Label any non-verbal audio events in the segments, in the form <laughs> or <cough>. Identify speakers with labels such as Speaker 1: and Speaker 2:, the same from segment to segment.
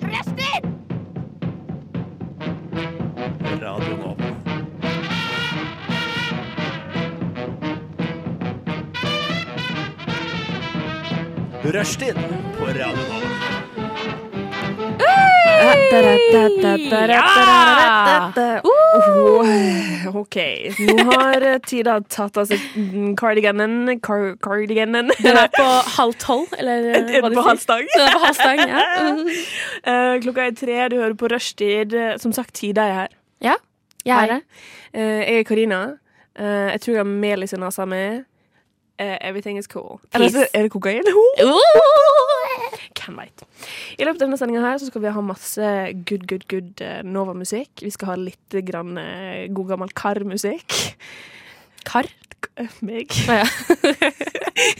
Speaker 1: Prestin!
Speaker 2: Radio Nova. Rushtid på Radio Nova.
Speaker 3: Ja!
Speaker 4: Oh, OK. Nå har eh, Tida tatt av seg cardiganen car Cardiganen.
Speaker 3: Den er på halv tolv, eller eh,
Speaker 4: Er
Speaker 3: hva
Speaker 4: den
Speaker 3: de
Speaker 4: på
Speaker 3: sier. <laughs>
Speaker 4: halv stang?
Speaker 3: Den er på halv stang, ja. Mm.
Speaker 4: Eh, Klokka er tre, du hører på rushtid. Som sagt, Tida er her.
Speaker 3: ja. Jeg
Speaker 4: Hei.
Speaker 3: er det.
Speaker 4: Eh, jeg er Karina. Eh, jeg tror jeg har melis i nesa mi. Eh, everything is cool.
Speaker 3: Peace.
Speaker 4: Eller, er det kokain? Oh,
Speaker 3: Oh!
Speaker 4: Hvem veit. I løpet av denne sendinga her så skal vi ha masse good, good, good eh, Nova-musikk. Vi skal ha litt grann eh, god gammel kar-musikk.
Speaker 3: Kar.
Speaker 4: Eh, <laughs> Meg.
Speaker 3: Å, ja.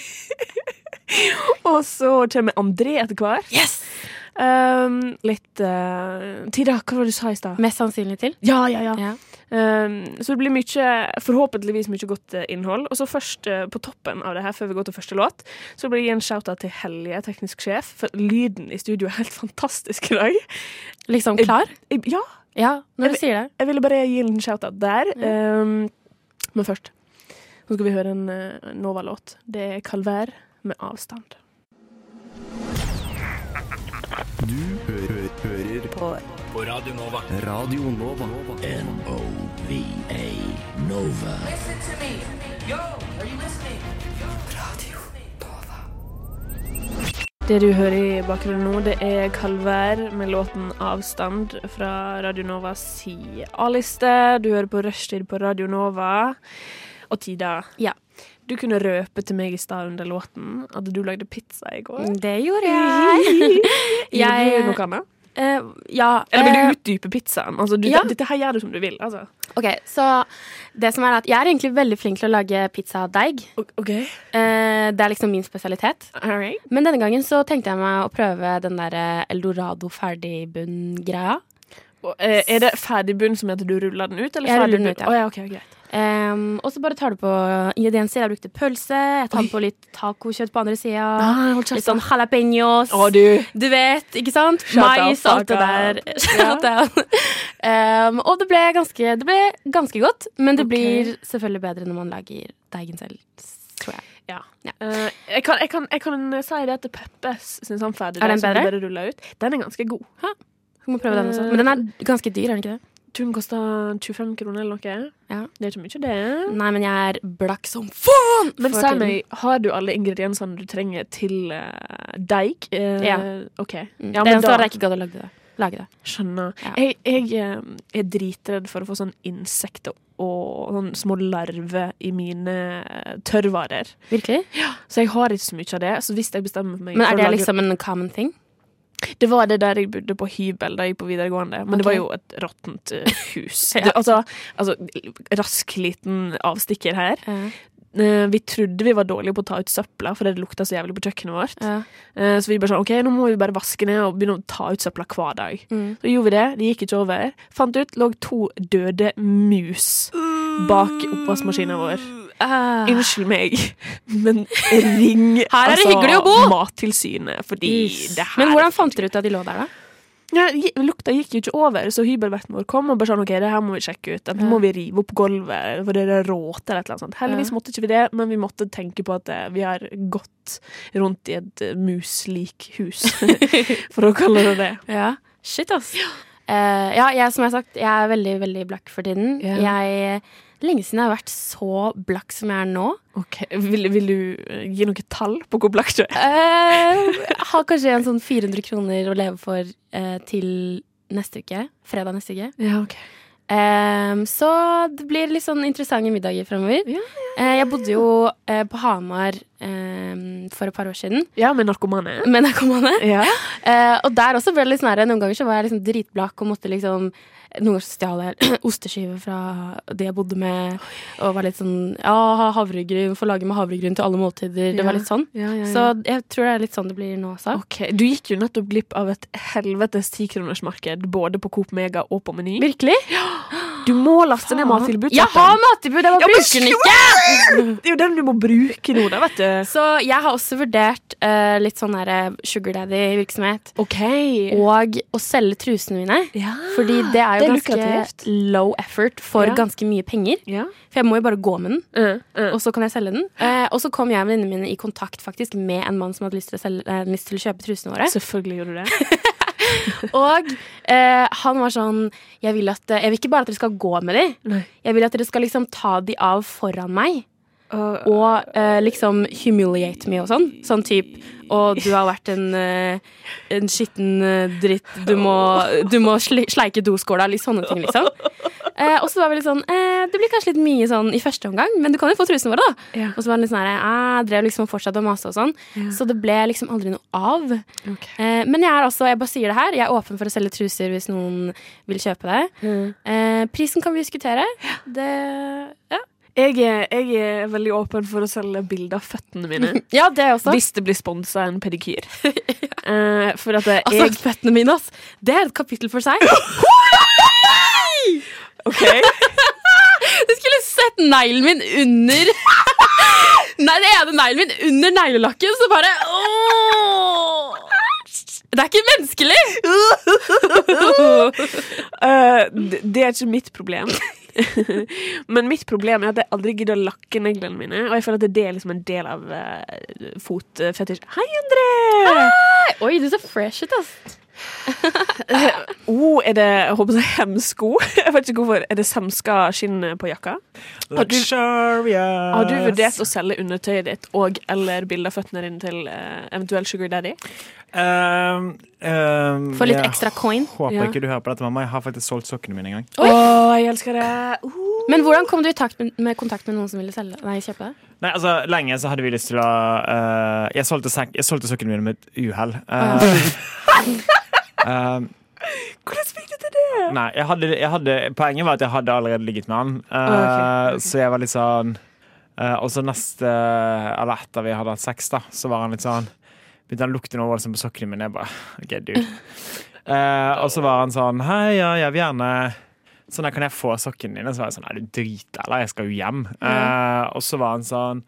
Speaker 4: <laughs> Og så kommer André etter hvert.
Speaker 3: Yes!
Speaker 4: Um, litt eh, Tida, hva var det du sa i stad?
Speaker 3: Mest sannsynlig til.
Speaker 4: Ja, ja, ja.
Speaker 3: Ja.
Speaker 4: Um, så det blir mye, forhåpentligvis mye godt eh, innhold. Og så først eh, på toppen av det her, før vi går til første låt, så blir det en shout-out til Helje, teknisk sjef. For lyden i studio er helt fantastisk i dag.
Speaker 3: Liksom klar?
Speaker 4: Jeg, Eh, ja,
Speaker 3: Ja,
Speaker 4: Jeg
Speaker 3: når
Speaker 4: vet-
Speaker 3: du sier det.
Speaker 4: jeg ville bare gi en shout-out der. Um, men først nå skal vi høre en eh, Nova-låt. Det er 'Kalvær med avstand'.
Speaker 5: Du hø hø hører på Radio Nova. Radio Nova.
Speaker 4: Det du hører i bakgrunnen nå, det er Kalvær med låten 'Avstand' fra Radio Novas si A-liste. Du hører på Rushtid på Radio Nova. Og Tida,
Speaker 3: Ja.
Speaker 4: du kunne røpe til meg i stad under låten at du lagde pizza i går. <laughs>
Speaker 3: Det gjorde Mm. jeg.
Speaker 4: Gjorde
Speaker 3: Jeg-
Speaker 4: du noe annet?
Speaker 3: Eh, ja.
Speaker 4: Eller
Speaker 3: eh,
Speaker 4: vil du utdype pizzaen? Altså, du,
Speaker 3: ja.
Speaker 4: Dette her gjør du som du vil, altså.
Speaker 3: Ok, så det som er at Jeg er egentlig veldig flink til å lage pizzadeig.
Speaker 4: OK.
Speaker 3: Eh, det er liksom min spesialitet.
Speaker 4: All right.
Speaker 3: Men denne gangen så tenkte jeg meg å prøve den der eh, eldorado ferdigbunn-greia.
Speaker 4: Og, eh, er det ferdigbunn som heter du ruller den ut, eller
Speaker 3: Jeg ruller den
Speaker 4: ferdigbunn?
Speaker 3: ut, ja.
Speaker 4: Å ja, ok, greit.
Speaker 3: Ehm, og så bare tar du på ingredienser. Jeg brukte pølse, jeg tar på litt tacokjøtt på andre sida.
Speaker 4: Ah, hold
Speaker 3: litt sånn jalapeños.
Speaker 4: Å, du.
Speaker 3: Du vet, ikke sant?
Speaker 4: Shout out,
Speaker 3: Mais, alt det
Speaker 4: fuck
Speaker 3: der.
Speaker 4: <laughs> up.
Speaker 3: Shout out. Ehm, og det ble, ganske, det ble ganske godt, men det
Speaker 4: Ok.
Speaker 3: blir selvfølgelig bedre når man lager deigen selv. Tror jeg.
Speaker 4: Ja.
Speaker 3: Ja.
Speaker 4: Eh, jeg, kan, jeg, kan, jeg kan si det til Peppes sin samferdig.
Speaker 3: Er den
Speaker 4: som
Speaker 3: bedre?
Speaker 4: bare rullet ut. Den er ganske god.
Speaker 3: Vi må prøve den også. Men den
Speaker 4: Eh.
Speaker 3: er ganske dyr, er den ikke det?
Speaker 4: Tror den kosta 25 kroner eller noe.
Speaker 3: Ja. Mm.
Speaker 4: Det er ikke mye, det.
Speaker 3: Nei, men jeg er blakk som faen!
Speaker 4: Men
Speaker 3: for
Speaker 4: si
Speaker 3: tiden.
Speaker 4: meg, har du alle ingrediensene du trenger til eh, deig? Eh,
Speaker 3: Ja.
Speaker 4: OK.
Speaker 3: Mm.
Speaker 4: Ja,
Speaker 3: det
Speaker 4: men
Speaker 3: eneste var
Speaker 4: da
Speaker 3: at jeg ikke gadd å lage det. Lage det.
Speaker 4: skjønner.
Speaker 3: Ja.
Speaker 4: Jeg, jeg eh, er dritredd for å få sånn insekter og sånne små larver i mine eh, tørrvarer.
Speaker 3: Virkelig?
Speaker 4: Så jeg har ikke så mye av det. Så hvis jeg bestemmer meg
Speaker 3: Men
Speaker 4: for
Speaker 3: er
Speaker 4: å
Speaker 3: det
Speaker 4: lage-
Speaker 3: liksom en common thing?
Speaker 4: Det var det der jeg bodde på hybel da jeg gikk på videregående. Men det
Speaker 3: Ok.
Speaker 4: var jo et
Speaker 3: <laughs>
Speaker 4: råttent eh, hus. det, altså, altså, rask liten avstikker her.
Speaker 3: Ja.
Speaker 4: Eh, vi trodde vi var dårlige på å ta ut søpla, for det lukta så jævlig på kjøkkenet vårt.
Speaker 3: Ja.
Speaker 4: Eh, så vi bare sånn, ok, nå må vi bare vaske ned og begynne å ta ut søpla hver dag.
Speaker 3: Mm.
Speaker 4: Så gjorde vi det. Det gikk ikke over. Fant ut lå to døde mus bak oppvaskmaskinen vår.
Speaker 3: Ah.
Speaker 4: Unnskyld meg, <laughs> men ring altså,
Speaker 3: Her er det hyggelig å bo!
Speaker 4: Mattilsynet, fordi det her
Speaker 3: Men hvordan fant dere ut at de lå der, da?
Speaker 4: Ja, gi- lukta gikk jo ikke over, så hybelverten vår kom og bare sånn, ok, det her må vi sjekke ut. Enten
Speaker 3: Ja.
Speaker 4: må vi rive opp gulvet, for det er råte eller et eller annet sånt. Heldigvis måtte ikke vi det, men vi måtte tenke på at eh, vi har gått rundt i et eh, muslik hus, <laughs> for å kalle det det.
Speaker 3: Ja, shit ass Eh, Ja, jeg, som jeg har sagt, jeg er veldig, veldig blakk for tiden
Speaker 4: Ja.
Speaker 3: Jeg, lenge siden jeg har vært så blakk som jeg er nå
Speaker 4: Ok, vil, vil du eh, gi noe tall på hvor blakk du er?
Speaker 3: Eh, Har kanskje en sånn 400 kroner å leve for eh, til neste uke Fredag neste uke
Speaker 4: Ja, ok.
Speaker 3: Eh, Så det blir litt sånn interessante middager fremover
Speaker 4: Ja,
Speaker 3: Eh, Jeg bodde jo eh, på Hamar eh, for et par år siden
Speaker 4: Ja, med narkomane.
Speaker 3: Men der kom han ned
Speaker 4: Ja.
Speaker 3: Eh, og der også ble det litt sånn her, Noen ganger så var jeg liksom dritblakk og måtte liksom Noen ganger så stjal jeg <clears throat> osteskiver fra det jeg bodde med. Og var litt sånn Ja, ha havregryn, få lage med havregryn til alle måltider. Det
Speaker 4: Ja.
Speaker 3: var litt sånn.
Speaker 4: Ja, ja, ja.
Speaker 3: Så jeg tror det er litt sånn det blir nå også.
Speaker 4: Ok, du gikk jo nettopp glipp av et helvetes 10-kronersmarked, både på Coop Mega og på Meny.
Speaker 3: Virkelig?
Speaker 4: Du må laste ned mattilbud.
Speaker 3: Jeg har mattilbud, jeg
Speaker 4: Ja,
Speaker 3: bare
Speaker 4: men
Speaker 3: bruker den ikke!
Speaker 4: Det er jo den du må bruke nå, da, vet du.
Speaker 3: Så jeg har også vurdert eh, litt sånn der eh, sugar daddy-virksomhet.
Speaker 4: OK.
Speaker 3: Og å selge trusene mine.
Speaker 4: Ja.
Speaker 3: Fordi det er
Speaker 4: det
Speaker 3: jo
Speaker 4: er
Speaker 3: ganske
Speaker 4: lukrativt.
Speaker 3: low effort for
Speaker 4: Ja.
Speaker 3: ganske mye penger.
Speaker 4: Ja.
Speaker 3: For jeg må jo bare gå med den,
Speaker 4: Uh, uh.
Speaker 3: og så kan jeg selge den. Eh, og så kom jeg og venninnene mine i kontakt faktisk med en mann som hadde lyst til å, selge, eh, lyst til å kjøpe trusene våre.
Speaker 4: Selvfølgelig gjorde du <laughs> det.
Speaker 3: Og eh, han var sånn jeg vil, at, jeg vil ikke bare at dere skal gå med de,
Speaker 4: Nei.
Speaker 3: jeg vil at dere skal liksom ta de av foran meg. Og eh, liksom humiliate me og sånn. Sånn type Og du har vært en, eh, en skitten eh, dritt, du må, du må sli, sleike doskåla. Litt sånne ting, liksom. Eh, og så var vi litt sånn eh, Det blir kanskje litt mye sånn i første omgang, men du kan jo få trusene våre, da.
Speaker 4: Ja.
Speaker 3: Og så var han litt sånn her eh, Drev liksom og fortsatte å mase og sånn. Så det ble liksom aldri noe av. Eh, men jeg er også, jeg bare sier det her, jeg er åpen for å selge truser hvis noen vil kjøpe det. Eh, prisen kan vi diskutere. Det Ja,
Speaker 4: Jeg, er, jeg er veldig åpen for å selge bilder av føttene mine. <laughs>
Speaker 3: ja det også.
Speaker 4: Hvis det blir sponsa en <laughs> pedikyr. Eh, for at jeg
Speaker 3: Altså, føttene mine, ass. Det er et kapittel for seg.
Speaker 4: OK.
Speaker 3: Du skulle sett neglen min under <laughs> Nei, det ene neglen min under neglelakken, så bare åh. Det er ikke menneskelig!
Speaker 4: Eh, d- det er ikke mitt problem. <laughs> Men mitt problem er at jeg aldri gidder å lakke neglene mine. Og jeg føler at det er liksom en del av uh, fotfetisj. Hei, André!
Speaker 3: Oi, du ser fresh ut, ass.
Speaker 4: Oh, er det jeg håper jeg hemsko? <laughs> Jeg vet ikke hvorfor. Er det semska skinn på jakka? Har du-
Speaker 2: Luxurious.
Speaker 4: Har du
Speaker 6: Eh,
Speaker 4: vurdert å selge undertøyet ditt og eller bilde av føttene dine til eh, eventuell Sugar Daddy?
Speaker 2: um, um,
Speaker 3: Få litt
Speaker 2: jeg
Speaker 3: ekstra coin.
Speaker 2: Håper
Speaker 4: Ja.
Speaker 2: ikke du hører på dette, mamma. Jeg har faktisk solgt sokkene mine en gang.
Speaker 4: Å, jeg elsker det! Uh.
Speaker 3: Men hvordan kom du i takt med, med kontakt med noen som ville selge Nei, kjøpe det?
Speaker 2: Nei, altså, Lenge så hadde vi lyst til å eh, Jeg solgte, sek- jeg solgte sokkene mine med et uhell.
Speaker 3: Ah,
Speaker 2: Eh, um,
Speaker 4: Hvordan fikk du til det?
Speaker 2: nei, jeg hadde, jeg hadde, poenget var at jeg hadde allerede ligget med han, Eh,
Speaker 4: Ah, ok, ok.
Speaker 2: så jeg var litt sånn eh, Og så neste Eller etter vi hadde hatt sex, da, så var han litt sånn Begynte han å lukte noe voldsomt på sokkene mine. Jeg bare OK,
Speaker 4: <laughs>
Speaker 2: dude. Eh, og så var han sånn Hei, ja, jeg vil gjerne Sånn der kan jeg få sokkene dine. Så var jeg sånn Er du drita, eller? Jeg skal jo hjem. Eh, og så var han sånn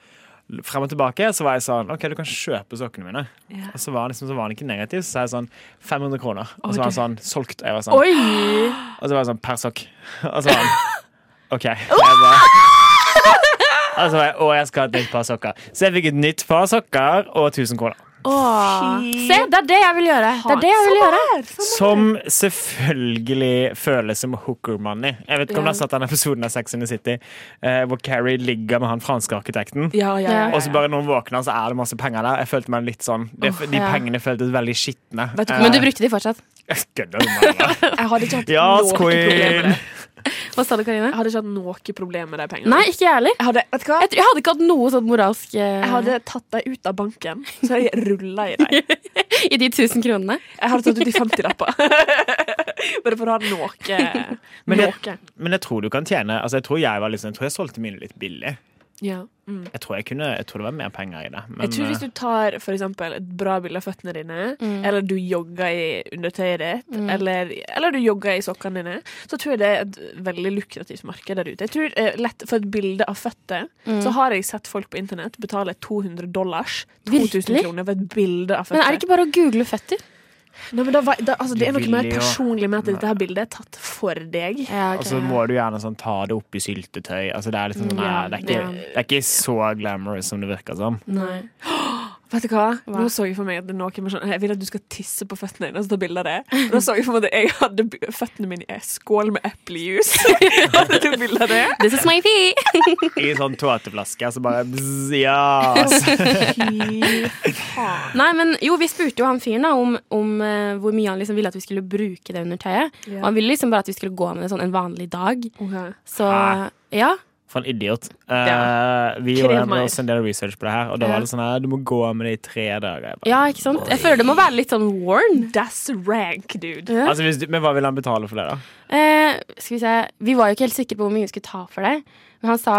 Speaker 2: Frem og tilbake så var jeg sånn OK, du kan kjøpe sokkene mine.
Speaker 4: Ja.
Speaker 2: Og så var, han liksom, så var han ikke negativ, så sa jeg sånn 500 kroner. Og
Speaker 4: Oi,
Speaker 2: så var han sånn solgt. Og jeg var sånn,
Speaker 3: Oi!
Speaker 2: og så var jeg sånn per sokk. <laughs> Og så var han OK. Jeg bare, og så var jeg, å, jeg skal ha et nytt par sokker. Så jeg fikk et nytt par sokker og 1000 kroner.
Speaker 3: Åh. Se, det er det jeg vil gjøre. Det er det jeg vil gjøre.
Speaker 2: Som selvfølgelig føles som hooker money. Jeg vet ikke om
Speaker 4: Ja.
Speaker 2: du har sett den episoden av Sex in the City eh, hvor Carrie ligger med han franske arkitekten.
Speaker 4: Ja, ja, ja, ja,
Speaker 2: Og så bare når hun våkner, så er det masse penger der. Jeg følte meg litt sånn De,
Speaker 3: Åh,
Speaker 2: de
Speaker 3: ja.
Speaker 2: pengene føltes veldig skitne. Eh,
Speaker 4: Vet du hva-
Speaker 3: Men du brukte de fortsatt.
Speaker 2: Kødder du med meg?
Speaker 4: Jeg hadde ikke hatt
Speaker 2: Yes,
Speaker 4: noe problem med
Speaker 2: queen!
Speaker 4: det.
Speaker 3: Hva sa du, Karine?
Speaker 4: Jeg hadde ikke hatt noe problem med de pengene.
Speaker 3: Nei, Eh. ikke jeg heller.
Speaker 4: Jeg hadde, vet du hva?
Speaker 3: Jeg, tror, jeg hadde ikke hatt noe sånn moralsk eh,
Speaker 4: Jeg hadde tatt deg ut av banken, så jeg rulla i deg.
Speaker 3: <laughs> i de 1000 kronene.
Speaker 4: Jeg hadde tatt ut de 50-lapper. <laughs> Bare for å
Speaker 3: <laughs>
Speaker 4: ha noe.
Speaker 2: Men jeg-
Speaker 4: noe.
Speaker 2: Men jeg tror du kan tjene altså jeg, tror jeg, var liksom, jeg tror jeg solgte mine litt billig.
Speaker 4: Ja. Mm.
Speaker 2: Jeg tror, jeg kunne, jeg tror det var mer penger i det. Men, eh,
Speaker 4: jeg tror hvis du tar for eksempel, et bra bilde av føttene dine,
Speaker 3: Mm.
Speaker 4: eller du jogger i undertøyet ditt, eller, eller du jogger i sokkene dine, så tror jeg det er et veldig lukrativt marked der ute. Jeg tror eh, lett For et bilde av føtter,
Speaker 3: Mm.
Speaker 4: så har jeg sett folk på internett betale 200 dollars, 2000
Speaker 3: Virkelig?
Speaker 4: kroner, for et bilde av
Speaker 3: Men
Speaker 4: føtter.
Speaker 3: er det ikke bare å google føtter?
Speaker 4: Nei, men da, var- da, altså,
Speaker 2: Du
Speaker 4: det er noe
Speaker 2: vil
Speaker 4: mer
Speaker 2: jo-
Speaker 4: personlig med at dette her bildet er tatt for deg.
Speaker 3: Ja,
Speaker 2: Og så eh, må du gjerne sånn, ta det opp i syltetøy. Altså, det, er liksom,
Speaker 4: Mm,
Speaker 2: sånn,
Speaker 3: Ja,
Speaker 2: nei, det, er ikke,
Speaker 3: ja.
Speaker 2: det er ikke så glamorous som det virker
Speaker 4: <laughs>
Speaker 2: som.
Speaker 3: Nei.
Speaker 4: Vet du hva?
Speaker 3: Hva?
Speaker 4: Nå så jeg for meg at det er noe med sånn Jeg vil at du skal tisse på føttene dine og så ta bilde av det. Da så jeg for meg at jeg hadde b- føttene mine i en skål med <laughs> eplejuice. Hadde du bilde av det?
Speaker 3: This is my fee!
Speaker 2: I sånn tåteflaske, så bare bzz, Ja! Altså.
Speaker 4: Fy faen.
Speaker 3: Nei, men jo, vi spurte jo han fyren da om, om eh, hvor mye han liksom ville at vi skulle bruke det undertøyet.
Speaker 4: Ja.
Speaker 3: Og han ville liksom bare at vi skulle gå med det sånn en vanlig dag.
Speaker 4: Ok.
Speaker 3: Så
Speaker 2: Hæ?
Speaker 3: ja.
Speaker 2: For en idiot. Eh,
Speaker 4: Ja.
Speaker 2: vi
Speaker 4: Krev
Speaker 2: gjorde
Speaker 4: meg.
Speaker 2: også en del research på det her, og da var det sånn her Du må gå med det i tre dager. Jeg bare,
Speaker 3: ja, ikke sant? Jeg føler det må være litt sånn worn.
Speaker 4: That's rank, dude.
Speaker 3: Ja.
Speaker 2: Altså, hvis du, men hva vil han betale for det, da?
Speaker 3: Eh, skal vi se Vi var jo ikke helt sikre på hvor mye vi skulle ta for det. Men han sa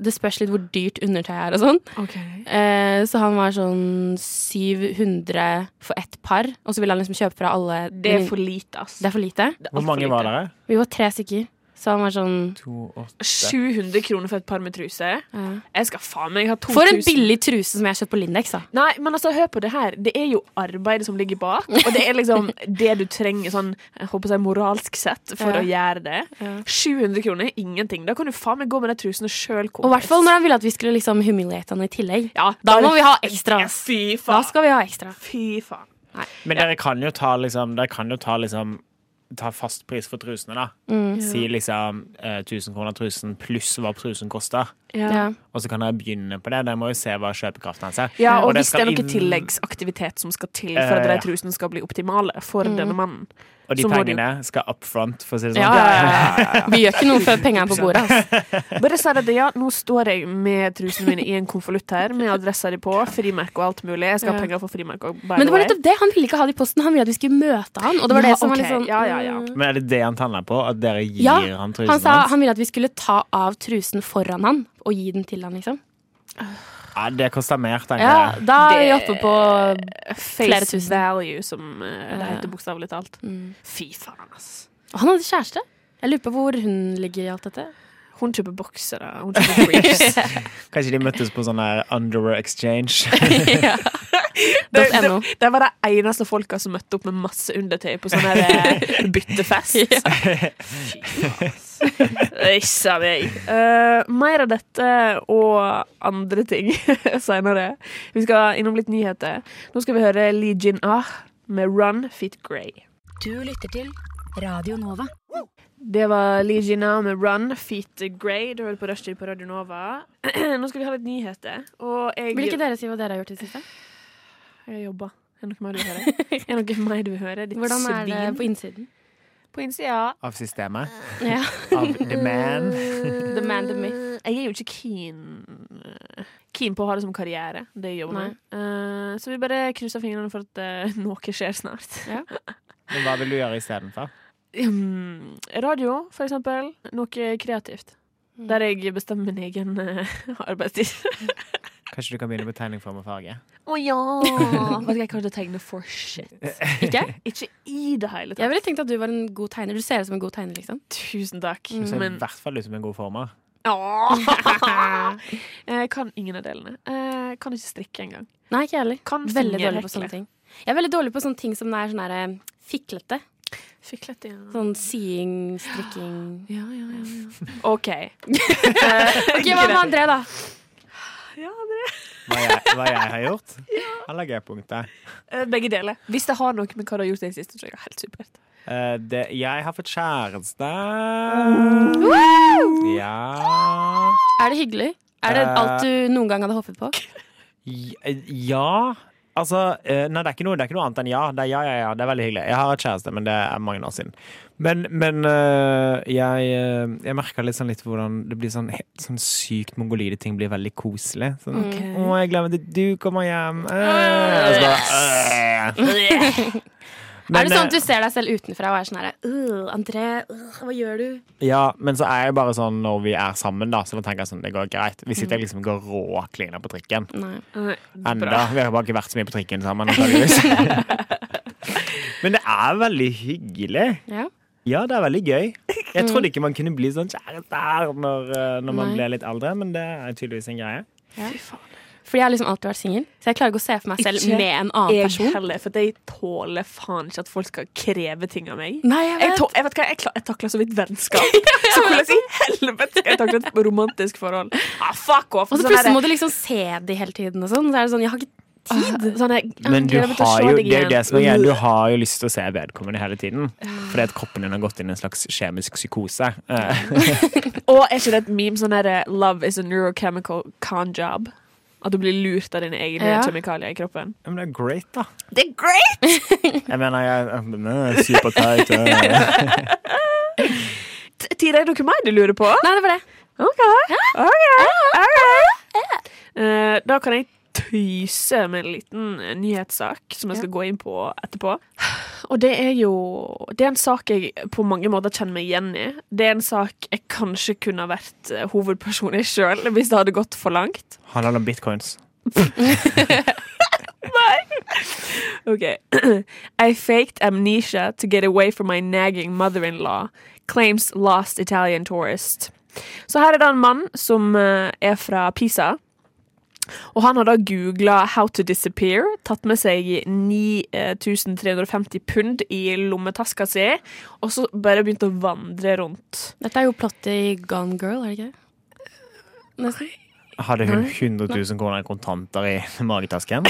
Speaker 3: det spørs litt hvor dyrt undertøyet er og sånn.
Speaker 4: Ok.
Speaker 3: Eh, så han var sånn 700 for ett par, og så ville han liksom kjøpe fra alle.
Speaker 4: Det er for lite, ass.
Speaker 3: det er for lite.
Speaker 4: Det er
Speaker 2: Mm. Hvor
Speaker 4: alt for
Speaker 2: mange
Speaker 4: lite.
Speaker 2: var dere?
Speaker 3: Vi var tre stykker. Så han var sånn
Speaker 2: To, åtte.
Speaker 4: 700 kroner for et par med truse.
Speaker 3: ja.
Speaker 4: Jeg skal faen meg ha 2000.
Speaker 3: For en billig truse som jeg har kjøpt på Lindex, da.
Speaker 4: Nei, men altså, hør på det her. Det er jo arbeidet som ligger bak, og det er liksom det du trenger sånn, jeg håper å si moralsk sett, for
Speaker 3: Ja.
Speaker 4: å gjøre det.
Speaker 3: Ja.
Speaker 4: 700 kroner er ingenting. Da kan du faen meg gå med de trusene sjøl,
Speaker 3: Og i hvert fall når han ville at vi skulle liksom humiliate han i tillegg.
Speaker 4: Ja,
Speaker 3: Da må
Speaker 4: bare-
Speaker 3: vi ha ekstra.
Speaker 4: Ja, Fy
Speaker 3: Da
Speaker 4: faen.
Speaker 3: skal vi ha ekstra.
Speaker 4: Fy faen.
Speaker 2: Men dere kan jo ta liksom Dere kan jo ta liksom Ta fast pris for trusene, da.
Speaker 4: Mm.
Speaker 2: Si liksom eh, 1000 kroner trusen pluss hva trusen koster.
Speaker 3: Ja.
Speaker 2: Og så kan dere begynne på det. Dere må jo se hva kjøpekraften hans er.
Speaker 4: Ja, og,
Speaker 2: Og det
Speaker 4: hvis det er noe
Speaker 2: skal inn-
Speaker 4: tilleggsaktivitet som skal til for at
Speaker 2: Eh, ja.
Speaker 4: de trusene skal bli optimale for
Speaker 3: Mm.
Speaker 4: denne mannen.
Speaker 2: Og de
Speaker 4: så må du-
Speaker 2: pengene skal up front, for å si det
Speaker 3: Ja,
Speaker 2: sånn.
Speaker 3: ja, ja, ja. Vi gjør ikke noe før pengene er på bordet. Altså.
Speaker 4: Bare si det, ja, nå står jeg med trusene mine i en konvolutt her, med adressa
Speaker 3: <laughs>
Speaker 4: di på, frimerke og alt mulig. Jeg skal ha
Speaker 3: Ja.
Speaker 4: penger for frimerke òg, by
Speaker 3: Men
Speaker 4: the
Speaker 3: det var
Speaker 4: way.
Speaker 3: nettopp det. Han ville ikke ha det i posten. Han ville at vi skulle møte han. Og det var
Speaker 4: Ja,
Speaker 3: det som var
Speaker 4: ok.
Speaker 3: litt sånn
Speaker 4: Ja, ja, ja.
Speaker 3: mm.
Speaker 2: Men er det det han tanner på? At dere gir
Speaker 3: Ja,
Speaker 2: han trusen
Speaker 3: Han sa
Speaker 2: hans?
Speaker 3: han ville at vi skulle ta av trusen foran han og gi den til han, liksom.
Speaker 2: Ja, det koster mer, tenker
Speaker 3: Ja,
Speaker 2: jeg.
Speaker 3: da er vi
Speaker 4: Det-
Speaker 3: oppe på
Speaker 4: Face
Speaker 3: Flere tusen.
Speaker 4: value, som eh, det heter bokstavelig talt.
Speaker 3: Mm.
Speaker 4: Fy faen, ass.
Speaker 3: Og Han hadde kjæreste. Jeg lurer på hvor hun ligger i alt dette.
Speaker 4: Hun kjøper boksere, hun
Speaker 3: <laughs>
Speaker 4: kjøper briefs.
Speaker 2: Kanskje de møttes på sånn her underwear exchange?
Speaker 4: det, det,
Speaker 3: .no.
Speaker 4: det var de eneste folka som møtte opp med masse undertøy på sånn her eh, byttefest. Fy faen, ass. Issa meg. Eh, mer av dette og andre ting <laughs> seinere. Vi skal innom litt nyheter. Nå skal vi høre Lee Jin Ah med Run Fit Grey.
Speaker 1: Du lytter til Radio Nova.
Speaker 4: Det var Legina med Run, Feet Grey. Du hører på Rushtid på Radio Nova. <clears throat> Nå skal vi ha litt nyheter. Og jeg
Speaker 3: Vil ikke dere si hva dere har gjort i <laughs> det siste?
Speaker 4: Jeg jobber. Er det noe mer du vil høre? Er det noe mer du vil høre? Ditt
Speaker 3: Hvordan er det
Speaker 4: svin.
Speaker 3: på innsiden?
Speaker 4: på innsida?
Speaker 2: Av systemet?
Speaker 3: <laughs> Ja.
Speaker 2: Av the man?
Speaker 4: The
Speaker 3: man, the myth.
Speaker 4: Uh, Jeg er jo ikke keen uh, Keen på å ha det som karriere, det jeg jobber med. Eh, så vi bare krysser fingrene for at eh, <laughs> noe skjer snart.
Speaker 2: Men hva vil du gjøre istedenfor?
Speaker 4: Hmm, <laughs> radio, for eksempel. Noe kreativt. Der jeg bestemmer min egen eh, <laughs> arbeidstid.
Speaker 2: Kanskje du kan begynne på tegning, form og farge?
Speaker 4: Å ja! <laughs> Vet ikke, jeg kan ikke tegne for shit.
Speaker 3: Ikke?
Speaker 4: Ikke i det hele
Speaker 3: Jeg
Speaker 4: tatt.
Speaker 3: ville tenkt at du var en god tegner. Du ser ut som en god tegner, liksom.
Speaker 4: Tusen takk.
Speaker 2: Du
Speaker 3: Mm,
Speaker 2: ser i
Speaker 4: Men
Speaker 2: hvert fall ut som en god former.
Speaker 4: Åh! <laughs> Jeg kan ingen av delene. Jeg kan ikke strikke engang.
Speaker 3: Nei, ikke jeg heller.
Speaker 4: Kan
Speaker 3: Veldig dårlig på
Speaker 4: fingerhekle.
Speaker 3: sånne ting. Jeg er veldig dårlig på sånne ting som er sånn der eh, fiklete.
Speaker 4: Fiklet, ja.
Speaker 3: Sånn sying, strikking
Speaker 4: Ja, ja, ja,
Speaker 3: <laughs>
Speaker 4: ja. <laughs> OK.
Speaker 3: Ok, Hva med André, da?
Speaker 4: Ja, det
Speaker 2: Hva jeg, hva jeg har gjort?
Speaker 3: <laughs>
Speaker 2: Han la G-punktet.
Speaker 4: er- Eh, Begge deler. Hvis det har noe med hva du har gjort i det siste, så er det helt supert.
Speaker 2: Eh, det, jeg har fått kjæreste. Ja.
Speaker 3: Er det hyggelig? Er det
Speaker 2: Eh.
Speaker 3: alt du noen gang hadde håpet på?
Speaker 2: J- Ja. Altså, eh, nei, det er, ikke noe, det er ikke noe annet enn ja. Det er ja, ja, ja. Det er veldig hyggelig. Jeg har et kjæreste, men det er mange år siden. Men, men eh, jeg, uh, jeg merker litt sånn litt hvordan det blir sånn, helt sånn sykt mongolide ting blir veldig koselig. Sånn,
Speaker 4: Eh,
Speaker 2: Å, jeg glemmer at du kommer hjem. Eh, og så bare, eh.
Speaker 3: <laughs>
Speaker 2: Men,
Speaker 3: er det sånn at du
Speaker 2: eh,
Speaker 3: ser deg selv utenfra og er sånn herre «Øh, André, øh, hva gjør du?
Speaker 2: Ja, men så er jeg bare sånn når vi er sammen, da, så da tenker jeg sånn, det går greit. Hvis ikke jeg liksom går råklina på trikken
Speaker 3: Nei.
Speaker 2: enda. Vi har bare ikke vært så mye på trikken sammen, <laughs> antageligvis. men det er veldig hyggelig.
Speaker 3: Ja.
Speaker 2: Ja, det er veldig gøy. Jeg trodde ikke man kunne bli sånn kjærester når, eh, når man
Speaker 3: Nei.
Speaker 2: ble litt eldre, men det er tydeligvis en greie.
Speaker 4: Fy faen.
Speaker 3: Fordi jeg har liksom alltid vært singel, så jeg klarer ikke å se for meg selv
Speaker 4: Ikke
Speaker 3: med en annen
Speaker 4: Jeg
Speaker 3: person.
Speaker 4: heller, for jeg tåler faen ikke at folk skal kreve ting av meg.
Speaker 3: Nei, jeg
Speaker 4: Jeg,
Speaker 3: vet.
Speaker 4: tå- jeg, vet hva, jeg, kla- jeg takler så vidt
Speaker 3: <laughs>
Speaker 4: vennskap. Så hvordan i helvete skal jeg takle et romantisk forhold? Ah, fuck off!
Speaker 3: Og så
Speaker 4: Sånn
Speaker 3: plutselig
Speaker 4: der-
Speaker 3: må du liksom se de hele tiden og sånn. Så er det sånn, jeg har ikke
Speaker 4: Sånn der, jeg
Speaker 2: Men du
Speaker 4: gleder meg til å
Speaker 2: har
Speaker 4: se
Speaker 2: jo,
Speaker 4: deg
Speaker 2: det er jo det
Speaker 4: igjen.
Speaker 2: som er greia. Du har jo lyst til å se vedkommende hele tiden. Fordi at kroppen din har gått inn i en slags kjemisk psykose. Eh,
Speaker 4: Og er ikke det et meme sånn der eh, 'Love is a neurochemical con job'? At du blir lurt av dine egne
Speaker 3: Ja.
Speaker 4: kjemikalier i kroppen?
Speaker 2: Men det er great, da.
Speaker 4: Det er great!
Speaker 2: <laughs> Jeg mener, jeg, jeg er superteit. eh. <laughs>
Speaker 4: Tida, er det noe mer du lurer på?
Speaker 3: Nei, det var det.
Speaker 4: OK. OK. OK. Eh, da kan jeg tøyse med en liten eh, nyhetssak som jeg skal gå inn på etterpå. Og det er jo Det er en sak jeg på mange måter kjenner meg igjen i. Det er en sak jeg kanskje kunne ha vært eh, hovedperson i sjøl hvis det hadde gått for langt.
Speaker 2: Handler det om bitcoins?
Speaker 4: OK. <clears throat> I faked amnesia to get away from my nagging mother-in-law, claims last Italian tourist. Så her er det en mann som eh, er fra Pisa. Og han har da googla 'How to disappear', tatt med seg eh, 9350 pund i lommetaska si, og så bare begynt å vandre rundt.
Speaker 3: Dette er jo plottet i Gone Girl, er det ikke det? Nesten.
Speaker 2: Hadde hun 100 000 kroner i kontanter i magetasken?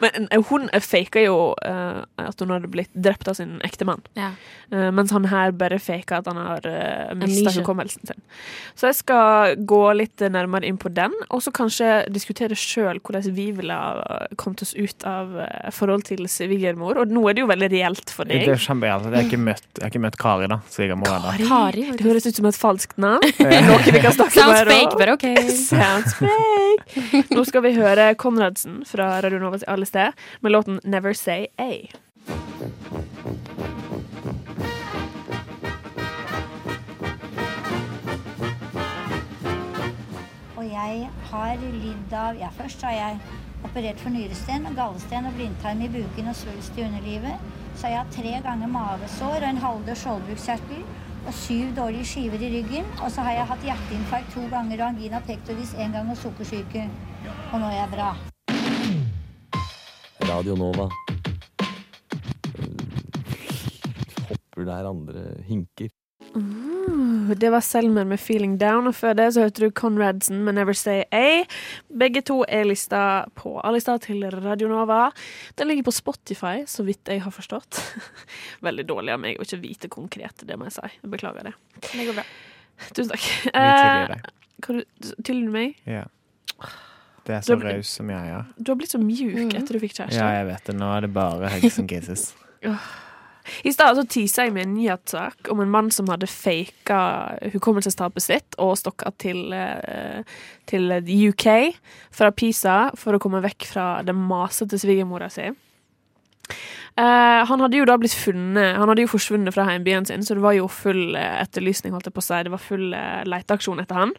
Speaker 4: Men eh, hun faka jo eh, at hun hadde blitt drept av sin ektemann.
Speaker 3: <laughs> Ja.
Speaker 4: Eh, mens han her bare faker at han har uh, mista
Speaker 3: Amnesia.
Speaker 4: hukommelsen sin. Så jeg skal gå litt nærmere inn på den, og så kanskje diskutere sjøl hvordan vi ville ha kommet oss ut av eh, forhold til svigermor. Og nå er det jo veldig reelt for
Speaker 2: Det er
Speaker 4: deg.
Speaker 2: kjempegalt. Jeg har ikke møtt, jeg har ikke møtt Kari, da. Svigermor ennå.
Speaker 3: Kari.
Speaker 4: Det høres ut som et falskt
Speaker 2: <laughs>
Speaker 4: navn. Noe vi kan snakke
Speaker 3: Sounds
Speaker 4: om her
Speaker 3: fake,
Speaker 4: også.
Speaker 3: but ok.
Speaker 4: Sounds fake. Nå skal vi høre Konradsen fra Radio Nova til alle sted med låten 'Never Say A'.
Speaker 7: Og jeg har lidd av Ja, først har jeg operert for nyresten, gallesten og blindtarm i buken og svulst i underlivet. Så har jeg hatt tre ganger mavesår og en halvdød skjoldbruskkjertel og syv dårlige skiver i ryggen. Og så har jeg hatt hjerteinfarkt to ganger og angina pectoris én gang og sukkersyke. Og nå er jeg bra.
Speaker 8: Radio Nova. Eh, Hopper der andre hinker.
Speaker 4: Og Det var Selmer med 'Feeling Down', og før det så hørte du Conradsen med 'Never Say A'. Begge to er lista på A-lista til Radionova. Den ligger på Spotify, så vidt jeg har forstått. <laughs> Veldig dårlig av meg å ikke vite konkret, det må jeg si. Jeg beklager det.
Speaker 3: Det går bra.
Speaker 4: Tusen takk.
Speaker 2: Mye tidligere.
Speaker 4: kan du tilgi meg?
Speaker 2: Ja. Det er så
Speaker 4: Da-
Speaker 2: raus som jeg er.
Speaker 4: Du har blitt så mjuk
Speaker 3: Mhm.
Speaker 4: etter du fikk kjæreste.
Speaker 2: Ja, jeg vet det. Nå er det bare hugs and kisses.
Speaker 4: I stad så tisa jeg med en nyhetssak om en mann som hadde faka hukommelsestapet sitt og stokka til, eh, til UK fra Pisa for å komme vekk fra den masete svigermora si. Eh, han hadde jo da blitt funnet Han hadde jo forsvunnet fra heimbyen sin, så det var jo full eh, etterlysning, holdt jeg på å si. Det var full eh, leteaksjon etter han.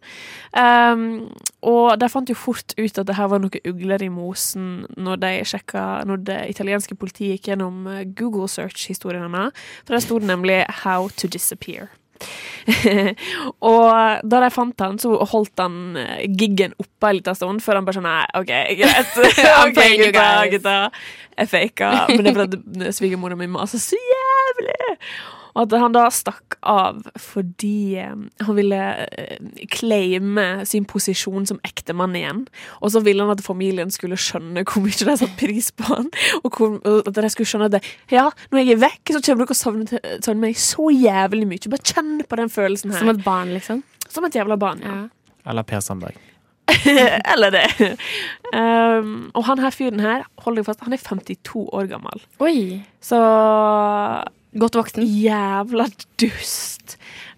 Speaker 4: Um, og de fant jo fort ut at det her var noen ugler i mosen når, de sjekka, når det italienske politiet gikk gjennom eh, Google search-historien hennes. For der sto det nemlig 'How to disappear'. <laughs> og da de fant han, så holdt han eh, giggen oppe en liten stund før han bare sånn Nei, OK,
Speaker 3: <laughs>
Speaker 4: greit. <laughs> OK,
Speaker 3: playing you
Speaker 4: gutta,
Speaker 3: guys."
Speaker 4: gutta. Jeg faka. Men det er fordi <laughs> at svigermora mi maser så altså jævlig. Og at han da stakk av fordi eh, han ville eh, claime sin posisjon som ektemann igjen. Og så ville han at familien skulle skjønne hvor mye de satte pris på han. Og, hvor, og at de skulle skjønne at det, ja, når jeg er vekk, så kommer dere å savne, til- savne meg så jævlig mye. Bare kjenn på den følelsen her.
Speaker 3: Som et barn, liksom.
Speaker 4: Som et jævla barn. Ja.
Speaker 3: Ja.
Speaker 2: Eller Per Sandberg.
Speaker 4: <laughs> Eller det. Um, og han her fyren her, hold deg fast, han er 52 år gammel.
Speaker 3: Oi.
Speaker 4: Så
Speaker 3: Godt voksen.
Speaker 4: Jævla dust.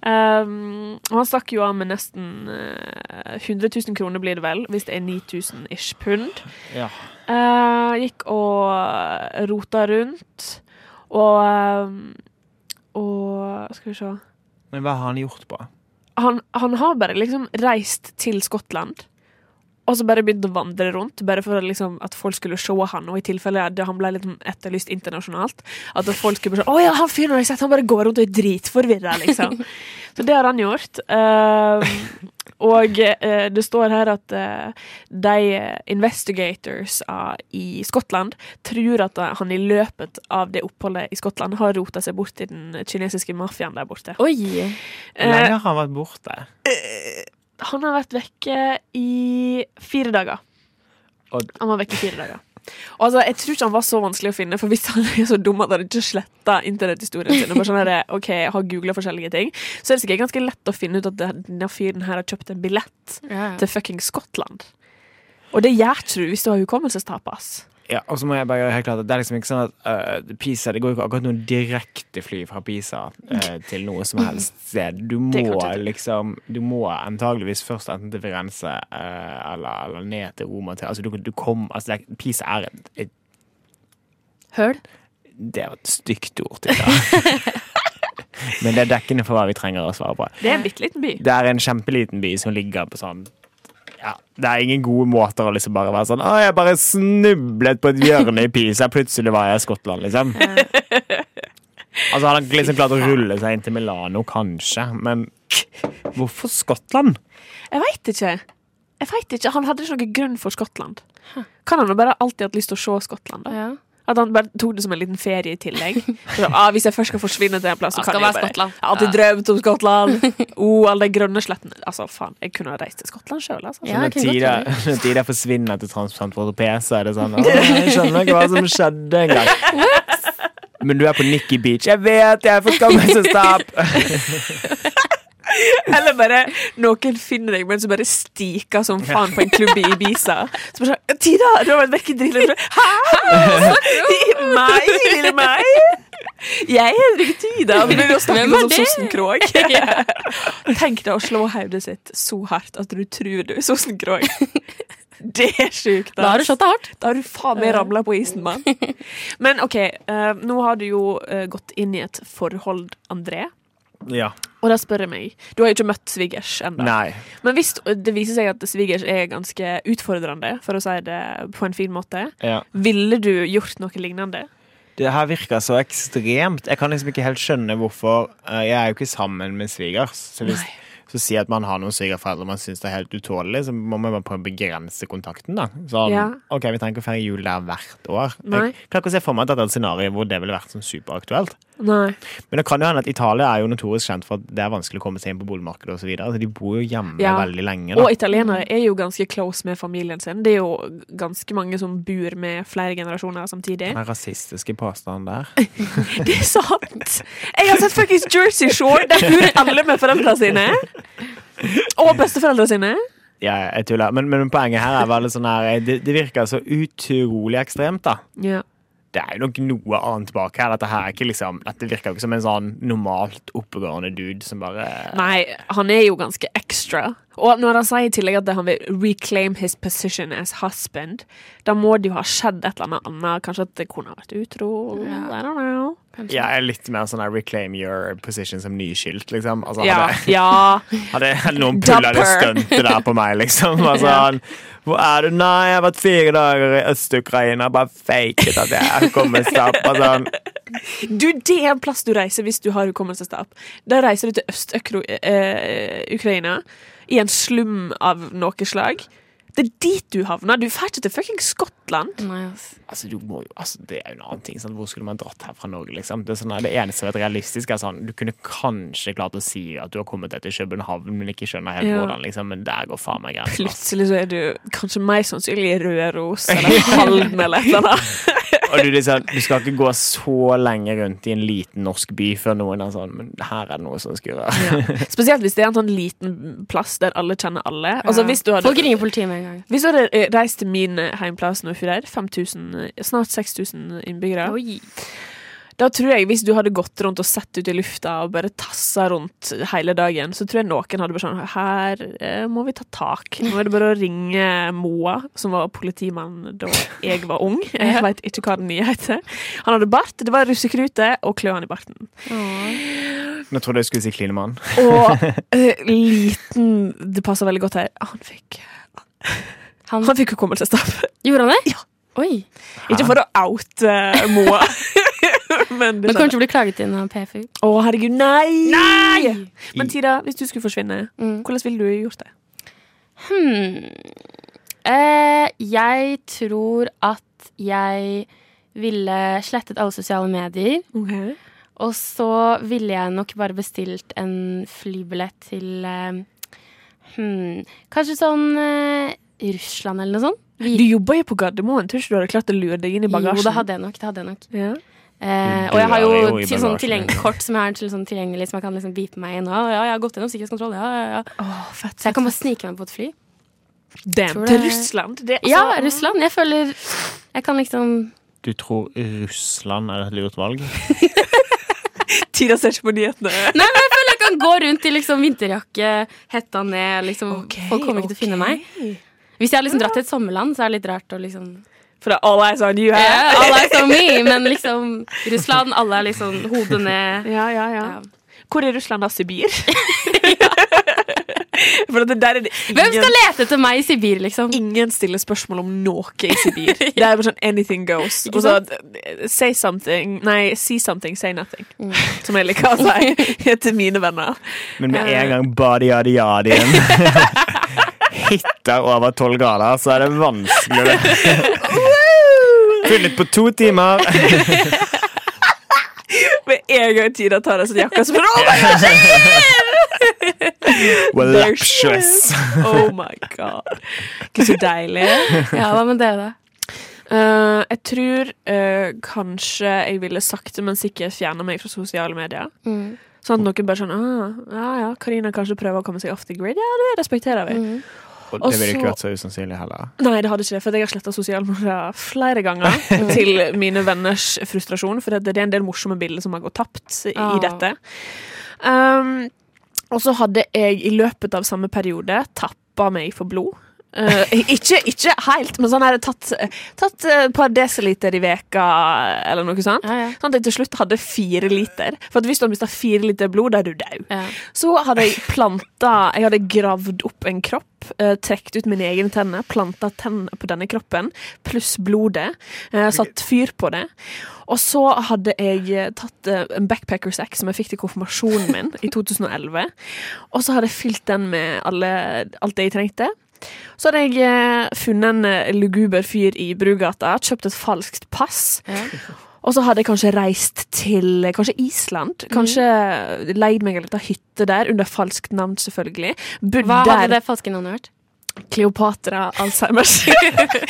Speaker 4: Um, og han stakk jo av med nesten eh, 100 000 kroner, blir det vel, hvis det er 9000 ish pund.
Speaker 2: Ja.
Speaker 4: Eh, gikk og rota rundt, og ehm, Og skal vi se
Speaker 2: Men hva har han gjort på?
Speaker 4: han, han har bare liksom reist til Skottland. Og så bare begynt å vandre rundt, bare for liksom at folk skulle se han. Og i tilfelle det- han ble litt etterlyst internasjonalt. At folk skulle bare sånn, «Å ja, han fyren har jeg sett, han bare går rundt og er dritforvirra, liksom. så det har han gjort. Ehm, og eh, det står her at eh, de investigators ah, i Skottland tror at eh, han i løpet av det oppholdet i Skottland har rota seg bort til den kinesiske mafiaen der borte.
Speaker 3: Oi.
Speaker 4: Eh.
Speaker 2: Hvor lenge har han vært borte?
Speaker 4: Han har vært vekke i fire dager.
Speaker 2: Og-
Speaker 4: Han var vekke i fire dager. Og altså, jeg tror ikke han var så vanskelig å finne, for hvis han er så dum at han ikke sletta internetthistorien sin, og bare sånn her, ok, jeg har googlet forskjellige ting, så er det sikkert ganske lett å finne ut at det- denne fyren her har kjøpt en billett
Speaker 3: Ja, ja.
Speaker 4: til fucking Skottland. Og det gjør ikke du hvis du har hukommelsestap, ass.
Speaker 2: Ja, og så må jeg bare gjøre helt klart at Det er liksom ikke sånn at øh, Pisa, det går jo ikke akkurat noe direkte fly fra Pisa øh, til noe som helst sted. Du
Speaker 4: <laughs> Det
Speaker 2: må
Speaker 4: kan jeg ikke.
Speaker 2: liksom Du må antageligvis først enten til Firenze øh, eller, eller ned til Roma. Til, altså, du, du kom, altså, det er, Pisa er et, et
Speaker 3: Høl.
Speaker 2: Det var et stygt ord.
Speaker 4: <laughs>
Speaker 2: til det. Men det er dekkende for hva vi trenger å svare på.
Speaker 4: Det er en bitte liten by.
Speaker 2: Det er en kjempeliten by som ligger på sånn ja, det er ingen gode måter å liksom bare være sånn Å, jeg bare snublet på et hjørne i Pisa, plutselig var jeg i Skottland, liksom. Altså, han hadde liksom klart å rulle seg inn til Milano, kanskje, men hvorfor Skottland?
Speaker 4: Jeg veit ikke. Jeg vet ikke. Han hadde ikke noen grunn for Skottland. Kan han jo bare alltid hatt lyst til å se Skottland? da?
Speaker 3: Ja.
Speaker 4: At han bare tok det som en liten ferie
Speaker 3: <laughs>
Speaker 4: i tillegg. Så, ah, hvis jeg først skal forsvinne til en plass, så
Speaker 3: Det Ah, skal
Speaker 4: kan jeg
Speaker 3: være
Speaker 4: bare
Speaker 3: Skottland.
Speaker 4: Jeg har alltid drømt om
Speaker 3: <laughs>
Speaker 4: Skottland. Oh, alle de grønne slettene. Altså, faen, jeg kunne ha reist til Skottland sjøl, altså.
Speaker 3: Ja, jeg
Speaker 2: når
Speaker 3: kunne godt
Speaker 2: tida,
Speaker 3: gjøre det.
Speaker 2: når tida forsvinner til Transplant for europeer, så er det sånn «Å, Jeg skjønner ikke hva som skjedde en gang. Men du er på Nikki Beach. Jeg vet, jeg er for skammelsestap!
Speaker 4: Eller bare noen finner deg, men så bare stiker som faen på en klubb i Ibiza. Så bare sånn Tida, du har vært vekke dritlenge. Hæ?!
Speaker 3: <laughs>
Speaker 4: Meg, lille meg? Jeg heter ikke Tida. Men begynner å snakke
Speaker 3: Hvem er
Speaker 4: som
Speaker 3: det?
Speaker 4: Sossenkrog.
Speaker 3: <laughs>
Speaker 4: Tenk deg å slå hodet sitt så hardt at du tror du er Sossenkrog. Det er sjukt.
Speaker 3: Da har du slått det hardt.
Speaker 4: Da har du faen meg ramla på isen, mann. Men OK, eh, nå har du jo eh, gått inn i et forhold, André.
Speaker 2: Ja.
Speaker 4: Og da spør jeg meg Du har jo ikke møtt svigers ennå.
Speaker 2: Nei.
Speaker 4: Men hvis det viser seg at svigers er ganske utfordrende, for å si det på en fin måte,
Speaker 2: Ja.
Speaker 4: ville du gjort noe lignende?
Speaker 2: Det her virker så ekstremt. Jeg kan liksom ikke helt skjønne hvorfor eh, Jeg er jo ikke sammen med svigers. Så hvis så si at man har noen svigerforeldre man syns er helt utålelig, så må man bare prøve å begrense kontakten. da Sånn,
Speaker 4: Ja.
Speaker 2: OK, vi trenger ikke å feire jul der hvert år.
Speaker 4: Nei.
Speaker 2: Jeg klarer ikke å se for meg at dette er et scenario hvor det ville vært sånn superaktuelt.
Speaker 4: Nei.
Speaker 2: Men det kan jo hende at Italia er jo notorisk kjent for at det er vanskelig å komme seg inn på boligmarkedet osv. Så videre. så de bor jo hjemme
Speaker 4: Ja.
Speaker 2: veldig lenge. Da.
Speaker 4: Og italienere er jo ganske close med familien sin. Det er jo ganske mange som bor med flere generasjoner samtidig.
Speaker 2: Den rasistiske påstanden der.
Speaker 4: Det er sant! Jeg har sett fuckings Jersey Shore! Der bor alle med foreldrene sine. Og besteforeldrene sine.
Speaker 2: Ja, jeg tuller. Men, men poenget her er veldig sånn her det, det virker så utrolig ekstremt, da.
Speaker 4: Ja.
Speaker 2: Det er jo nok noe annet bak her. Dette, her er ikke liksom, dette virker jo ikke som en sånn normalt oppegående dude som bare
Speaker 4: Nei, han er jo ganske extra. Og når han sier i tillegg at han vil reclaim his position as husband, da må det jo ha skjedd et eller annet annet. Kanskje at kona har vært utro. I don't know.
Speaker 2: ja, er litt mer sånn her reclaim your position som nyskilt, liksom. Altså,
Speaker 4: Ja,
Speaker 2: hadde,
Speaker 4: ja.
Speaker 2: hadde noen pulla det
Speaker 4: Dumper.
Speaker 2: stuntet der på meg,
Speaker 4: <laughs>
Speaker 2: liksom. Altså, han, Hvor er du? Nei, jeg har vært fire dager i Øst-Ukraina. Bare faket at jeg kommer stapp. Altså,
Speaker 4: Du, det er en plass du reiser hvis du har hukommelsestap. Da reiser du til Øst-Ukraina, i en slum av noe slag. Det er dit du havner. Du drar ikke til fucking Skottland.
Speaker 3: Nei, ass.
Speaker 2: altså, du må jo, altså, det er jo en annen ting. Sant? Hvor skulle man dratt her fra Norge, liksom? Det, er sånn, her, det eneste som er realistisk, er sånn Du kunne kanskje klart å si at du har kommet deg til København, men ikke skjønner helt
Speaker 4: Ja.
Speaker 2: hvordan, liksom. Men der går faen meg altså. grensen. ass.
Speaker 4: Plutselig så er du kanskje mer sannsynlig i Røros eller Halden eller et eller annet.
Speaker 2: Og du, det er sånn, du skal ikke gå så lenge rundt i en liten norsk by før noen er sånn Men her er det noe som skurrer.
Speaker 4: Spesielt hvis det er en sånn liten plass der alle kjenner alle. Altså hvis du hadde
Speaker 3: Folk ringer politiet med en gang.
Speaker 4: hvis du hadde eh, reist til min eh, heimplass nå, Fyrer, 5000, eh, snart 6000 innbyggere
Speaker 3: Oi.
Speaker 4: Da tror jeg, hvis du hadde gått rundt og sett ut i lufta og bare tassa rundt hele dagen, så tror jeg noen hadde bare sånn Her eh, må vi ta tak. Nå er det bare å ringe Moa, som var politimann da jeg var ung. Jeg veit ikke hva den nye heter. Han hadde bart, det var russekrute og kløene i barten.
Speaker 2: Nå trodde jeg skulle si Klinemann.
Speaker 4: Og eh, liten Det passer veldig godt her. Ah, Han fikk
Speaker 3: Han,
Speaker 4: Han fikk hukommelsestap.
Speaker 3: gjorde han det? Ja. Oi.
Speaker 4: <laughs> Ikke for å oute eh, Moa, <laughs> men
Speaker 3: Men
Speaker 4: det skjedde.
Speaker 3: kanskje blir klaget inn av PFU.
Speaker 4: Å, herregud, nei! Men Tida, hvis du skulle forsvinne,
Speaker 3: Mm.
Speaker 4: hvordan ville du gjort det?
Speaker 3: Hmm. Eh, jeg tror at jeg ville slettet alle sosiale medier. Og så ville jeg nok bare bestilt en flybillett til eh, hmm, Kanskje sånn eh, Russland eller noe sånt.
Speaker 4: Du jobber jo på Gardermoen. Tror ikke du hadde klart å lure deg inn i bagasjen?
Speaker 3: Jo, det hadde jeg nok. Det hadde jeg nok.
Speaker 4: Ja.
Speaker 3: Eh,
Speaker 2: Du
Speaker 3: og jeg har
Speaker 2: er
Speaker 3: jo
Speaker 2: jo i
Speaker 3: til, sånn
Speaker 2: bagasjen,
Speaker 3: tilgjeng-
Speaker 2: ja.
Speaker 3: kort som er til, sånn tilgjengelig, som jeg kan liksom beepe meg inn. Ja, ja, jeg har gått gjennom sikkerhetskontroll. Ja, ja, ja.
Speaker 4: Åh, fett,
Speaker 3: Så jeg kan bare snike meg på et fly.
Speaker 4: Damn,
Speaker 3: Tror
Speaker 4: til
Speaker 3: det-
Speaker 4: Russland? Det, er
Speaker 3: Ja,
Speaker 4: altså-
Speaker 3: Russland. Jeg føler Jeg kan liksom
Speaker 2: Du tror Russland er et lurt valg?
Speaker 4: Tida ser ikke på nyhetene.
Speaker 3: Nei, men jeg føler jeg kan gå rundt i liksom vinterjakke, hetta ned. Liksom, folk kommer ikke til å finne meg. Hvis jeg har liksom dratt til et sommerland, så er det litt rart å liksom
Speaker 4: For det er all eyes on you her.
Speaker 3: yeah, Alle er som me, men liksom Russland, alle er liksom hodet ned.
Speaker 4: Ja, ja, ja.
Speaker 3: Ja. <laughs>
Speaker 4: Hvor er Russland da? Sibir? <laughs> For at det der er det
Speaker 3: Hvem skal
Speaker 4: ingen,
Speaker 3: lete etter meg i Sibir, liksom?
Speaker 4: ingen stiller spørsmål om noe i Sibir.
Speaker 3: <laughs>
Speaker 4: Det er bare sånn anything goes.
Speaker 3: Ikke
Speaker 4: Og så say something Nei, see something, say nothing.
Speaker 3: Mm.
Speaker 4: Som jeg liker å
Speaker 3: <laughs>
Speaker 4: si til mine venner.
Speaker 2: Men med en gang badiadi-adien <laughs> hitter over tolv grader, så er det vanskelig. Funnet på to timer.
Speaker 4: Med en gang Tina tar av seg jakka, så bare oh my, God,
Speaker 3: <laughs>
Speaker 4: There she
Speaker 2: Voluptuous.
Speaker 4: is. oh my god. Ikke så deilig.
Speaker 3: Ja, Hva med dere, da?
Speaker 4: Eh, jeg tror eh, kanskje jeg ville sakte, men sikkert fjerne meg fra sosiale medier.
Speaker 3: Mm.
Speaker 4: Sånn at noen bare sånn ah, Ja ja, Karina kanskje prøver å komme seg off the grid. Ja, det respekterer vi.
Speaker 2: Og
Speaker 4: Og
Speaker 2: det ville
Speaker 4: så-
Speaker 2: ikke vært så usannsynlig heller.
Speaker 4: Nei, det hadde ikke det, for jeg har sletta sosiale medier flere
Speaker 3: <laughs>
Speaker 4: ganger. til mine venners frustrasjon, for det det er en del morsomme bilder som har gått tapt i
Speaker 3: Ah.
Speaker 4: dette. Um, og så hadde jeg i løpet av samme periode tappa meg for blod. Eh, <laughs> ikke, ikke helt, men sånn hadde jeg tatt, tatt et par desiliter i veka eller noe sånt.
Speaker 3: Ja, ja.
Speaker 4: Sånn at jeg til slutt hadde fire liter. For at hvis du har mista fire liter blod, da er du død.
Speaker 3: Ja.
Speaker 4: Så hadde jeg planta Jeg hadde gravd opp en kropp, eh, trukket ut mine egne tenner, planta tennene på denne kroppen, pluss blodet. Eh, satt fyr på det. Og så hadde jeg eh, tatt eh, en backpackersekk som jeg fikk til konfirmasjonen min i 2011. Og så hadde jeg fylt den med alle, alt det jeg trengte. Så hadde jeg eh, funnet en eh, luguber fyr i Brugata, kjøpt et falskt pass. Og så hadde jeg kanskje reist til eh, kanskje Island. Kanskje leid meg en liten hytte der, under falskt navn, selvfølgelig. Bodd
Speaker 3: Hva
Speaker 4: der.
Speaker 3: hadde det falske navnet vært?
Speaker 4: Kleopatra Alzheimers. <laughs>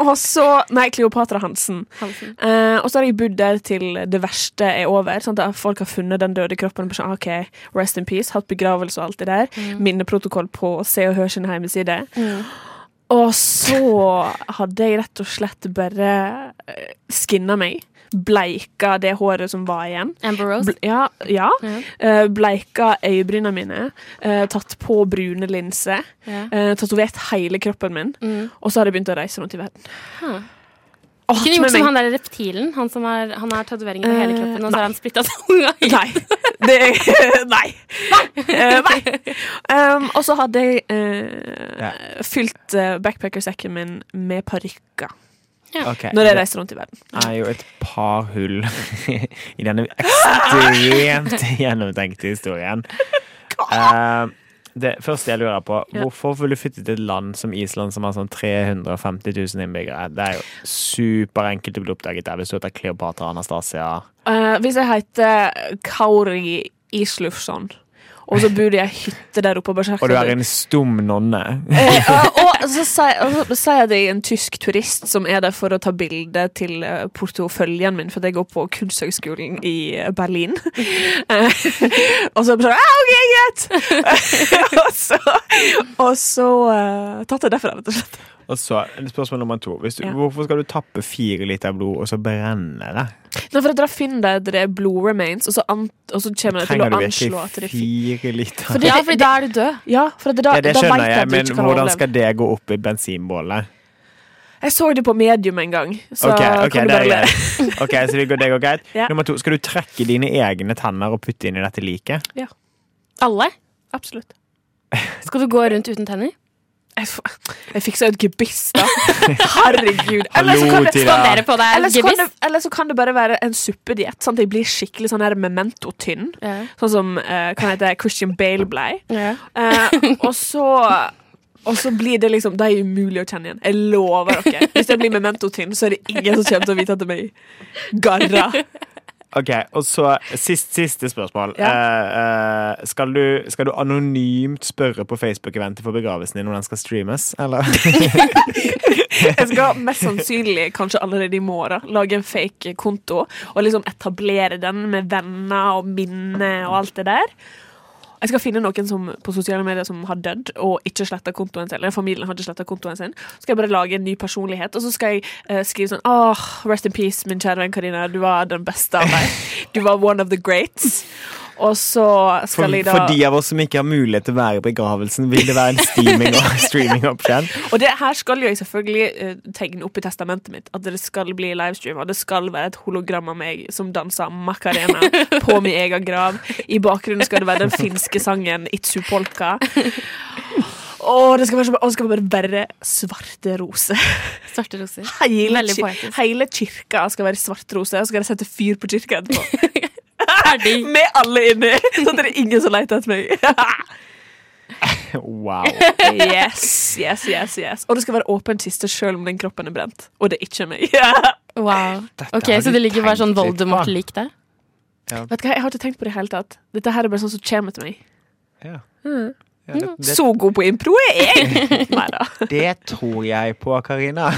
Speaker 4: og så Nei, Kleopatra Hansen.
Speaker 3: Hansen.
Speaker 4: Eh, og så har jeg bodd der til det verste er over. Sånn at folk har funnet den døde kroppen. og bare Sånn, ok, rest in peace, Hatt begravelse og alt det der. Minneprotokoll på Se og Hør sin hjemmeside. Og så hadde jeg rett og slett bare eh, skinna meg. Bleika det håret som var igjen.
Speaker 3: Amber Rose?
Speaker 4: Bl ja. ja. Eh, bleika øyebrynene mine. eh, tatt på brune linser.
Speaker 3: Ja.
Speaker 4: eh, tatovert hele kroppen min.
Speaker 3: Mm.
Speaker 4: Og så har jeg begynt å reise rundt i verden. Åh,
Speaker 3: Kunne
Speaker 4: men
Speaker 3: gjort som
Speaker 4: meg-
Speaker 3: han der reptilen. Han som har, han har tatoveringer på hele
Speaker 4: Eh,
Speaker 3: kroppen, og så har han splitta <laughs> tunga. i.
Speaker 4: <laughs> Nei. Det, <laughs> nei. Eh, nei. Um, og så hadde jeg eh,
Speaker 2: Ja.
Speaker 4: fylt eh, backpackersekken min med parykker
Speaker 2: Ok.
Speaker 4: når jeg reiser rundt i verden.
Speaker 2: Det er jo et par hull <laughs> i denne
Speaker 4: <laughs>
Speaker 2: ekstremt gjennomtenkte historien. Eh, det første jeg lurer på, hvorfor vil du flytte til et land som Island, som har sånn 350 000 innbyggere? Det er jo superenkelt å bli oppdaget der hvis du heter Kleopatra Anastasia.
Speaker 4: Eh, hvis jeg heter Kauri Islufsson, og så bor jeg i ei hytte der oppe og bare
Speaker 2: Og du er en stum nonne.
Speaker 4: Eh, og så sier og så sier jeg det en tysk turist som er der for å ta bilde til eh, porteføljen min, for jeg går på Kunsthøgskolen i eh, Berlin. <laughs> Eh, og så bare sånn «Ah, OK, greit! <laughs> og så, og så eh, tatt jeg derfra, rett og slett.
Speaker 2: Og så spørsmål nummer to. Hvis du,
Speaker 4: Ja.
Speaker 2: Hvorfor skal du tappe fire liter blod, og så brenne det?
Speaker 4: Nå for at dere finner der det er blue remains, og så, an, og så kommer det til å
Speaker 2: Trenger du
Speaker 4: anslå at det
Speaker 2: virkelig
Speaker 4: er fint.
Speaker 2: fire liter?
Speaker 3: Ja, fordi da er du død.
Speaker 4: Ja, for at da,
Speaker 2: Ja, det
Speaker 4: da
Speaker 2: skjønner
Speaker 4: vet
Speaker 2: jeg,
Speaker 4: at du
Speaker 2: men
Speaker 4: ikke kan
Speaker 2: hvordan
Speaker 4: overleve.
Speaker 2: skal det gå opp i bensinbålet?
Speaker 4: Jeg så det på medium en gang, så
Speaker 2: Ok, ok,
Speaker 4: kan du
Speaker 2: det er
Speaker 4: bare le.
Speaker 2: greit. Ok, så det går, det går greit.
Speaker 4: Ja.
Speaker 2: Nummer to, skal du trekke dine egne tenner og putte inn i dette liket?
Speaker 3: Alle?
Speaker 4: Absolutt.
Speaker 3: Skal du gå rundt uten tenner?
Speaker 4: Jeg, f jeg fiksa et gebiss, da. Herregud. Eller så
Speaker 2: Hallo,
Speaker 4: kan det,
Speaker 2: Tina.
Speaker 3: Spandere på deg
Speaker 4: eller så kan det,
Speaker 3: gebiss?
Speaker 4: eller så kan det bare være en suppediett. Sånn at jeg blir skikkelig sånn her memento-tynn.
Speaker 3: Ja.
Speaker 4: Sånn som eh, kan hete Christian Bale blei.
Speaker 3: Ja.
Speaker 4: Eh,
Speaker 3: <laughs>
Speaker 4: og så og så blir det liksom Det er umulig å kjenne igjen. Jeg lover dere. Hvis jeg blir memento-tynn, så er det ingen som kommer til å vite at det er meg. Garra.
Speaker 2: Ok, og så sist, siste spørsmål. Eh, eh, skal, du, skal du anonymt spørre på Facebook-eventet for begravelsen din om den skal streames?
Speaker 4: <laughs>
Speaker 2: Eller?
Speaker 4: Jeg skal mest sannsynlig kanskje allerede i morgen lage en fake konto og liksom etablere den med venner og minner og alt det der. Jeg skal finne noen som, på sosiale medier som har dødd og ikke sletta kontoen sin. Eller familien har ikke slettet kontoen sin. Så skal jeg bare lage en ny personlighet, og så skal jeg eh, skrive sånn Åh, rest in peace, min kjære venn Karina. Du var den beste av meg. Du var one of the greats. Og så
Speaker 2: For,
Speaker 4: skal jeg da
Speaker 2: for de av oss som ikke har mulighet til å være i begravelsen, vil det
Speaker 4: <laughs>
Speaker 2: være en streaming og streaming-option.
Speaker 4: Og det her skal jo jeg selvfølgelig eh, tegne opp i testamentet mitt. At det skal bli livestream, og det skal være et hologram av meg som danser Macarena på min egen grav. I bakgrunnen skal det være den finske sangen Itsu polka. Og det skal være, så- og det skal være bare svarte roser.
Speaker 3: Svarte roser.
Speaker 4: Hele,
Speaker 3: Veldig
Speaker 4: kir-
Speaker 3: poetisk.
Speaker 4: hele kirka skal være svarte roser, og så skal jeg sette fyr på kirka <laughs> etterpå.
Speaker 3: Ferdig.
Speaker 4: Med alle inni! Sånn at det er ingen som leter etter meg.
Speaker 2: Wow.
Speaker 4: <laughs> Yes, yes, yes, yes. Og det skal være åpen kiste selv om den kroppen er brent. Og det er ikke meg.
Speaker 3: Wow.
Speaker 2: Dette
Speaker 3: Ok,
Speaker 2: har
Speaker 3: Så
Speaker 2: du
Speaker 3: det ligger bare sånn
Speaker 2: tenkt litt på.
Speaker 3: Voldemort-lik der?
Speaker 4: Vet du hva, Jeg har ikke tenkt på det i hele tatt. Dette her er bare sånn som kommer til meg.
Speaker 2: Ja.
Speaker 4: Mm.
Speaker 2: Ja, det, det,
Speaker 4: Så god på impro er jeg! <laughs> Neida.
Speaker 2: det tror jeg på,
Speaker 4: <laughs>
Speaker 2: Karina.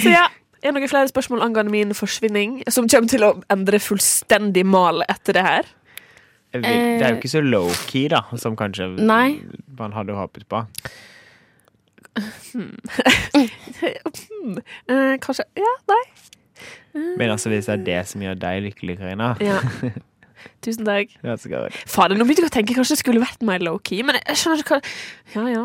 Speaker 4: Så ja, er det noen flere spørsmål angående min forsvinning som kommer til å endre fullstendig mal etter det her?
Speaker 2: Jeg vil- Det
Speaker 4: Eh.
Speaker 2: er jo ikke så low-key, da, som kanskje
Speaker 3: Nei.
Speaker 2: man hadde håpet på.
Speaker 4: Eh, kanskje Ja, nei.
Speaker 2: Men altså, hvis det er det som gjør deg lykkelig, Karina
Speaker 4: Ja. <laughs> Tusen takk.
Speaker 2: that's good.
Speaker 4: Fader, nå begynte jeg å tenke kanskje det skulle vært mer low-key, men jeg skjønner ikke hva Ja, ja.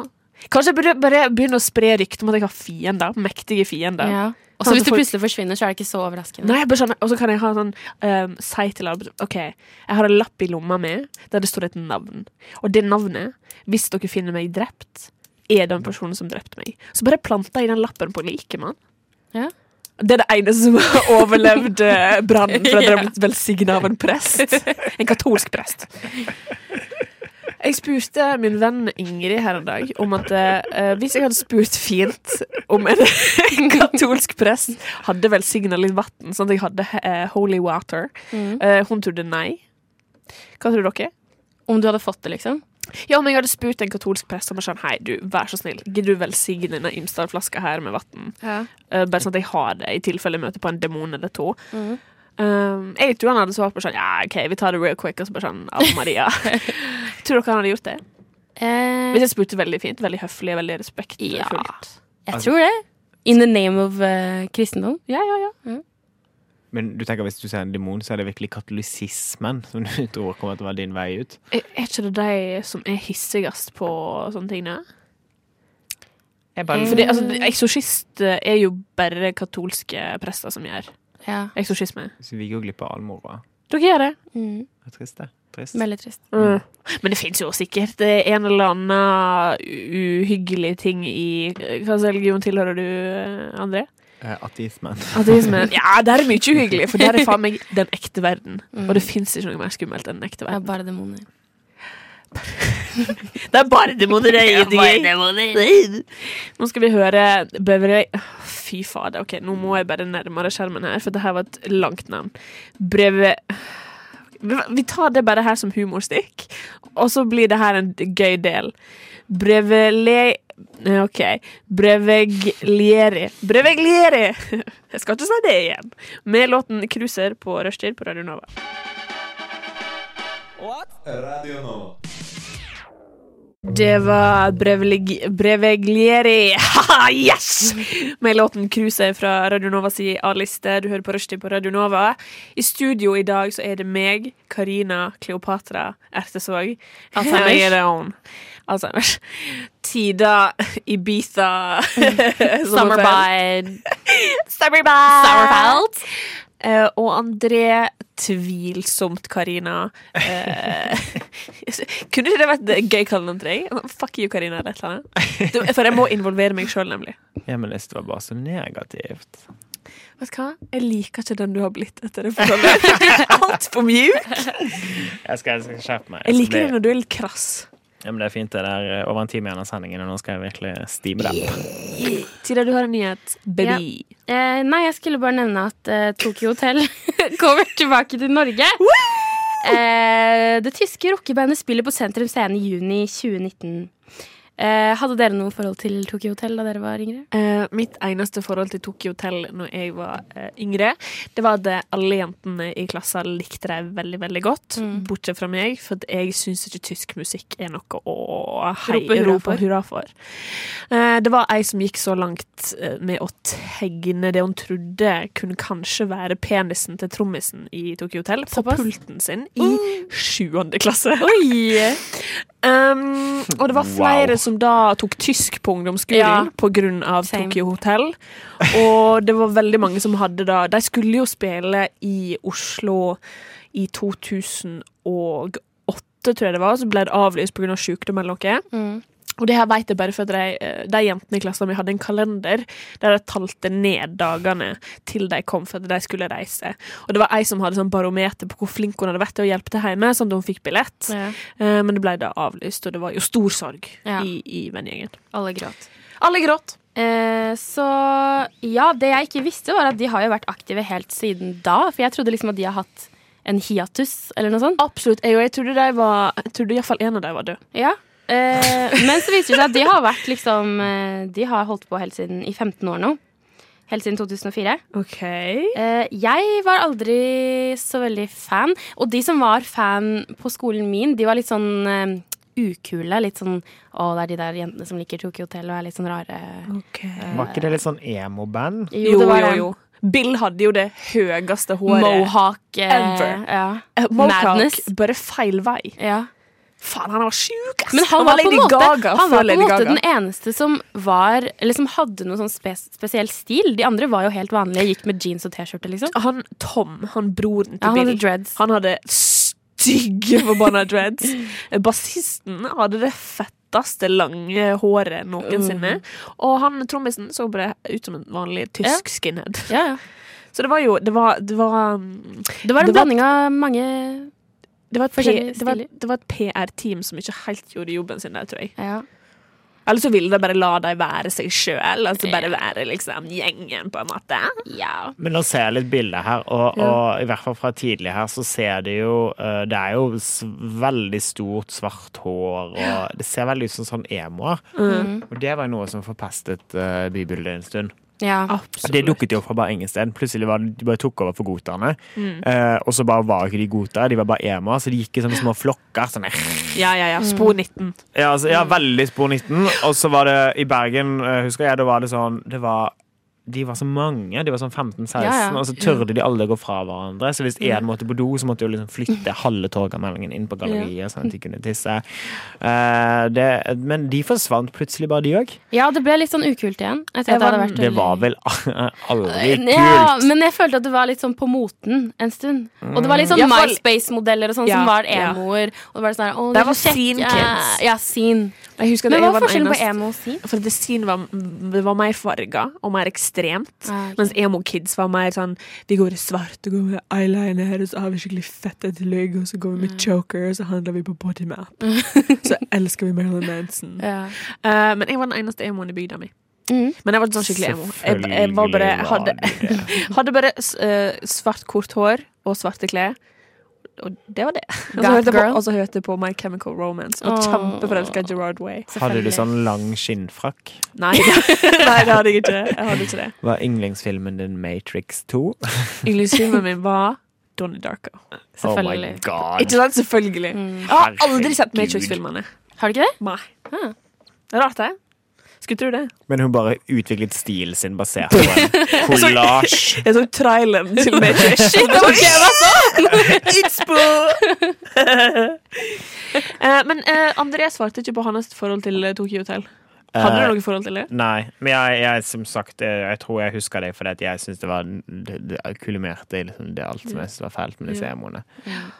Speaker 4: Kanskje jeg burde bare begynne å spre rykte om at jeg har fiender. Mektige fiender.
Speaker 3: Ja. Og så
Speaker 4: Sånn at
Speaker 3: hvis du
Speaker 4: folk-
Speaker 3: plutselig forsvinner, så er det ikke så overraskende.
Speaker 4: Nei, jeg bare skjønner. Og så kan jeg ha sånn ehm, Si til alle OK, jeg har en lapp i lomma mi der det står et navn. Og det navnet, hvis dere finner meg drept, er den personen som drepte meg. Så bare planta jeg den lappen på liket, mann.
Speaker 3: Ja.
Speaker 4: Det er det eneste som
Speaker 3: <laughs>
Speaker 4: har overlevd eh, brannen, for at det
Speaker 3: Ja.
Speaker 4: har blitt velsigna av en prest. En katolsk prest. Jeg spurte min venn Ingrid her en dag om at eh, hvis jeg hadde spurt fint om en, en katolsk prest hadde velsigna litt vann, sånn at jeg hadde eh, holy water
Speaker 3: Mm.
Speaker 4: Eh, Hun trodde nei. Hva tror dere?
Speaker 3: Om du hadde fått det, liksom.
Speaker 4: Ja, om jeg hadde spurt en katolsk prest om sånn, hei, du, vær så snill, gidder du velsigne denne Imsdal-flaska her med vann? Eh, bare sånn at jeg har det i tilfelle jeg møter på en demon eller to. Eh, jeg tror han hadde svart på sånn Ja, OK, vi tar det real quick. Og så bare sånn Ave <laughs> Maria. tror dere han hadde gjort det?
Speaker 3: Eh,
Speaker 4: Hvis jeg spurte veldig fint, veldig høflig, veldig respektfullt.
Speaker 3: jeg tror det. In the name of eh, kristendom.
Speaker 4: Ja, ja, ja.
Speaker 2: Men du tenker hvis du ser en demon, så er det virkelig katolisismen som du <laughs> tror kommer til å være din vei ut?
Speaker 4: Er er ikke det de som er hissigst på sånne ting? da?
Speaker 2: Jeg
Speaker 4: Fordi altså, eksorsist eh, er jo bare katolske prester som gjør
Speaker 3: Ja.
Speaker 4: eksorsisme.
Speaker 2: Så vi går glipp av all moroa.
Speaker 4: Dere gjør det.
Speaker 3: Mm.
Speaker 2: Det er Trist, det. Trist.
Speaker 3: Veldig trist.
Speaker 4: Mm. Men det fins jo sikkert eh, en eller annen uhyggelig ting i Hva slags religion tilhører du, eh, André?
Speaker 2: Eh, ateismen.
Speaker 4: Ateismen. <laughs> Ja, der er mye uhyggelig, for der er faen meg den ekte verden. Og det fins ikke noe mer skummelt enn den ekte
Speaker 3: Det er
Speaker 4: verden.
Speaker 3: bare demoner.
Speaker 4: Det er bare demoner! <laughs> det er ingenting. Nei. Nå skal vi høre Beverøy Fy fader, ok, nå må jeg bare nærmere skjermen her, for det her var et langt navn. Breve... Vi tar det bare her som humorstikk, og så blir det her en gøy del. Brevele... Nei, OK. Breveglieri. Breveglieri! <laughs> Jeg skal ikke si det igjen. Med låten 'Cruiser' på rushtid på Radio Nova. Det var Brevelig- Breveglieri. Haha, yes! Med låten 'Cruiser' fra Radio Nova si A-liste. Du hører på Rushtid på Radio Nova. I studio i dag så er det meg, Karina Kleopatra Ertesvåg.
Speaker 3: Alzheimers.
Speaker 4: Jeg er det hun. Alzheimers. Tida Ibiza
Speaker 3: Summer
Speaker 4: Sommerfest.
Speaker 3: bide.
Speaker 4: Summerbye.
Speaker 3: Sauerfeld.
Speaker 4: Eh, og André tvilsomt, Karina. Eh, <laughs> kunne ikke det vært et gøy kallenavn til deg? Fuck you, Karina, eller et eller annet. Du, For jeg må involvere meg sjøl, nemlig.
Speaker 2: Ja, men det var bare så negativt.
Speaker 4: Vet du hva? Jeg liker ikke den du har blitt etter det forholdet. Du er altfor mjuk.
Speaker 2: Jeg skal, jeg skal skjerpe meg.
Speaker 4: Jeg liker det
Speaker 2: det,
Speaker 4: når du er litt krass.
Speaker 2: ja, men det er fint. Det der eh, over en time igjen av sendingen, og nå skal jeg virkelig stime den.
Speaker 4: Tida, du har en nyhet. Baby.
Speaker 3: Eh, nei, jeg skulle bare nevne at eh, Tokyo Hotel <laughs> kommer tilbake til Norge. Eh, det tyske rockebandet spiller på Sentrum Scene i juni 2019. Eh, hadde dere noe forhold til Tokyo Hotel da dere var yngre?
Speaker 4: Eh, mitt eneste forhold til Tokyo Hotel når jeg var eh, yngre, det var at eh, alle jentene i klassen likte dem veldig veldig godt.
Speaker 3: Mm.
Speaker 4: Bortsett fra meg, for at jeg syns ikke tysk musikk er noe å hei,
Speaker 3: Rope hurra
Speaker 4: rope
Speaker 3: for.
Speaker 4: hurra for. Eh, det var ei som gikk så langt eh, med å tegne det hun trodde kunne kanskje være penisen til trommisen i Tokyo Hotel, på
Speaker 3: Såpass?
Speaker 4: pulten sin i sjuende klasse.
Speaker 3: Oi!
Speaker 4: <laughs> Um, og det var flere som da tok tysk på ungdomsskolen
Speaker 3: Ja.
Speaker 4: på grunn av
Speaker 3: Same.
Speaker 4: Tokyo Hotel. Og det var veldig mange som hadde da De skulle jo spille i Oslo i 2008, tror jeg det var. Så ble det avlyst pga. Av sykdom eller noe.
Speaker 3: Mm.
Speaker 4: Og det her vet jeg bare for at de, eh, de jentene i klassen min hadde en kalender der de talte ned dagene til de kom for at de skulle reise. Og det var ei som hadde sånn barometer på hvor flink hun hadde vært til å hjelpe til hjemme, sånn at hun fikk billett.
Speaker 3: Ja.
Speaker 4: Eh, Men det ble da avlyst, og det var jo stor sorg
Speaker 3: Ja.
Speaker 4: i, i vennegjengen.
Speaker 3: Alle gråt.
Speaker 4: Alle gråt.
Speaker 3: Eh, så ja, det jeg ikke visste, var at de har jo vært aktive helt siden da. For jeg trodde liksom at de har hatt en hiatus eller noe sånt.
Speaker 4: Absolutt. Jeg, og jeg trodde, de var, jeg trodde iallfall en av dem var død.
Speaker 3: Ja. Eh, men så viser det seg at de har vært liksom eh, De har holdt på helt siden i 15 år nå. Helt siden 2004.
Speaker 4: Ok.
Speaker 3: Eh, jeg var aldri så veldig fan. Og de som var fan på skolen min, de var litt sånn eh, ukule. Litt sånn Å, det er de der jentene som liker Tokyo Hotel og er litt sånn rare.
Speaker 2: Var ikke det litt sånn emo-band?
Speaker 4: Jo,
Speaker 3: det var
Speaker 4: jo,
Speaker 3: en
Speaker 4: jo. Bill hadde jo det høyeste håret.
Speaker 3: Mohawk. eh,
Speaker 4: Ever.
Speaker 3: ja.
Speaker 4: Eh, Mohawk.
Speaker 3: Madness.
Speaker 4: Bare feil vei.
Speaker 3: ja.
Speaker 4: Faen, han var sjuk, ass!
Speaker 3: Men han, var, på en måte, han
Speaker 4: før
Speaker 3: var på en
Speaker 4: Lady
Speaker 3: måte
Speaker 4: Gaga.
Speaker 3: den eneste som var Eller som hadde noe sånn spes spesiell stil. De andre var jo helt vanlige, gikk med jeans og T-skjorte, liksom.
Speaker 4: Han Tom, han broren til
Speaker 3: Ja, han
Speaker 4: Bill,
Speaker 3: hadde dreads.
Speaker 4: han hadde stygge forbanna dreads. Bassisten hadde det fetteste lange håret noensinne. Og han trommisen så bare ut som en vanlig tysk
Speaker 3: Mm. Ja.
Speaker 4: skinhead.
Speaker 3: Ja, ja.
Speaker 4: Så det var jo Det var, det var, mm,
Speaker 3: Det var en
Speaker 4: Det var-
Speaker 3: blanding av mange
Speaker 4: det var, et,
Speaker 3: Forskjellige
Speaker 4: P- det var,
Speaker 3: stiler.
Speaker 4: det var et PR-team som ikke helt gjorde jobben sin der, tror jeg.
Speaker 3: ja.
Speaker 4: Eller så ville de bare la dem være seg sjøl. Altså bare være liksom gjengen, på en måte.
Speaker 3: ja.
Speaker 2: Men nå ser jeg litt bilder her, og, og i hvert fall fra tidlig her, så ser det jo eh, Det er jo s veldig stort svart hår, og det ser veldig ut som sånn emoer. Og det var jo noe som forpestet eh, bybildet en stund.
Speaker 3: ja.
Speaker 2: Det dukket jo opp fra bare ingen sted. Plutselig var det, de bare tok over for goterne. Eh, og så bare var ikke de gotere, de var bare emoer, så de gikk i sånne små flokker. Sånn,
Speaker 4: Ja, ja, ja. Spor 19.
Speaker 2: Ja, altså,
Speaker 4: Mm.
Speaker 2: ja, veldig spor 19. Og så var det i Bergen, eh, husker jeg, da var det sånn det var, De var så mange. De var sånn 15-16,
Speaker 3: Ja, ja.
Speaker 2: og så tørde
Speaker 4: Mm.
Speaker 2: de alle gå fra hverandre. Så hvis én måtte på do, så måtte de jo liksom flytte halve Torgallmeldingen inn på galleriet, sånn at de kunne tisse. Eh, det, men de forsvant plutselig, bare de òg.
Speaker 3: ja, det ble litt sånn ukult igjen. Etter at det, hadde vært
Speaker 2: Det var vel aldri
Speaker 4: Eh,
Speaker 2: kult.
Speaker 3: Ja, men jeg følte at det var litt sånn på moten en stund. Og det var litt sånn
Speaker 4: Ja, for-
Speaker 3: MySpace-modeller og sånn
Speaker 4: Ja,
Speaker 3: som var
Speaker 4: ja.
Speaker 3: emoer. Og det var sånn her, å,
Speaker 4: Der
Speaker 3: de
Speaker 4: var
Speaker 3: så kjekke.
Speaker 4: scene kids.
Speaker 3: Ja, scene.
Speaker 4: Jeg husker at
Speaker 3: Men
Speaker 4: jeg
Speaker 3: hva
Speaker 4: var
Speaker 3: er
Speaker 4: den
Speaker 3: forskjellen på
Speaker 4: eneste-
Speaker 3: emo og scene?
Speaker 4: For Desin var, det var mer farga og mer ekstremt.
Speaker 3: Ja, ok.
Speaker 4: Mens Emo Kids var mer sånn Vi går i svart og går med eyeliner, og så har vi skikkelig fette tillegg, og så går vi med choker, og så handler vi på <laughs> bodymap. så elsker vi Marilyn Manson.
Speaker 3: Ja.
Speaker 4: Eh, men jeg var den eneste emoen i bygda mi.
Speaker 3: Mm.
Speaker 4: Men jeg var ikke sånn skikkelig emo. Jeg, jeg var bare,
Speaker 2: Selvfølgelig var
Speaker 4: hadde,
Speaker 2: de
Speaker 4: <laughs>
Speaker 2: det.
Speaker 4: hadde bare s- eh, svart, kort hår og svarte klær. Og det var
Speaker 3: <laughs>
Speaker 4: det. Og så
Speaker 3: Goth
Speaker 4: hørte jeg på-
Speaker 3: girl.
Speaker 4: og så hørte jeg på My Chemical Romance og
Speaker 3: Åh.
Speaker 4: kjempeforelska i Gerard Way.
Speaker 2: Hadde du
Speaker 3: Selvfølgelig.
Speaker 2: sånn lang skinnfrakk?
Speaker 4: <laughs> Nei, nei, det hadde jeg ikke. Jeg hadde ikke det.
Speaker 2: Var yndlingsfilmen din Matrix 2?
Speaker 4: Yndlingsfilmen min var Donnie Darko.
Speaker 2: Oh my
Speaker 3: Selvfølgelig.
Speaker 2: god.
Speaker 4: Ikke sant? Selvfølgelig.
Speaker 2: Mm.
Speaker 3: Mm.
Speaker 4: Jeg har aldri sett Matrix-filmene.
Speaker 3: Har du ikke det?
Speaker 4: Nei.
Speaker 3: Ah.
Speaker 4: Det er rart, det. Skulle tro det.
Speaker 2: Men hun bare utviklet stilen sin basert på
Speaker 3: <laughs>
Speaker 2: en kollasj.
Speaker 4: Jeg så traileren til <laughs> Matrix.
Speaker 3: Shit, det var det jeg var sånn!
Speaker 4: Itzbo! Men <laughs> eh, André svarte ikke på hans forhold til eh, Tokyo Hotel. Hadde du
Speaker 2: Eh,
Speaker 4: noe forhold til det?
Speaker 2: Nei, men jeg, jeg som sagt eh, Jeg tror jeg husker det fordi at jeg syns det var Det, det kulimerte i liksom det alt som jeg syntes var fælt med disse emoene.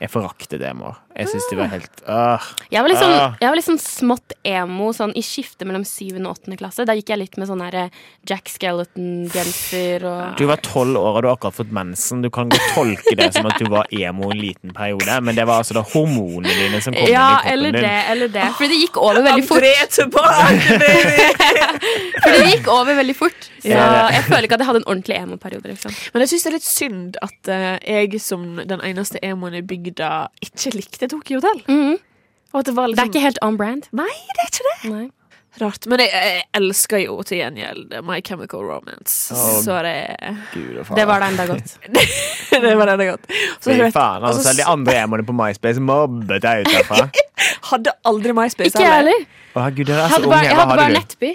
Speaker 2: Jeg foraktet emoer. Jeg
Speaker 3: Ah.
Speaker 2: syns de var helt øh.
Speaker 3: <laughs> Jeg var liksom,
Speaker 2: Ah.
Speaker 3: jeg var liksom smått emo sånn, i skiftet mellom 7. og 8. klasse. Da gikk jeg litt med sånn her eh, Jack Skeleton-genser og
Speaker 2: Du var tolv år og du har akkurat fått mensen. Du kan godt tolke det som at du var emo en liten periode, men det var altså da hormonene dine som kom
Speaker 3: Ja,
Speaker 2: inn i
Speaker 3: eller
Speaker 2: kroppen
Speaker 3: det,
Speaker 2: din.
Speaker 3: eller det. Fordi det gikk over veldig fort.
Speaker 4: er tilbake, baby!
Speaker 3: Fordi det gikk over veldig <laughs> fort. Så
Speaker 2: Ja,
Speaker 3: jeg føler ikke at jeg hadde en ordentlig emo-periode. Liksom.
Speaker 4: <laughs> Men jeg syns det er litt synd at eh, jeg som den eneste emoen i bygda ikke likte Tokyo Hotel.
Speaker 3: Mhm.
Speaker 4: Og at det var
Speaker 3: Det er
Speaker 4: liksom
Speaker 3: ikke helt on brand.
Speaker 4: Nei, det er ikke det!
Speaker 3: Nei.
Speaker 4: Rart. Men jeg, jeg elsker jo til gjengjeld My Chemical Romance.
Speaker 2: Åh,
Speaker 4: Så det, <laughs>
Speaker 2: Gud og
Speaker 3: Det var da enda godt.
Speaker 4: det var det det godt. Så
Speaker 2: Fy
Speaker 4: hørte-
Speaker 2: faen,
Speaker 4: og så
Speaker 2: altså, selv de andre emoene på MySpace mobbet jeg ut
Speaker 3: <laughs>
Speaker 2: derfra.
Speaker 4: hadde aldri MySpace.
Speaker 3: Ikke jeg heller.
Speaker 2: Å, herregud, dere
Speaker 3: Jeg
Speaker 2: er så
Speaker 3: hadde
Speaker 2: Altså, unge.
Speaker 3: bare, jeg
Speaker 2: Hva
Speaker 3: hadde
Speaker 2: hadde
Speaker 3: bare
Speaker 2: du?
Speaker 3: nettby.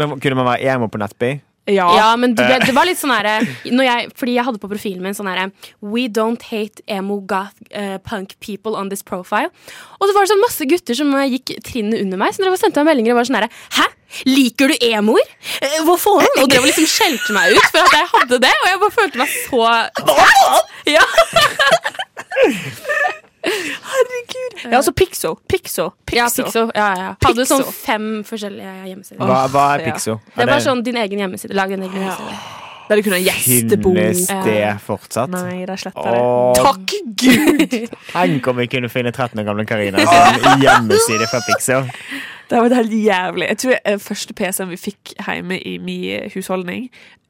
Speaker 2: Men Kunne man være emo på Nettby?
Speaker 4: Ja.
Speaker 3: Ja, men du, det, det var litt sånn herre når jeg- Fordi jeg hadde på profilen min sånn herre We don't hate emo goth eh, punk people on this profile. Og så var det sånn masse gutter som eh, gikk trinnet under meg, som drev og sendte meg meldinger og var sånn herre Hæ? Liker du emoer? Eh, Hva faen? Og drev og liksom skjelte meg ut for at jeg hadde det, og jeg bare følte meg så <laughs> Ja.
Speaker 4: ja, altså Pixo. Pixo. Pixo.
Speaker 3: Ja, Pixo. Ja, ja. Hadde
Speaker 4: Pixo.
Speaker 3: sånn fem forskjellige hjemmesider.
Speaker 2: Hva, hva er
Speaker 4: ja.
Speaker 2: Pixo?
Speaker 3: Det
Speaker 2: Er
Speaker 3: var sånn din egen hjemmeside. Lag din egen hjemmeside.
Speaker 4: Der du kunne ha gjestebok.
Speaker 2: Finnes det fortsatt?
Speaker 4: Nei, de sletter det.
Speaker 2: Åh,
Speaker 4: Takk Gud!
Speaker 2: tenk om vi kunne finne 13 år gamle Karina sin hjemmeside fra Pixo.
Speaker 4: <laughs> Det har vært helt jævlig. Jeg tror eh, første PC-en vi fikk hjemme i min eh, husholdning,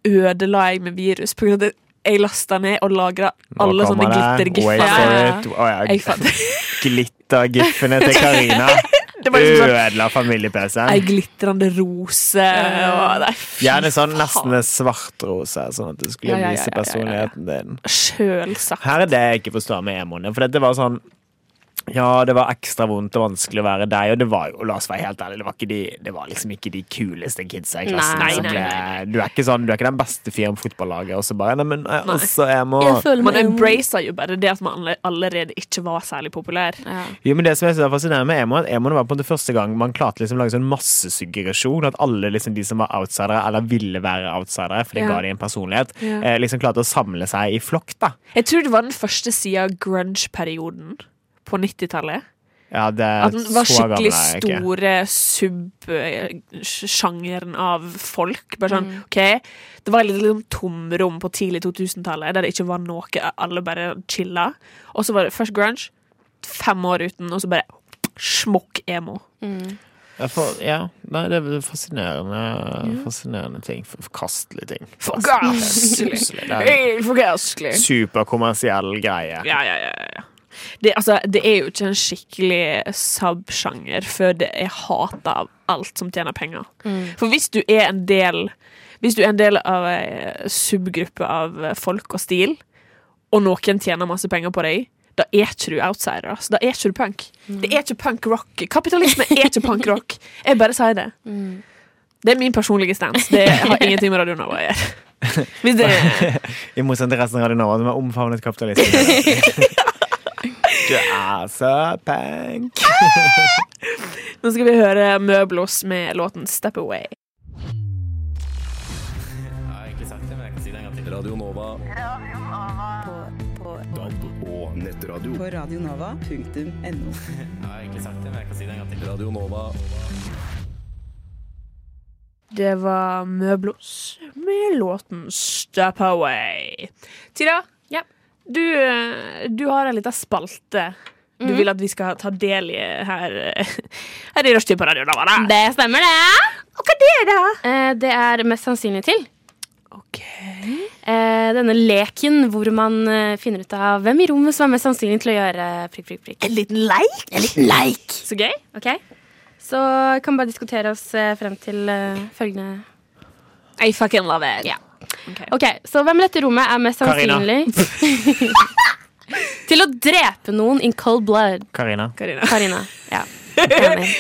Speaker 4: ødela jeg med virus på grunn av at jeg lasta ned og lagra
Speaker 2: Nå
Speaker 4: alle sånne
Speaker 2: kommer det. Wait
Speaker 4: glittergiffer. Ja,
Speaker 2: for
Speaker 4: ja, ja.
Speaker 2: it. Å, ja.
Speaker 4: Jeg fant-
Speaker 2: Glittergiffene til Karina
Speaker 4: <laughs> Det var liksom sånn
Speaker 2: ødela
Speaker 4: ei
Speaker 2: familie-PC-en.
Speaker 4: glitrende rose og Nei, fy
Speaker 2: Gjerne sånn nesten
Speaker 4: faen.
Speaker 2: en svartrose, sånn at du skulle
Speaker 4: Ja, ja, ja, ja,
Speaker 2: vise
Speaker 4: ja, ja.
Speaker 2: personligheten din.
Speaker 4: Sjølsagt.
Speaker 2: Her er det jeg ikke forstår med emoene. For dette var sånn Ja, det var ekstra vondt og vanskelig å være deg, og det var jo, la oss være helt ærlige, det var, ikke de, det var liksom ikke de kuleste kidsa i klassen.
Speaker 3: Nei,
Speaker 2: som
Speaker 3: nei,
Speaker 2: ble,
Speaker 3: nei,
Speaker 2: Du, er ikke sånn, du er ikke den beste fyren på fotballaget, og så bare Nei, men jeg er også emo.
Speaker 4: Man embracer jo bare det at man alle- allerede ikke var særlig populær.
Speaker 2: Jo, men det som jeg synes er fascinerende med emo, er at emo var på en måte første gang man klarte liksom å lage sånn massesuggerasjon. At alle liksom de som var outsidere, eller ville være outsidere, for det
Speaker 4: Ja.
Speaker 2: ga de en personlighet,
Speaker 4: Ja.
Speaker 2: eh, liksom klarte å samle seg i flokk, da.
Speaker 4: Jeg tror det var den første sida av grunge-perioden på 90-tallet.
Speaker 2: Ja, det
Speaker 4: At den var
Speaker 2: så gammel
Speaker 4: skikkelig
Speaker 2: er jeg ikke.
Speaker 4: store sub-sjangeren av folk. Bare sånn, ok Det var litt liksom tomrom på tidlig 2000-tallet, der det ikke var noe. Alle bare chilla. Og så var det først grunge, fem år uten, og så bare smokk-emo.
Speaker 2: Ja, for, ja. Nei, det er fascinerende, fascinerende ting. For- Forkastelige ting.
Speaker 4: Forkastelig!
Speaker 2: Plutselig. Det er
Speaker 4: Helt Forkastelig!
Speaker 2: en superkommersiell greie.
Speaker 4: Ja, ja, ja. ja. Det, altså, det er jo ikke en skikkelig subsjanger før det er hata av alt som tjener penger. For hvis du er en del Hvis du er en del av ei subgruppe av eh, folk og stil, og noen tjener masse penger på deg, da er ikke du outsider. ass. Da er ikke du punk. Det er ikke punk rock. Kapitalisme er ikke punk rock. Jeg bare sier det. Det er min personlige stance. Det har ingenting med Radio Nova å gjøre. Hvis det
Speaker 2: I motsetning til resten av Radio Nova, som har omfavnet
Speaker 4: <laughs>
Speaker 2: kapitalismen. du er så punk.
Speaker 4: Nå skal vi høre Møblos med låten Step Away.
Speaker 9: Radio Nova. DAB og nettradio.
Speaker 10: På radionova.no.
Speaker 9: Radio Nova.
Speaker 4: Det var Møblos med låten Step Away. Tida,
Speaker 3: Ja.
Speaker 4: du, eh, du har en liten spalte du vil at vi skal ta del i her, eh, her i Rushtid på Radio Nova. da.
Speaker 3: Det stemmer, det.
Speaker 4: Og hva det er det?
Speaker 3: Eh, Det er mest sannsynlig til.
Speaker 4: Ok.
Speaker 3: Eh, denne leken hvor man eh, finner ut av hvem i rommet som er mest sannsynlig til å gjøre prikk, prikk, prikk.
Speaker 4: En liten leik? En liten leik. Så gøy.
Speaker 3: Ok? Så kan vi bare diskutere oss eh, frem til eh, følgende.
Speaker 4: I fucking love it.
Speaker 3: Eh, Ja. Ok, Så hvem i dette rommet er mest
Speaker 2: Karina.
Speaker 3: sannsynlig <laughs> til å drepe noen in cold blood?
Speaker 2: Karina.
Speaker 4: Karina.
Speaker 3: Karina. Ja, enig.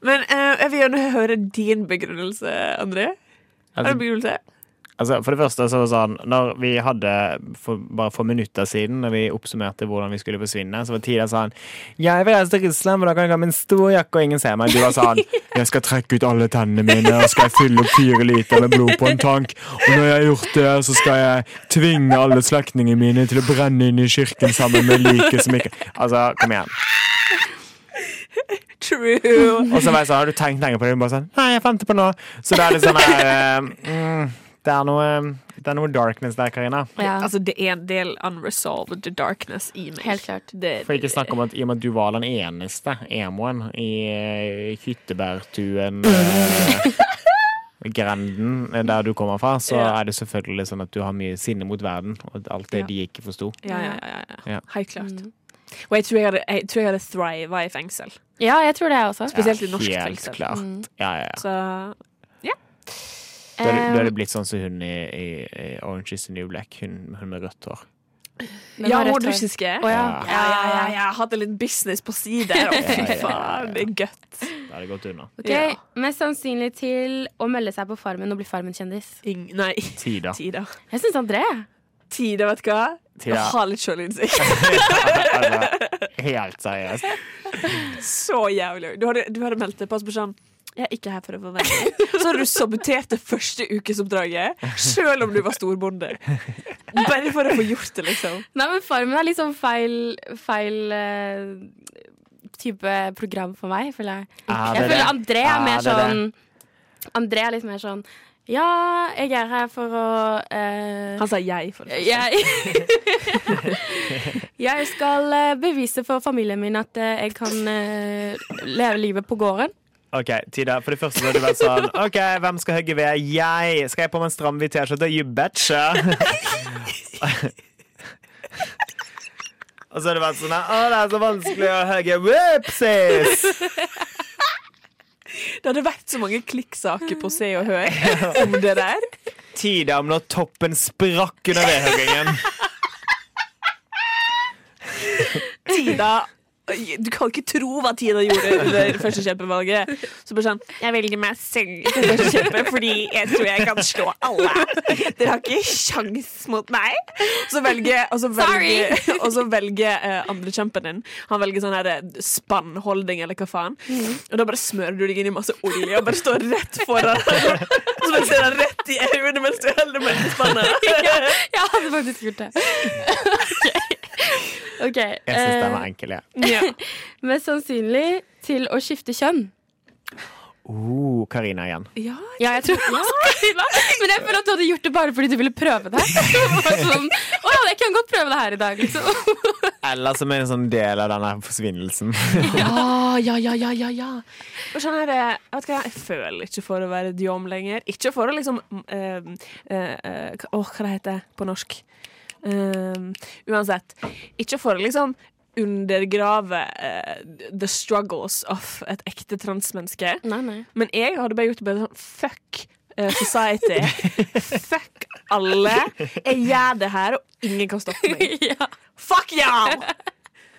Speaker 4: Men eh, jeg vil gjerne høre din begrunnelse, André. Har du en begrunnelse?
Speaker 2: Altså, for det første så var det sånn Når vi hadde for, Bare for minutter siden Når vi oppsummerte hvordan vi skulle forsvinne Så var Tida sånn Jeg vil reise til Russland For da kan jeg ha med en stor jakke Og ingen ser meg Du var sånn Jeg skal trekke ut alle tennene mine Og skal jeg fylle opp fire liter med blod på en tank Og når jeg har gjort det Så skal jeg tvinge alle slektningene mine Til å brenne inn i kirken sammen med like som ikke Altså, kom igjen
Speaker 4: <laughs> True.
Speaker 2: Og så var jeg sånn Har du tenkt lenge på det? Og hun bare sånn Nei, jeg fant det på nå Så det er litt sånn her eh, mm, Det er noe Det er noe darkness der, Karina
Speaker 3: Ja,
Speaker 4: Altså, det er en del unresolved darkness i meg.
Speaker 3: helt klart.
Speaker 4: Det-
Speaker 2: For ikke snakk om at i og med at du var den eneste emoen i eh, hyttebærtuen eh,
Speaker 4: <laughs>
Speaker 2: Grenden, eh, der du kommer fra, så
Speaker 4: Ja.
Speaker 2: er det selvfølgelig sånn at du har mye sinne mot verden, og at alt det
Speaker 4: Ja.
Speaker 2: de ikke forsto.
Speaker 4: Ja, ja, ja, ja.
Speaker 2: Ja.
Speaker 3: Mm.
Speaker 4: Helt klart. Og jeg tror jeg hadde, jeg tror jeg hadde thriva i fengsel.
Speaker 3: Ja, jeg tror det, jeg også.
Speaker 4: Spesielt i norsk
Speaker 2: Helt
Speaker 4: fengsel.
Speaker 2: klart.
Speaker 3: Mm.
Speaker 2: Ja, ja, ja.
Speaker 4: Så eh,
Speaker 2: Da er det- da
Speaker 3: Eh,
Speaker 2: er det blitt sånn som hun i, i, i Orange is the New Black, hun, hun med rødt hår.
Speaker 3: Men hva er
Speaker 4: Ja, hun
Speaker 3: rødt
Speaker 4: var
Speaker 3: hår?
Speaker 4: russiske.
Speaker 3: Å ja.
Speaker 2: Ja.
Speaker 4: Ja, ja, ja, ja. Jeg Hadde litt business på si der. og
Speaker 2: Ja,
Speaker 4: Fy
Speaker 2: ja, ja,
Speaker 4: faen, det er godt.
Speaker 2: Da er det gått unna.
Speaker 3: Ok,
Speaker 4: Ja.
Speaker 3: Mest sannsynlig til å melde seg på Farmen og bli Farmen-kjendis.
Speaker 4: Ing nei,
Speaker 2: Tida.
Speaker 4: tider.
Speaker 3: Jeg syns André.
Speaker 4: Tider, vet du hva?
Speaker 2: Tida.
Speaker 4: Ha litt sjølinnsikt.
Speaker 2: Altså,
Speaker 4: <laughs>
Speaker 2: helt seriøst.
Speaker 4: Så jævlig. Du hadde, du hadde meldt deg på oss på sånn jeg er ikke her for å forvente. Så hadde du sabotert det første ukesoppdraget, sjøl om du var storbonde. Bare for å få gjort det, liksom.
Speaker 3: <laughs> Nei, men Farmen er liksom feil, feil eh, type program for meg, føler jeg.
Speaker 2: Er
Speaker 3: Jeg
Speaker 2: det det?
Speaker 3: føler André er mer
Speaker 2: det det?
Speaker 3: sånn André er litt mer sånn Ja, jeg er her for å eh,
Speaker 4: Han sa jeg, for det.
Speaker 3: jeg, <laughs> jeg skal eh, bevise for familien min at eh, jeg kan eh, leve livet på gården.
Speaker 2: Ok, Tida, for det første så har du vært sånn OK, hvem skal hogge ved? Jeg! Skal jeg på meg en stram hvit T-skjorte? You betcha! Og så har det vært sånn Å, det er så vanskelig å hogge. Whoopsies!
Speaker 4: Det hadde vært så mange klikksaker på Se og Hør om det der.
Speaker 2: Tida om når toppen sprakk under vedhoggingen.
Speaker 4: Tida Du kan ikke tro hva Tida gjorde under første kjempevalget. Så bare sånn Jeg velger meg selv til første kjempe fordi jeg tror jeg kan slå alle. Dere har ikke sjans mot meg. Så velger, og så velger, og så velger eh, andre kjempen din. Han velger sånn her eh, spannholding eller hva faen. Og da bare smører du deg inn i masse olje og bare står rett foran ham. Og så bare ser han rett i øynene mens du holder meg i spannet.
Speaker 3: <laughs> Jeg hadde faktisk gjort det. OK. okay
Speaker 2: Jeg syns den var enkel, jeg.
Speaker 4: Ja.
Speaker 3: eh, mest sannsynlig til å skifte kjønn.
Speaker 2: Oh, Karina igjen.
Speaker 3: Ja,
Speaker 4: <laughs>
Speaker 3: jeg tror Karina. <laughs> Men jeg føler at du hadde gjort det bare fordi du ville prøve det. <laughs> Bare Sånn, å ja, jeg kan godt prøve det her i dag, liksom.
Speaker 2: Eller som er en sånn del av denne forsvinnelsen.
Speaker 4: Ja, ja, <laughs> ja, ja, ja, ja. Og sånn er det, jeg vet ikke, jeg føler ikke for å være Diom lenger. Ikke for å liksom eh, eh, eh, Åh, hva det heter på norsk? Eh, uansett. Ikke for å liksom undergrave eh, the struggles of et ekte transmenneske.
Speaker 3: Nei, nei.
Speaker 4: <laughs> Men jeg hadde bare gjort det bare sånn Fuck eh,
Speaker 3: <laughs>
Speaker 4: society. Fuck alle. Jeg gjør det her, og ingen kan stoppe
Speaker 3: <laughs>
Speaker 4: meg.
Speaker 3: Ja.
Speaker 4: Fuck y'all!
Speaker 3: <laughs>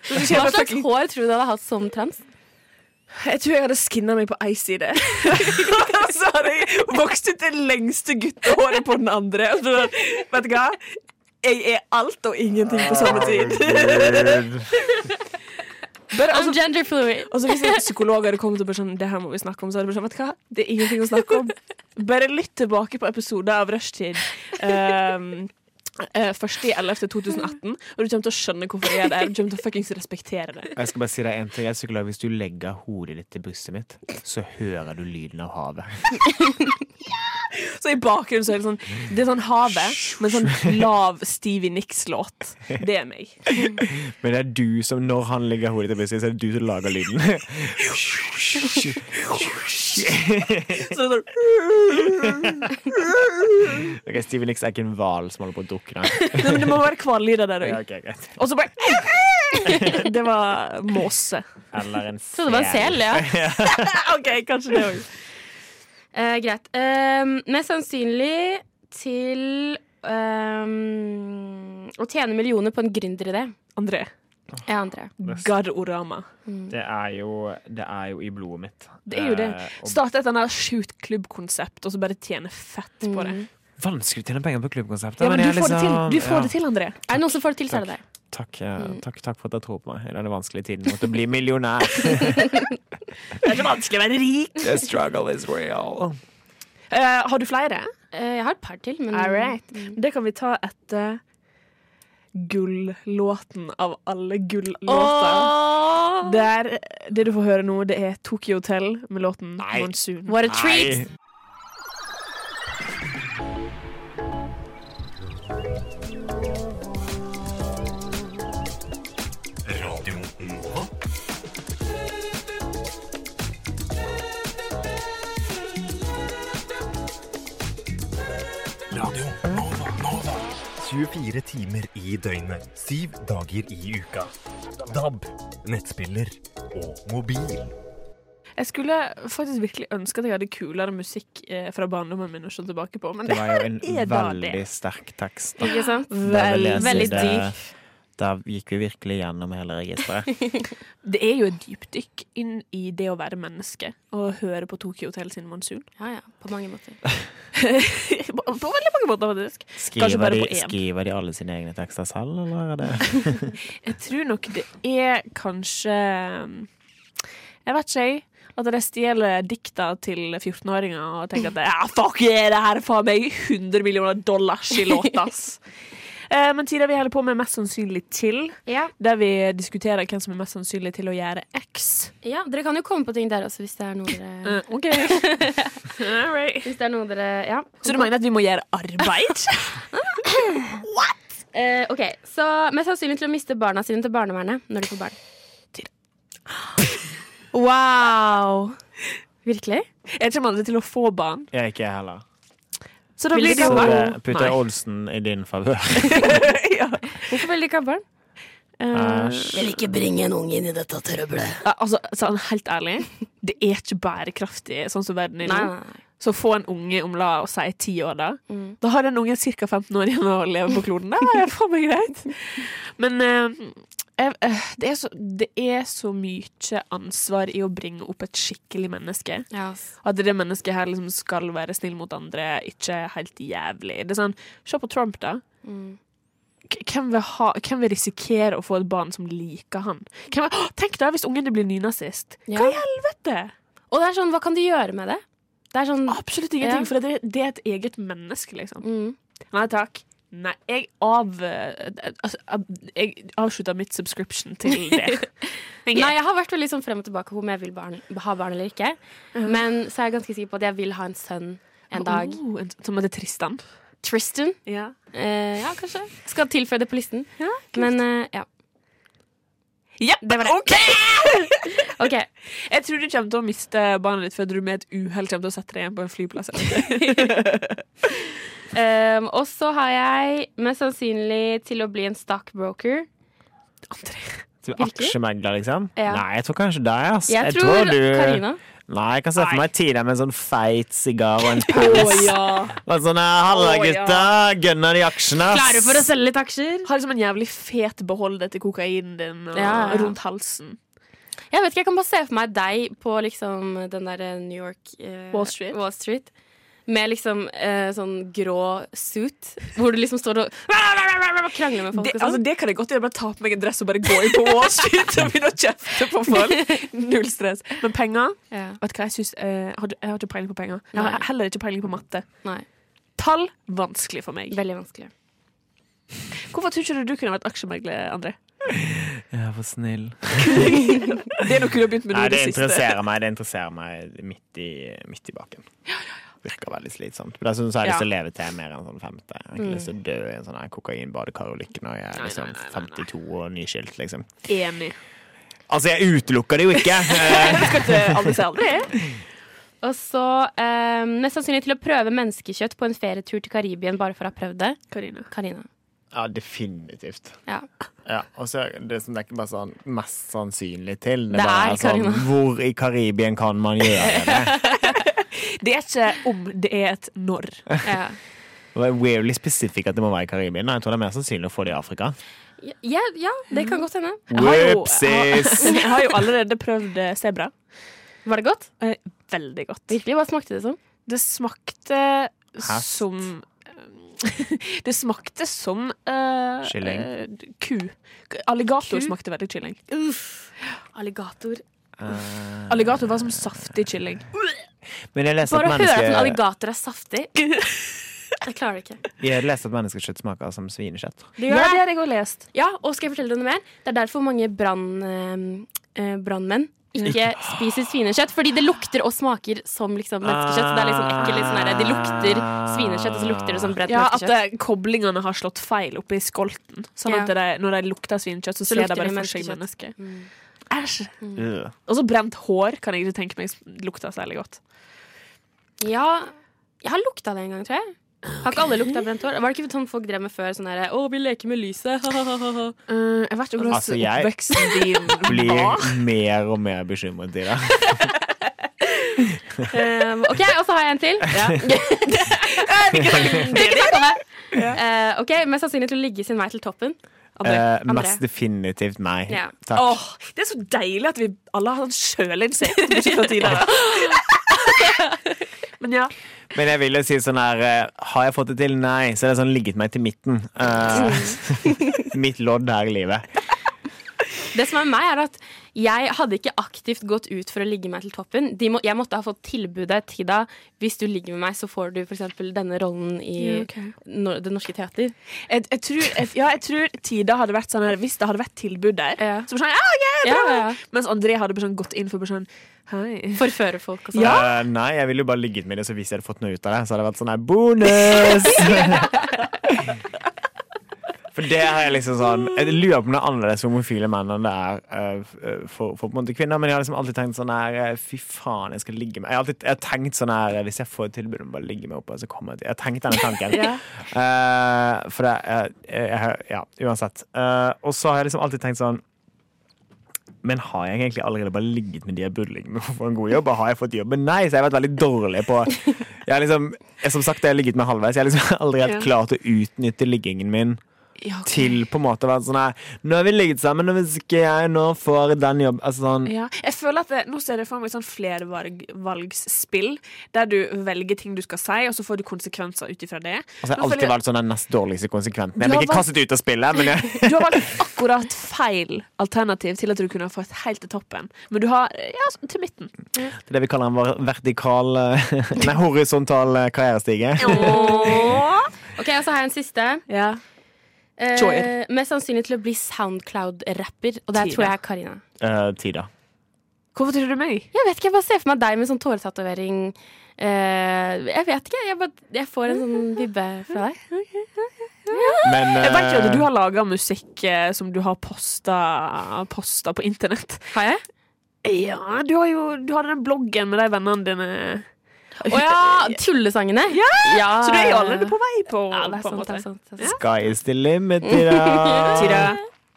Speaker 4: Så skal jeg
Speaker 3: Hva
Speaker 4: bare
Speaker 3: slags
Speaker 4: fucking-
Speaker 3: hår tror du du hadde hatt som trans?
Speaker 4: jeg tror jeg hadde skinna meg på ei side. <laughs> Og så hadde jeg vokst ut det lengste guttehåret på den andre. Og så, vet du hva? Jeg er alt og ingenting på samme tid.
Speaker 2: Herregud.
Speaker 4: Bare,
Speaker 3: I'm
Speaker 4: altså,
Speaker 3: gender fluid.
Speaker 4: altså, hvis en psykolog hadde kommet og bare sånn Det her må vi snakke om. Så hadde jeg bare sånn, vet du hva? Det er ingenting å snakke om. Bare lytt tilbake på episoder av Rushtid. Um, Uh, 1.11.2018, og du kommer til å skjønne hvorfor jeg er der. Du kommer til å fuckings respektere det.
Speaker 2: Jeg skal bare si deg en ting. Jeg er psykolog. Hvis du legger hodet ditt til brystet mitt, så hører du lyden av havet.
Speaker 4: Så i bakgrunnen så er det sånn Det er sånn havet, men sånn lav Stevie Nicks-låt. Det er meg.
Speaker 2: Men det er du som, når han legger hodet til brystet, så er det du som lager lyden. <laughs>
Speaker 4: Så det er sånn,
Speaker 2: Ok, Steven Nicks er ikke en hval som holder på å drukne.
Speaker 4: Nei, men det må være hvallyder der
Speaker 2: <laughs> Ja,
Speaker 4: òg.
Speaker 2: ok, greit.
Speaker 4: Og så bare Det var måse.
Speaker 2: Eller en
Speaker 3: Trodde det var en sel, ja.
Speaker 2: <laughs>
Speaker 4: OK, kanskje det òg.
Speaker 3: <laughs> Eh, greit. Ehm, mest sannsynlig til ehm, å tjene millioner på en gründeridé.
Speaker 4: André.
Speaker 3: Ja, André.
Speaker 4: Garorama.
Speaker 3: Mm.
Speaker 2: Det er jo, det er jo i blodet mitt.
Speaker 4: Det er jo det.
Speaker 2: Eh, og
Speaker 4: Starte et annet sjukt klubbkonsept, og så bare tjene fett på
Speaker 3: Mm.
Speaker 4: det.
Speaker 2: vanskelig å tjene penger på klubbkonseptet.
Speaker 4: Ja, men
Speaker 2: jeg
Speaker 4: du
Speaker 2: er
Speaker 4: får det til,
Speaker 2: liksom-
Speaker 4: du får
Speaker 2: ja.
Speaker 4: det til Mm. André.
Speaker 3: Er det noen som får det til, så er det deg.
Speaker 2: Takk, eh, takk, takk for at dere tror på meg i denne vanskelige tiden. Måtte bli
Speaker 4: <laughs>
Speaker 2: millionær.
Speaker 4: Det er så vanskelig å være rik.
Speaker 2: The struggle is real.
Speaker 4: Eh, har du flere?
Speaker 3: Eh, jeg har et par til, men Mm.
Speaker 4: All right. Det kan vi ta etter gullåten av alle gullåter.
Speaker 3: Åh!
Speaker 4: Der, det du får høre nå, det er Tokyo Hotel med låten
Speaker 2: Nei.
Speaker 4: Monsoon.
Speaker 3: What a treat!
Speaker 5: Radio Nova. Radio Nova, Nova.
Speaker 11: 24 timer i døgnet, 7 dager i uka. DAB, nettspiller og mobil.
Speaker 4: Jeg skulle faktisk virkelig ønske at jeg hadde kulere musikk eh, fra barndommen min å se tilbake på, men
Speaker 2: Det
Speaker 4: det
Speaker 2: var
Speaker 4: <laughs>
Speaker 2: jo en
Speaker 4: er da det.
Speaker 2: veldig sterk tekst.
Speaker 4: Ikke sant?
Speaker 2: Da vil jeg si
Speaker 3: veldig
Speaker 2: det-
Speaker 3: dyp.
Speaker 2: Da gikk vi virkelig gjennom hele registeret.
Speaker 4: Det er jo et dypdykk inn i det å være menneske og høre på Tokyo Hotel sin monsun.
Speaker 3: Ja, ja, på mange måter.
Speaker 4: på, <laughs> på veldig mange måter, faktisk. Kanskje
Speaker 2: Skriver
Speaker 4: bare
Speaker 2: de,
Speaker 4: på én.
Speaker 2: skriver de alle sine egne tekster selv, eller er det <laughs>
Speaker 4: Jeg tror nok det er kanskje Jeg vet ikke, jeg. At de stjeler dikta til 14-åringer og tenker at ja, fuck yeah, det her er faen meg 100 millioner dollars i låt, <laughs> ass. Eh, Men tida vi holder på med Mest sannsynlig til,
Speaker 3: Ja.
Speaker 4: der vi diskuterer hvem som er mest sannsynlig til å gjøre X.
Speaker 3: ja, Dere kan jo komme på ting der også, hvis det er noe dere, Mm.
Speaker 4: <laughs> Eh, OK. All right.
Speaker 3: hvis det er noe dere ja.
Speaker 4: Så du mener at vi må gjøre <laughs> arbeid?
Speaker 3: Eh, ok, Så mest sannsynlig til å miste barna sine til barnevernet når de får barn. <gasps>
Speaker 4: Wow.
Speaker 3: Virkelig?
Speaker 4: Jeg kommer aldri til å få barn.
Speaker 2: Jeg er ikke jeg heller.
Speaker 4: Så da
Speaker 3: Vil
Speaker 4: blir
Speaker 3: du
Speaker 4: det
Speaker 3: ikke
Speaker 2: Så
Speaker 3: ha
Speaker 4: jo
Speaker 2: det putter jeg Olsen i din favør. <laughs>
Speaker 4: <laughs> ja.
Speaker 3: Hvorfor vil de ikke ha barn?
Speaker 2: Æsj.
Speaker 1: Vil ikke bringe en unge inn i dette trøbbelet.
Speaker 4: Eh, Ja, Altså, sånn, helt ærlig, det er ikke bærekraftig sånn som verden er
Speaker 3: Nei,
Speaker 4: nå.
Speaker 3: nei, nei.
Speaker 4: Så få en unge om la oss si ti år, da.
Speaker 3: Mm.
Speaker 4: Da har den ungen ca. 15 år igjen å leve på kloden. Det er faen meg greit. Men eh, jeg, eh, det, er så, det er så mye ansvar i å bringe opp et skikkelig menneske.
Speaker 3: Ja, ass.
Speaker 4: At det mennesket her liksom skal være snill mot andre, ikke helt jævlig. Det er sånn, Se på Trump, da.
Speaker 3: Mm.
Speaker 4: K- Hvem vil, ha, hvem vil risikere å få et barn som liker han? Hvem, Åh, tenk da hvis ungen din blir nynazist!
Speaker 3: Ja.
Speaker 4: Hva i helvete?
Speaker 3: Og det er sånn, hva kan de gjøre med det? Det er sånn
Speaker 4: Absolutt ingenting,
Speaker 3: Ja.
Speaker 4: for det, det er et eget menneske, liksom.
Speaker 3: mm.
Speaker 4: Nei takk. Nei, jeg av... Altså, av- jeg avslutta mitt subscription til det. Jeg-
Speaker 3: Nei, jeg har vært veldig sånn frem og tilbake på om jeg vil barn, ha barn eller ikke. Men så er jeg ganske sikker på at jeg vil ha en sønn en dag.
Speaker 4: Uh-huh. Oh, en- som heter Tristan.
Speaker 3: Tristan.
Speaker 4: Ja.
Speaker 3: Eh, ja, kanskje. Skal tilføye det på listen.
Speaker 4: Ja,
Speaker 3: Men eh, ja.
Speaker 4: det var det.
Speaker 3: OK.
Speaker 4: Jeg tror du kommer til å miste barnet ditt før du med et uhell kommer til å sette deg igjen på en flyplass. eller noe.
Speaker 3: Um, og så har jeg mest sannsynlig til å bli en stockbroker.
Speaker 2: Typ Aksjemegler, liksom?
Speaker 3: Ja.
Speaker 2: Nei, jeg tror kanskje det. Ass.
Speaker 3: Jeg, tror
Speaker 2: du-
Speaker 3: Karina.
Speaker 2: Nei, jeg kan se for meg ti der med en sånn feit sigar og en <laughs>
Speaker 4: Å
Speaker 2: pels.
Speaker 4: ja.
Speaker 2: Bare sånn, eh, Halla,
Speaker 4: Å, ja.
Speaker 2: gutta! Gønner de aksjene, ass!
Speaker 3: Klare for å selge litt aksjer?
Speaker 4: Har liksom en jævlig fet beholder til kokainen din og
Speaker 3: Ja, ja.
Speaker 4: rundt halsen.
Speaker 3: Jeg vet ikke, jeg kan bare se for meg deg på liksom den der eh, New York eh,
Speaker 4: Wall Street.
Speaker 3: Wall Street. Med liksom eh, sånn grå suit, hvor du liksom står og <laughs> krangler med folk.
Speaker 4: Det,
Speaker 3: og
Speaker 4: altså,
Speaker 3: sånn.
Speaker 4: det kan jeg godt gjøre. Bare ta på meg en dress og bare gå inn på Wall Street
Speaker 3: <laughs>
Speaker 4: og begynne å kjefte på folk. Null stress. Men penger
Speaker 3: ja.
Speaker 4: Vet du hva, jeg, synes, eh, har, jeg har ikke peiling på penger. Jeg
Speaker 3: Nei.
Speaker 4: har heller ikke peiling på matte.
Speaker 3: Nei,
Speaker 4: Tall vanskelig for meg.
Speaker 3: veldig vanskelig.
Speaker 4: Hvorfor tror ikke du du kunne vært aksjemegler, André?
Speaker 2: Jeg er for snill.
Speaker 4: Det er noe du har begynt med nå
Speaker 2: Nei,
Speaker 4: i
Speaker 2: det
Speaker 4: det siste.
Speaker 2: interesserer meg. Det interesserer meg midt i, midt i baken. Virker veldig slitsomt. Men Dessuten så har jeg lyst til å leve til mer enn sånn 50. Jeg har ikke lyst til å dø i en sånn her kokainbadekar og lykke når jeg er liksom 52 og nyskilt, liksom.
Speaker 4: Enig.
Speaker 2: Altså, jeg utelukker det jo ikke!
Speaker 4: <laughs>
Speaker 2: Eh,
Speaker 4: Jeg skal ikke aldri si aldri.
Speaker 3: Og så eh, mest sannsynlig til å prøve menneskekjøtt på en ferietur til Karibien bare for å ha prøvd det.
Speaker 4: Karina.
Speaker 3: Karina.
Speaker 2: Ja, definitivt.
Speaker 3: <laughs> Ja.
Speaker 2: Ja, og så er det som det er ikke bare sånn mest sannsynlig til. Det,
Speaker 3: Det
Speaker 2: bare
Speaker 3: er
Speaker 2: er sånn,
Speaker 3: Karina.
Speaker 2: hvor i Karibien kan man gjøre det?
Speaker 4: Det er ikke om, det er et når.
Speaker 3: ja.
Speaker 2: Det var weirdly specific at det må være i Karibien. Nei, jeg tror det er mer sannsynlig å få det i Afrika.
Speaker 3: Ja, ja, det kan godt hende.
Speaker 4: Jeg har jo-
Speaker 2: Whoopsies!
Speaker 4: Jeg har jo allerede prøvd eh, sebra.
Speaker 3: Var det godt?
Speaker 4: Eh, Veldig godt.
Speaker 3: Virkelig, Hva smakte det som?
Speaker 4: Det smakte
Speaker 2: Hest.
Speaker 4: som eh, <laughs> Det smakte som eh,
Speaker 2: Kylling.
Speaker 4: eh, ku. Alligator
Speaker 3: Ku?
Speaker 4: smakte veldig kylling.
Speaker 3: Uff. Alligator.
Speaker 2: Eh,
Speaker 4: Alligator var som saftig kylling.
Speaker 2: Men jeg leste
Speaker 3: Bare å høre
Speaker 2: at
Speaker 3: at en
Speaker 2: menneske,
Speaker 3: alligator er <laughs> saftig. Jeg klarer det ikke.
Speaker 2: jeg leste at menneskekjøtt smaker som svinekjøtt.
Speaker 3: Det
Speaker 4: Ja,
Speaker 3: gjør
Speaker 4: det
Speaker 3: det.
Speaker 4: har jeg òg lest.
Speaker 3: Ja, og skal jeg fortelle deg noe mer? Det er derfor mange brann, eh, eh, brannmenn ikke spiser svinekjøtt. Fordi det lukter og smaker som liksom menneskekjøtt. Så det er liksom ekkelt. Litt sånn der, de lukter svinekjøtt, og så lukter det som brent
Speaker 4: Ja, At
Speaker 3: menneskekjøtt.
Speaker 4: eh, koblingene har slått feil oppi skolten. Sånn at
Speaker 3: Ja.
Speaker 4: de, når de lukter svinekjøtt, så,
Speaker 3: Så
Speaker 4: ser
Speaker 3: lukter
Speaker 4: de bare
Speaker 3: det
Speaker 4: for seg mennesket. Æsj.
Speaker 2: Øh.
Speaker 4: Og så brent hår kan jeg ikke tenke meg lukter særlig godt.
Speaker 3: Ja, jeg har lukta det en gang, tror jeg. Har ikke alle lukta brent hår? Var det ikke sånn folk drev med før? Sånn derre 'Å, vi leker med lyset', ha-ha-ha.
Speaker 12: Eh, jeg vet ikke hvordan
Speaker 2: Altså, jeg-
Speaker 12: oppveksten din var.
Speaker 2: Blir mer og mer bekymret i det.
Speaker 3: Ehm, OK, og så har jeg en til. <laughs> Vi kan snakke om det. Eh, OK, mest sannsynlig til å ligge sin vei til toppen.
Speaker 2: Eh,
Speaker 3: André.
Speaker 2: mest definitivt nei.
Speaker 3: Ja.
Speaker 2: Takk.
Speaker 4: Åh, det er så deilig at vi alle har sånn sjølinnsikt. mye fra <laughs> tidligere. Men ja.
Speaker 2: Men jeg vil jo si sånn her eh, Har jeg fått det til? Nei. Så det er sånn ligget meg til midten. Eh, <laughs> mitt lodd her i livet.
Speaker 3: Det som er meg, er at jeg hadde ikke aktivt gått ut for å ligge meg til toppen. De må, jeg måtte ha fått tilbudet til da hvis du ligger med meg, så får du f.eks. denne rollen i Nor- Det Norske Teater.
Speaker 4: Jeg, jeg, tror, jeg, ja, jeg tror Tida hadde vært sånn her Hvis det hadde vært tilbud der,
Speaker 3: Ja.
Speaker 4: så bare sånn, ja, ok, bra.
Speaker 3: Ja, ja, ja.
Speaker 4: Mens André hadde bare sånn gått inn for bare sånn Hei.
Speaker 3: Forføre folk og sånn.
Speaker 2: Eh, nei, jeg ville jo bare ligget med det, så hvis jeg hadde fått noe ut av det, så hadde det vært sånn her bonus! For det er liksom sånn Jeg lurer på om det er annerledes for homofile menn enn det er eh, f- eh, for, for på en måte kvinner, men jeg har liksom alltid tenkt sånn her eh, Fy faen, jeg skal ligge med Jeg har alltid jeg har tenkt sånn her Hvis jeg får et tilbud om å bare ligge med oppe, så kommer jeg til Jeg har tenkt denne tanken. Eh, for det er jeg har- Ja, uansett. Eh, og så har jeg liksom alltid tenkt sånn men har jeg egentlig allerede bare ligget med de jeg burde ligge med for en god jobb? Og har jeg fått jobben? Nei, så jeg har vært veldig dårlig
Speaker 4: <laughs>
Speaker 2: på jeg har liksom, jeg, Som sagt, jeg har ligget med halvveis. Jeg har liksom <laughs> aldri helt klart å utnytte liggingen min til på en måte å være sånn her Nå har vi ligget sammen, og hvis ikke jeg nå får den jobben Altså sånn
Speaker 4: Ja. Jeg føler at det, Nå ser jeg for meg sånn flervalgsspill, der du velger ting du skal si, og så får du konsekvenser ut ifra det.
Speaker 2: Altså, jeg har
Speaker 4: Nå føler
Speaker 2: alltid valgt sånn den nest dårligste konsekventen.
Speaker 4: Du
Speaker 2: Jeg
Speaker 4: har
Speaker 2: blir ikke
Speaker 4: valgt-
Speaker 2: kastet ut av spillet,
Speaker 4: <laughs>
Speaker 2: men jeg,
Speaker 4: Du har valgt akkurat feil alternativ til at du kunne ha fått helt til toppen. Men du har ja, sånn til midten.
Speaker 2: det er det vi kaller en ver- vertikal eh, <laughs> Nei, horisontal eh, karrierestige.
Speaker 3: OK, og så har jeg en siste.
Speaker 4: Ja.
Speaker 3: Eh,
Speaker 4: Joyer.
Speaker 3: mest sannsynlig til å bli Soundcloud-rapper, og der
Speaker 4: Tida.
Speaker 3: tror jeg er Karina.
Speaker 2: Eh, Tida.
Speaker 4: Hvorfor tror du meg?
Speaker 3: Jeg vet ikke, jeg bare ser for meg deg med sånn tåretatovering. Eh, jeg vet ikke, jeg, bare, jeg får en sånn
Speaker 4: <laughs>
Speaker 3: vibbe fra deg.
Speaker 2: Men
Speaker 4: Jeg vet jo at
Speaker 2: eh,
Speaker 4: du har laga musikk eh, som du har posta, posta på internett.
Speaker 3: Har jeg?
Speaker 4: Ja, du har jo du har den bloggen med de vennene dine.
Speaker 3: Å ja! Tullesangene. Ja.
Speaker 4: Så du er jo allerede på vei på,
Speaker 3: Ja, det er
Speaker 4: på
Speaker 3: sant. Det
Speaker 4: en måte.
Speaker 3: er sant, det er sant.
Speaker 2: Sky is the limit,
Speaker 4: <laughs>
Speaker 2: Tida.
Speaker 4: Tida,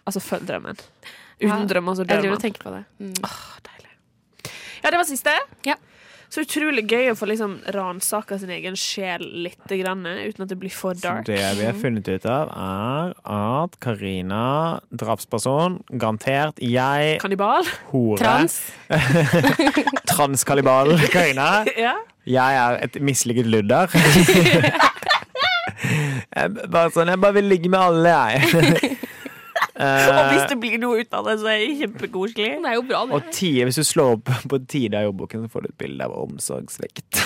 Speaker 4: altså følg drømmen. Uten
Speaker 3: Ja.
Speaker 4: drømmen, så
Speaker 3: Jeg
Speaker 4: dør
Speaker 3: driver og
Speaker 4: man.
Speaker 3: tenker på det. Mm.
Speaker 4: Åh, deilig. Ja, det var siste.
Speaker 3: Ja.
Speaker 4: Så utrolig gøy å få liksom ransaka sin egen sjel litt, grann, eh, uten at det blir for
Speaker 2: Så
Speaker 4: dark.
Speaker 2: Det vi har funnet ut av, er at Karina, drapsperson, garantert jeg,
Speaker 4: Kannibal.
Speaker 2: hore
Speaker 3: Trans.
Speaker 2: Transkalibal Karina.
Speaker 4: Ja.
Speaker 2: Jeg er et mislykket ludder. Jeg b- bare sånn Jeg bare vil ligge med alle, jeg.
Speaker 4: Og hvis
Speaker 2: Eh,
Speaker 4: det blir noe ut av det, så er det kjempekoselig.
Speaker 3: Det er jo bra, det.
Speaker 2: og tie, hvis du slår opp på Tida i jobbboken, så får du et bilde av omsorgssvikt.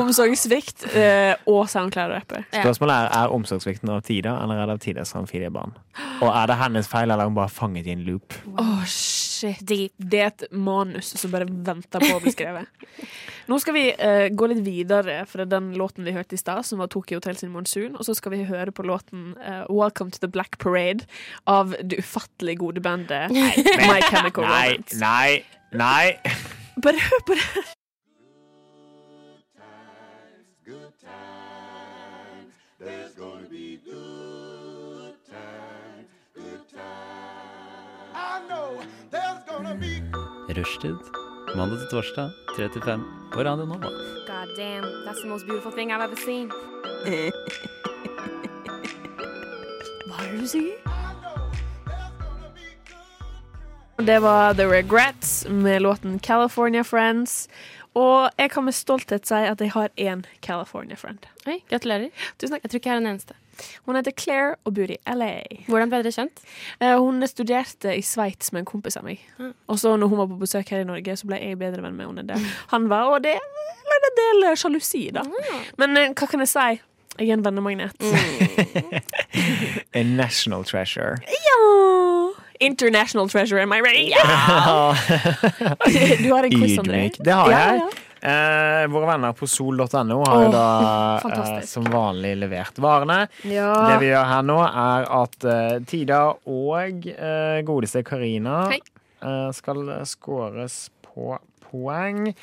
Speaker 4: Omsorgssvikt eh, og soundcloud-rapper.
Speaker 3: Ja.
Speaker 2: Spørsmålet er er omsorgssvikten av Tida eller er det av Tidas framtidige barn. Og er det hennes feil, eller er hun bare fanget i en loop?
Speaker 4: Åh, shit. Det er et manus som bare venter på å bli skrevet. Nå skal vi eh, gå litt videre fra den låten vi hørte i stad, som var Tokyo Hotel sin Monsoon, og så skal vi høre på låten eh, Welcome to the Black Parade av det ufattelig gode bandet My Chemical
Speaker 2: Nei,
Speaker 4: Romance.
Speaker 2: nei, nei.
Speaker 4: Bare hør på det!
Speaker 13: Rushtid. Mandag til torsdag, 3 til 5 på Radio Nova.
Speaker 3: God damn, that's the most beautiful thing I've ever seen.
Speaker 4: Hva er det du sier? Det var The Regrets med låten California Friends. Og jeg kan med stolthet si at jeg har én California friend.
Speaker 3: Oi, gratulerer.
Speaker 4: Tusen takk.
Speaker 3: Jeg tror ikke jeg er den eneste.
Speaker 4: Hun heter Claire og bor i LA.
Speaker 3: Hvordan ble dere kjent?
Speaker 4: Eh, Hun studerte i Sveits med en kompis av meg. Og så når hun var på besøk her i Norge, så ble jeg bedre venn med henne enn det. Han var, og det lagde en del eh, sjalusi, da.
Speaker 3: Ah.
Speaker 4: Men eh, hva kan jeg si? Jeg er en vennemagnet.
Speaker 2: A national treasure.
Speaker 4: <laughs> Ja! International treasure, am I right?
Speaker 12: <laughs>
Speaker 4: Du har en quiz, André.
Speaker 2: Ydmyk. Det har
Speaker 4: Ja,
Speaker 2: jeg.
Speaker 4: ja.
Speaker 2: <laughs> Eh, våre venner på sol.no har jo da eh,
Speaker 4: fantastisk. Ah.
Speaker 2: som vanlig levert varene. Det
Speaker 4: Ja.
Speaker 2: vi gjør her nå, er at eh, Tida og eh, godeste Karina
Speaker 4: Hei.
Speaker 2: eh, skal skåres på poeng.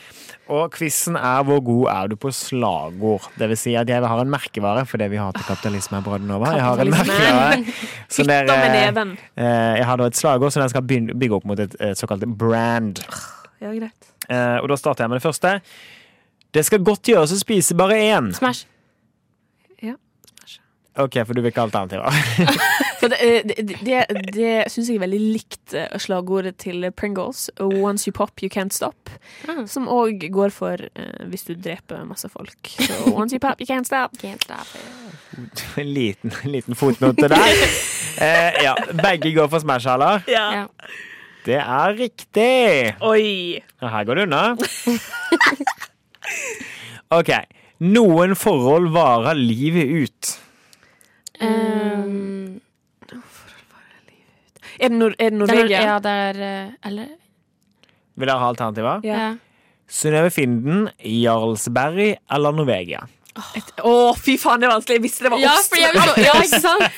Speaker 2: Og quizen er 'Hvor god er du på slagord?' Det vil si at jeg har en merkevare for det vi har til kapitalisme her på Radio Nova. Jeg har en merkevare som
Speaker 4: Hytta med neven.
Speaker 2: eh, Jeg har da et slagord som den skal begyn- bygge opp mot et, et såkalt brand.
Speaker 4: <laughs> Ja, greit.
Speaker 2: Eh, Og da starter jeg med det første. Det skal godt gjøres å spise bare én.
Speaker 3: Smash.
Speaker 2: OK, for du vil ikke ha alternativer. <laughs>
Speaker 12: For det eh, det, det, det syns jeg er veldig likt eh, slagordet til Pringles. Once you pop, you can't stop. Som òg går for eh, hvis du dreper masse folk. Så once you pop, you can't stop.
Speaker 2: En liten, liten fotnote der. Eh, ja, Begge går for Smash-haller.
Speaker 4: Ja.
Speaker 2: Det er riktig!
Speaker 4: Oi.
Speaker 2: Ja, her går det unna. OK. Noen forhold varer livet ut.
Speaker 4: Mm.
Speaker 3: Um,
Speaker 12: Er det, nor er det
Speaker 3: det er,
Speaker 12: Norvegia?
Speaker 3: ja, det er eh, Eller?
Speaker 2: Vil dere ha alternativer?
Speaker 12: Ja.
Speaker 3: Ja.
Speaker 2: Synnøve Finden, Jarlsberg eller Norvegia?
Speaker 12: Et- Å, fy faen, det er vanskelig! Jeg visste det var
Speaker 3: Ja,
Speaker 12: oss!
Speaker 3: for jeg vil så- ja, ikke <laughs> sant?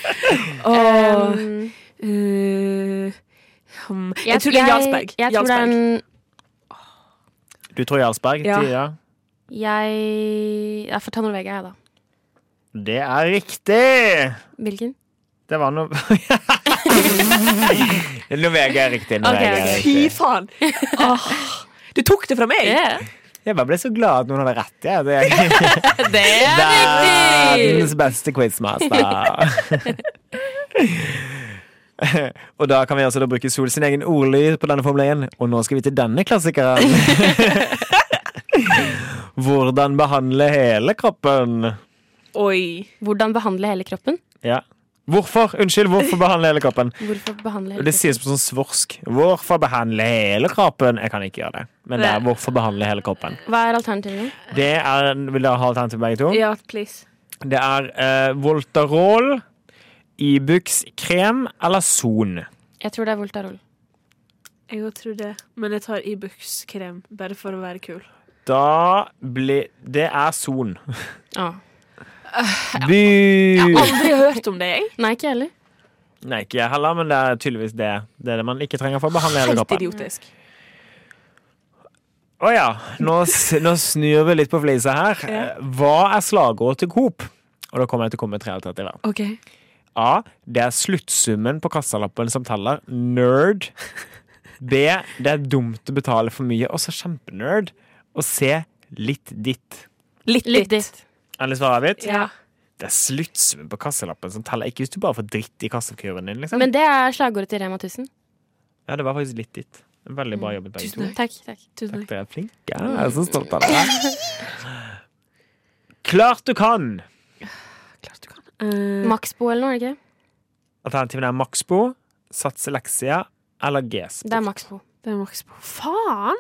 Speaker 12: Åh.
Speaker 3: Um,
Speaker 12: Eh, hmm. jeg tror det er Jarlsberg.
Speaker 3: Jeg, jeg tror det er
Speaker 12: Jarlsberg.
Speaker 3: en
Speaker 2: Du tror Jarlsberg?
Speaker 12: Ja.
Speaker 2: Tida?
Speaker 3: Jeg Jeg får ta Norvegia, jeg, da.
Speaker 2: Det er riktig!
Speaker 3: Hvilken?
Speaker 2: Det var no... <laughs> Norvegia er riktig. Norvegia er
Speaker 12: Ok, Fy
Speaker 2: riktig.
Speaker 12: <laughs> faen! Åh, du tok det fra meg!
Speaker 2: Jeg bare ble så glad at noen hadde rett. Ja. Det er
Speaker 3: Det er riktig!
Speaker 2: verdens beste quizmaster. <laughs> og da kan vi altså da bruke Sol sin egen ordlyd på denne formelen. Og nå skal vi til denne klassikeren. <laughs> Hvordan behandle hele kroppen?
Speaker 12: Oi.
Speaker 3: Hvordan behandle hele kroppen?
Speaker 2: Ja. Hvorfor? Unnskyld, hvorfor behandle hele kroppen?
Speaker 3: Hvorfor behandle
Speaker 2: Og
Speaker 3: hele
Speaker 2: Det
Speaker 3: kroppen?
Speaker 2: sies på sånn svorsk. Hvorfor behandle hele kroppen? Jeg kan ikke gjøre det. Men det er hvorfor behandle hele kroppen.
Speaker 3: Hva er alternativet?
Speaker 2: Det er, Vil dere ha alternativ begge to?
Speaker 4: Ja, please.
Speaker 2: Det er eh, Voltarol, Ibux krem eller Son.
Speaker 3: Jeg tror det er Voltarol.
Speaker 4: Jeg òg tror det. Men jeg tar Ibux-krem bare for å være kul.
Speaker 2: Da blir Det er Son.
Speaker 3: Ah.
Speaker 2: Bu!
Speaker 12: <laughs> Aldri hørt om det, jeg.
Speaker 3: Nei, ikke jeg heller.
Speaker 2: Nei, ikke jeg heller, men det er tydeligvis det. Det er det man ikke trenger for å behandle hele
Speaker 12: Helt
Speaker 2: kroppen.
Speaker 12: idiotisk.
Speaker 2: Å ja, nå, s- nå snur vi litt på flisa her. Eh, Hva er slagordet til Coop? Og da kommer jeg til å komme med tre alternativer.
Speaker 12: Ok.
Speaker 2: A. Det er sluttsummen på kassalappen som teller. Nerd. B. Det er dumt å betale for mye. Også kjempenerd. Og C. Litt ditt.
Speaker 12: Litt,
Speaker 3: Litt
Speaker 12: ditt.
Speaker 3: ditt.
Speaker 2: Alle svaret mitt?
Speaker 12: Ja.
Speaker 2: Det er sluttsummen på kassalappen som teller. Ikke hvis du bare får dritt i kassakurven din, liksom.
Speaker 3: Men det er slagordet til Rema 1000.
Speaker 2: Ja, det var faktisk litt ditt. Veldig
Speaker 12: Mm.
Speaker 2: bra jobbet, begge to.
Speaker 3: Mm. Takk. takk.
Speaker 2: Takk, dere er flinke. Jeg er så stolt
Speaker 12: <laughs>
Speaker 2: av dere. Klart du kan!
Speaker 12: Klart du kan. Eh,
Speaker 3: Maxbo eller noe, er det ikke? det?
Speaker 2: Alternativene er Maxbo, Satseleksia eller GS.
Speaker 3: Det er Maxbo.
Speaker 2: Eh.
Speaker 12: det er maks på. Faen!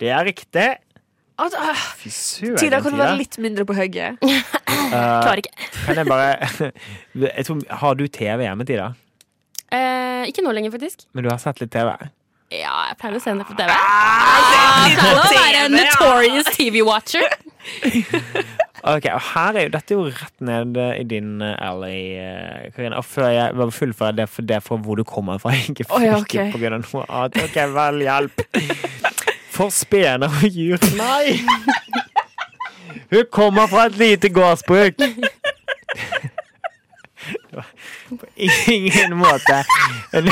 Speaker 2: Det er riktig.
Speaker 12: At, øh,
Speaker 2: Fy søren.
Speaker 12: Tida, kan du
Speaker 2: Tida.
Speaker 12: være litt mindre på hugget?
Speaker 2: Eh,
Speaker 3: Klarer ikke.
Speaker 2: Kan jeg bare <laughs> jeg tror, Har du TV hjemme, Tida?
Speaker 3: Eh, ikke nå lenger, faktisk. Ah!
Speaker 2: Men du har sett litt TV?
Speaker 3: Ja, jeg pleier å se henne på TV. Jeg pleier å være en notorious TV-watcher.
Speaker 2: Ok, og her er jo, Dette er jo rett ned eh, i din eh, alley, eh, Karina. Og før jeg bare fullfører det for det er fra hvor du kommer fra. <laughs> Ikke,
Speaker 12: Å ja,
Speaker 2: ikke
Speaker 12: ok.
Speaker 2: på grunn av noe annet. Ok, vel, hjelp. For spener og jur. Nei! Hun kommer fra et lite gårdsbruk. Det var på ingen måte en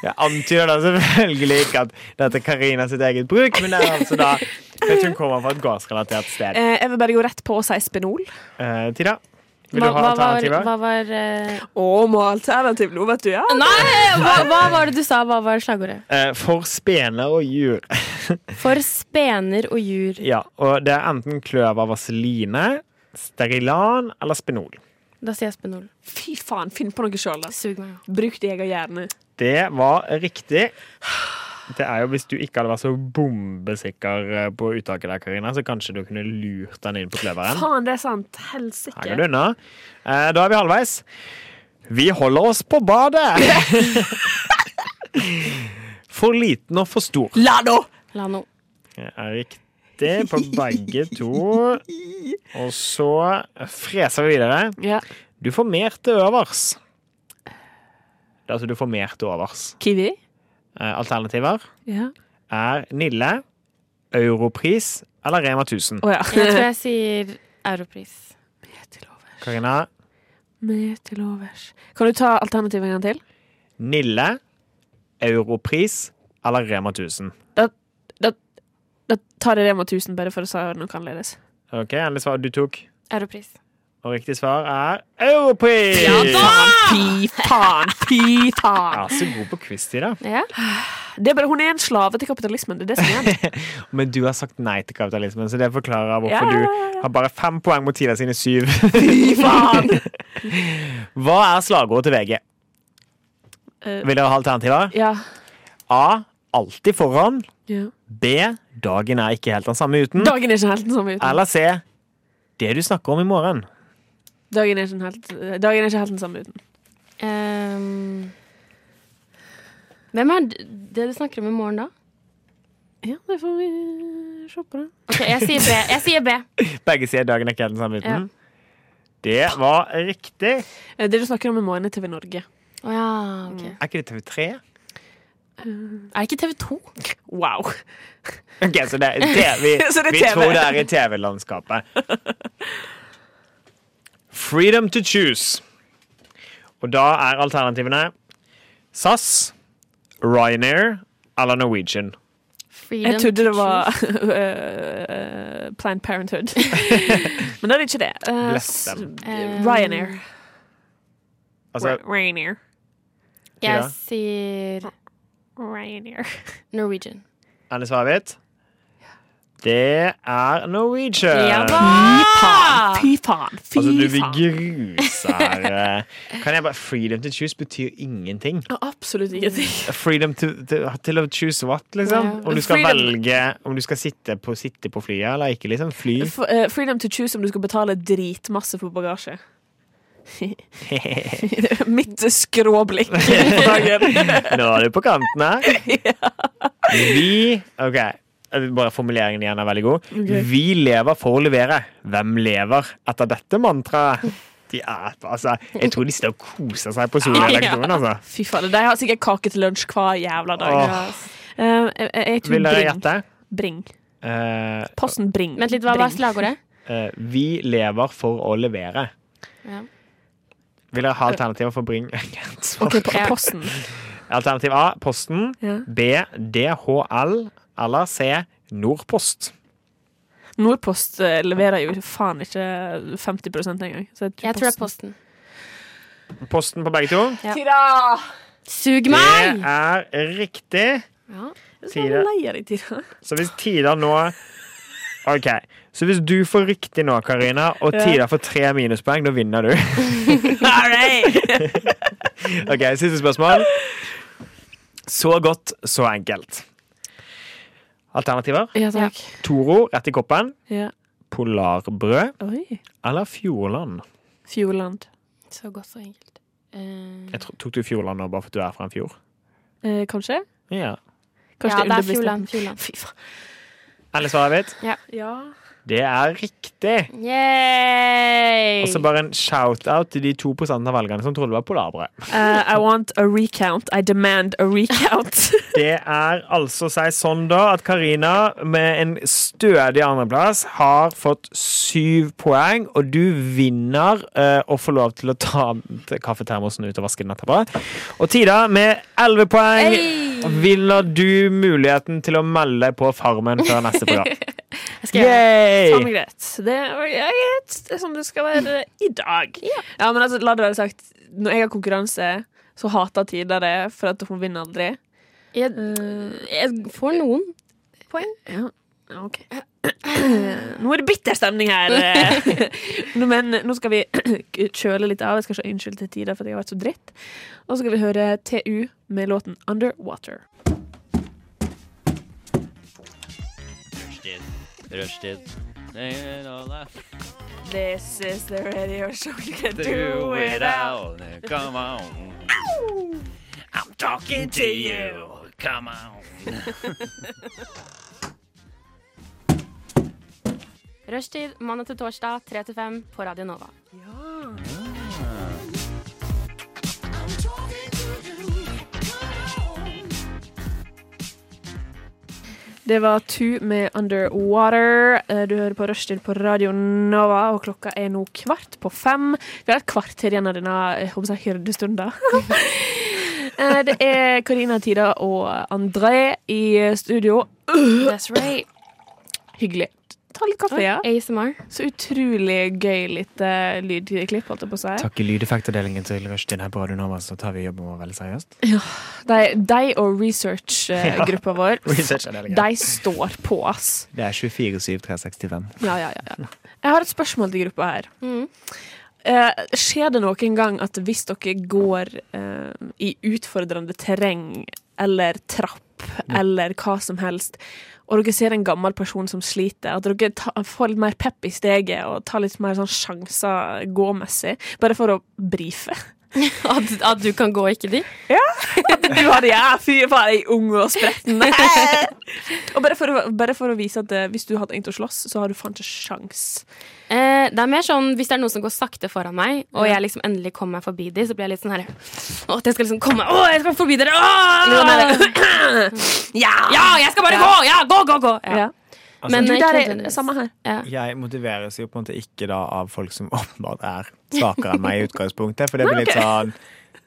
Speaker 2: Jeg antyder da selvfølgelig ikke at dette er Karina sitt eget bruk, men det er altså da at hun kommer fra et gårdsrelatert sted.
Speaker 12: Eh, jeg vil bare gå rett på og si Spenol.
Speaker 2: Eh, Tida, vil
Speaker 3: Hva,
Speaker 2: du ha
Speaker 3: hva var,
Speaker 2: alternativer?
Speaker 3: hva var eh,
Speaker 12: Å, må ha alternativ nå, vet du. ja
Speaker 3: Nei, hva, hva var det du sa? Hva var slagordet?
Speaker 2: Eh, for spener og jur.
Speaker 3: For spener og jur.
Speaker 2: Ja, og det er enten kløv av vaseline, Sterilan eller Spenol.
Speaker 3: Da sier jeg spenol.
Speaker 12: Fy faen, finn på noe sjøl, da.
Speaker 3: Sug meg.
Speaker 12: Bruk det jeg har hjerne.
Speaker 2: Det var riktig. Det er jo Hvis du ikke hadde vært så bombesikker eh, på uttaket der, Karina, så kanskje du kunne lurt den inn på kløveren.
Speaker 12: Faen, det er sant.
Speaker 2: Her
Speaker 12: Helsike.
Speaker 2: går du unna. Eh, Da er vi halvveis. Vi holder oss på badet! <laughs> For liten og for stor.
Speaker 12: La nå!
Speaker 3: La nå.
Speaker 2: Det er riktig på begge to. Og så freser vi videre.
Speaker 12: Ja.
Speaker 2: Du får mer til øvers. Det er altså du får mer til overs.
Speaker 4: Kiwi?
Speaker 2: Eh, Alternativer
Speaker 4: Ja.
Speaker 2: er Nille, Europris eller Rema 1000.
Speaker 4: Å ja.
Speaker 12: <laughs>
Speaker 3: Jeg tror jeg sier europris.
Speaker 4: Med til overs.
Speaker 2: Karina,
Speaker 4: Med til overs. Kan du ta alternativet en gang til?
Speaker 2: Nille, Europris eller Rema 1000.
Speaker 4: Da tar jeg Rema 1000 bare for å si noe annerledes.
Speaker 2: OK, endelig svar du tok.
Speaker 3: Europris.
Speaker 2: Og riktig svar er Europris!
Speaker 4: Fy faen! Fy faen!
Speaker 2: Ja, så god på quiz, Tida.
Speaker 3: Ja.
Speaker 4: Det er bare, hun er en slave til kapitalismen. Det er det som er det.
Speaker 2: Men du har sagt nei til kapitalismen, så det forklarer hvorfor
Speaker 4: Ja, ja,
Speaker 2: du har bare fem poeng mot Tida sine syv.
Speaker 4: Fy faen!
Speaker 2: <laughs> Hva er slagordet til VG?
Speaker 4: Eh,
Speaker 2: Vil dere ha alternativer?
Speaker 4: ja.
Speaker 2: A. Alltid foran.
Speaker 4: ja.
Speaker 2: B. Dagen er ikke helt den samme uten.
Speaker 4: Dagen er ikke helt den samme uten.
Speaker 2: Eller C. Det du snakker om i morgen.
Speaker 4: Dagen er ikke helt, dagen er ikke helt den samme uten.
Speaker 3: Ehm, hvem er d- det du snakker om i morgen, da?
Speaker 4: Ja, det får vi se på, da.
Speaker 3: Ok, Jeg sier B. Jeg sier B.
Speaker 2: Begge sier dagen er ikke helt den samme
Speaker 3: Ja.
Speaker 2: uten. Det var riktig.
Speaker 4: Eh, Det du snakker om i morgen, er TV Norge.
Speaker 3: Å ja, ok.
Speaker 2: Er ikke det TV3?
Speaker 3: Mm. Er det ikke TV 2?
Speaker 4: Wow.
Speaker 2: Ok, så det,
Speaker 4: <laughs>
Speaker 2: er TV.
Speaker 4: Så det er
Speaker 2: Vi
Speaker 4: TV.
Speaker 2: tror det er i TV-landskapet. Freedom to choose. Og da er alternativene SAS, Ryanair eller Norwegian.
Speaker 3: Freedom
Speaker 4: Jeg trodde det
Speaker 3: to
Speaker 4: var
Speaker 3: choose.
Speaker 4: <laughs> eh, Planned <laughs> Parenthood. Men det er ikke det. Eh,
Speaker 2: Bless them.
Speaker 4: s-
Speaker 3: Ehm,
Speaker 4: Ryanair.
Speaker 2: Altså,
Speaker 4: Ry- Ryanair.
Speaker 2: Tida?
Speaker 3: Jeg sier
Speaker 4: Ryanair.
Speaker 3: Norwegian.
Speaker 2: Anne Svarvit. Det er Norwegian.
Speaker 3: Ja da!
Speaker 4: Fy faen! Fy
Speaker 2: Altså, du vil
Speaker 4: faen!
Speaker 2: gruse
Speaker 4: <laughs>
Speaker 2: her. eh. Kan jeg bare Freedom to choose betyr ingenting.
Speaker 4: Ja, Absolutt ingenting.
Speaker 2: Freedom to, to, til å choose what, liksom?
Speaker 3: Ja.
Speaker 2: Om du skal
Speaker 4: Freedom-
Speaker 2: velge om du skal sitte på, sitte på flyet eller ikke, liksom. Fly.
Speaker 4: F eh, freedom to choose om du skal betale dritmasse for bagasje. <laughs> Mitt skråblikk på dagen.
Speaker 2: <laughs> Nå er du på kanten
Speaker 4: <laughs>
Speaker 2: her. Vi OK. Bare formuleringen igjen er veldig god. Vi lever for å levere. Hvem lever etter dette mantraet? De er, altså, jeg tror de sitter og koser seg
Speaker 4: <laughs>
Speaker 2: på soleleksjonen. Altså.
Speaker 4: Fy faen, De har sikkert kake til lunsj hver jævla dag.
Speaker 2: Åh.
Speaker 4: Ja. Eh, jeg, jeg, jeg tror
Speaker 2: Vil dere
Speaker 4: Bring.
Speaker 2: gjette?
Speaker 4: Bring.
Speaker 2: Eh,
Speaker 4: Posten Bring.
Speaker 3: Vent litt, hva var
Speaker 4: Bring.
Speaker 3: slagordet?
Speaker 2: eh, vi lever for å levere.
Speaker 3: Ja.
Speaker 2: Vil dere ha alternativer for bring? <laughs> Svar.
Speaker 4: Ok, på, posten.
Speaker 2: Alternativ A Posten.
Speaker 4: Ja.
Speaker 2: B DHL. Eller C Nordpost.
Speaker 4: Nordpost eh, leverer jo faen ikke 50 engang. Så
Speaker 3: Jeg tror det er Posten.
Speaker 2: Posten på begge to.
Speaker 3: Ja.
Speaker 4: Tira!
Speaker 3: Sug
Speaker 2: Det
Speaker 3: meg!
Speaker 2: er riktig.
Speaker 3: Ja.
Speaker 4: Så er
Speaker 2: Tira.
Speaker 4: jeg lei av deg, Tira.
Speaker 2: Så hvis Tida nå OK. Så hvis du får riktig nå, Karina, og
Speaker 4: Ja.
Speaker 2: Tida får tre minuspoeng, da vinner
Speaker 4: <laughs>
Speaker 2: du.
Speaker 4: All right.
Speaker 2: OK, siste spørsmål. Så godt, så enkelt. Alternativer?
Speaker 4: <laughs> Ja takk.
Speaker 2: Toro rett i koppen.
Speaker 4: Ja.
Speaker 2: Polarbrød
Speaker 4: Oi.
Speaker 2: eller Fjordland?
Speaker 4: Fjordland.
Speaker 3: Så godt, så enkelt. Eh,
Speaker 2: Jeg tro- tok du Fjordland nå bare fordi du er fra en fjord?
Speaker 4: Eh, kanskje?
Speaker 2: Ja.
Speaker 3: ja, det
Speaker 4: Kanskje
Speaker 3: er
Speaker 4: underbevisst.
Speaker 3: Fjordland. Fjordland.
Speaker 4: Fy faen.
Speaker 2: Eller svaret mitt?
Speaker 4: Ja.
Speaker 2: Det er riktig.
Speaker 3: Yay!
Speaker 2: Og så bare en shout-out til de 2 av velgerne som trodde det var <laughs> polarbrød.
Speaker 4: Eh, I want a recount. I demand a recount.
Speaker 2: Det er altså seg sånn, da, at Karina med en stødig andreplass har fått syv poeng, og du vinner eh, og får lov til å ta kaffetermosen ut og vaske den etterpå. Og Tida, med elleve poeng vinner du muligheten til å melde deg på Farmen før neste program.
Speaker 3: Skal <laughs> jeg-
Speaker 4: Faen meg
Speaker 2: Yay!
Speaker 4: greit. Det var greit. Det er sånn det skal være i dag. Ja, men altså, la det være sagt, når jeg har konkurranse, så hater Tida det, for at hun vinner aldri.
Speaker 3: Jeg, Eh, jeg får noen.
Speaker 4: Ja, ok. <clears throat> Nå er det bitter stemning
Speaker 3: <laughs>
Speaker 4: her. Nå, men nå skal vi <clears throat> kjøle litt av. Jeg skal ikke unnskylde til Tida for at jeg har vært så dritt. Og så skal vi høre TU med låten 'Underwater'.
Speaker 13: Rushtid. Rushtid.
Speaker 4: This is the radio show you can
Speaker 13: Do it out. Come on. I'm talking to you. Come on.
Speaker 3: Rushtid mandag til torsdag 3 til 5 på Radio Nova.
Speaker 13: Ah.
Speaker 4: Det var Two med Underwater. Eh, Du hører på Rushtid på Radio Nova, og klokka er nå kvart på fem. Vi har et kvarter igjen av denne jeg håper jeg, hyrdestunden. <laughs> Eh, Det er Karina, Tida og André i studio.
Speaker 3: That's right.
Speaker 4: Hyggelig. Ta litt kaffe, ja.
Speaker 3: ASMR.
Speaker 4: Så utrolig gøy lite lydklipp, holdt jeg på å si.
Speaker 2: Takk i lydeffektavdelingen til Rushdin her på Radio Nova, så tar altså. vi jobben vår veldig seriøst.
Speaker 4: De, de og researchgruppa vår,
Speaker 2: Researchavdelingen.
Speaker 4: de står på, ass.
Speaker 2: Det er 24 7 365.
Speaker 4: Ja, ja, ja, ja. Jeg har et spørsmål til gruppa her.
Speaker 3: Mm.
Speaker 4: Eh, skjer det noen gang at hvis dere går eh, i utfordrende terreng eller trapp eller hva som helst, og dere ser en gammel person som sliter, at dere ta, får litt mer pepp i steget og tar litt mer sånn sjanser gåmessig, bare for å brife? <laughs>
Speaker 3: At, at du kan gå, ikke <laughs> de?
Speaker 4: Du hadde ja, fy faen, jeg er ung og
Speaker 3: <laughs>
Speaker 4: spretten. og bare for, å, bare for å vise at eh, hvis du hadde tenkt å slåss, så har du faen ikke sjans.
Speaker 3: Eh, det er mer sånn hvis det er noen som går sakte foran meg, og jeg liksom endelig kommer meg forbi de, så blir jeg litt sånn her Å, jeg skal liksom komme meg Å, jeg skal forbi dere! Å!
Speaker 4: Ja!
Speaker 3: Ja, jeg skal bare gå! Ja, gå, gå, gå! Ja.
Speaker 4: Ja.
Speaker 3: Men eh,
Speaker 4: Du,
Speaker 3: ikke
Speaker 4: der er
Speaker 3: nødvendigvis.
Speaker 4: samme her.
Speaker 3: Ja.
Speaker 2: Jeg motiveres jo på en måte ikke da av folk som åpenbart er svakere enn meg i utgangspunktet, for det blir litt sånn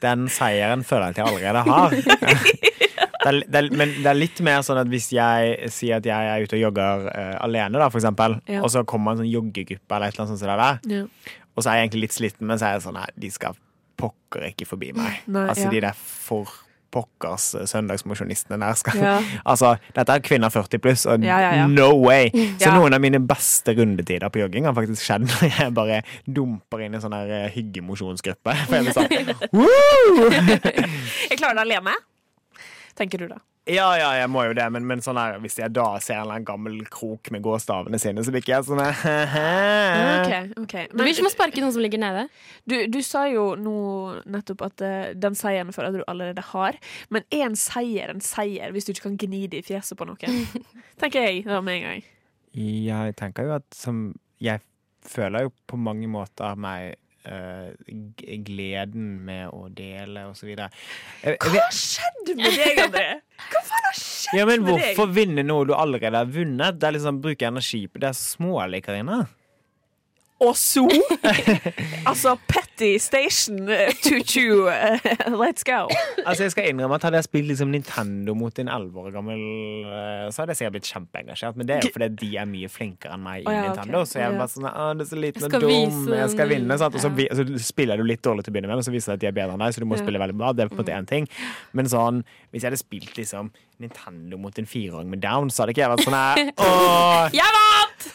Speaker 2: Den seieren føler jeg at jeg allerede har. Det er, det er, men det er litt mer sånn at hvis jeg sier at jeg er ute og jogger eh, alene, da, for eksempel,
Speaker 4: Ja.
Speaker 2: og så kommer en sånn joggegruppe eller et eller annet sånt som det der,
Speaker 4: Ja.
Speaker 2: og så er jeg egentlig litt sliten, men så er jeg sånn Nei, de skal pokker ikke forbi meg.
Speaker 4: <laughs> Nei,
Speaker 2: altså,
Speaker 4: ja.
Speaker 2: de der for pokkers eh, søndagsmosjonistene der skal
Speaker 4: Ja.
Speaker 2: <laughs> Altså, dette er kvinner 40 pluss, og
Speaker 4: Ja, ja, ja.
Speaker 2: no
Speaker 4: <laughs>
Speaker 2: way! Så
Speaker 4: Ja.
Speaker 2: noen av mine beste rundetider på jogging har faktisk skjedd når jeg bare dumper inn i sånn her eh, hyggemosjonsgruppe. <laughs> For jeg blir sånn Woo!
Speaker 4: Jeg klarer det alene, tenker du da.
Speaker 2: Ja, ja, jeg må jo det, men, men sånn her, hvis jeg da ser en eller annen gammel krok med gåstavene sine, så blir ikke jeg sånn <laughs>
Speaker 4: Eh. Ah,
Speaker 2: her
Speaker 3: Det blir som å sparke noen som ligger nede.
Speaker 4: du, du sa jo nå nettopp at eh, den seieren føler du allerede har, men er en seier en seier hvis du ikke kan gni det i fjeset på <laughs> noen? Tenker jeg da med en gang.
Speaker 2: Jeg tenker jo at som Jeg føler jo på mange måter meg eh, g- gleden med å dele og så videre. Jeg- jeg vet-
Speaker 4: Hva skjedde med deg, André? Hva faen har skjedd?
Speaker 2: Ja, men
Speaker 4: med deg?
Speaker 2: hvorfor vinne noe du allerede har vunnet? Det er liksom Bruke energi på det er smålig, Karina.
Speaker 4: Og så? <laughs> altså, Petty Station eh, 22, eh, let's go.
Speaker 2: Altså, jeg skal innrømme at Hadde jeg spilt liksom Nintendo mot en elleve år gammel, eh, så hadde jeg sikkert blitt kjempeengasjert. Men det er jo fordi de er mye flinkere enn meg i
Speaker 4: Å, ja, ok.
Speaker 2: Nintendo. Så jeg er
Speaker 4: Ja.
Speaker 2: bare sånn Å, du er så liten
Speaker 3: Jeg
Speaker 2: og
Speaker 3: skal
Speaker 2: dum.
Speaker 3: vise
Speaker 2: Jeg skal
Speaker 3: den.
Speaker 2: vinne. Sant? Og så,
Speaker 3: Ja.
Speaker 2: vi- så spiller du litt dårlig til å begynne med, men så viser det at de er bedre enn deg, så du må
Speaker 4: Ja. Mm.
Speaker 2: spille veldig bra. Det er på en måte én ting. Men sånn, hvis jeg hadde spilt liksom Nintendo mot en fireåring med down, så hadde ikke jeg vært sånn her
Speaker 4: <laughs>
Speaker 2: Å,
Speaker 3: Jeg vant!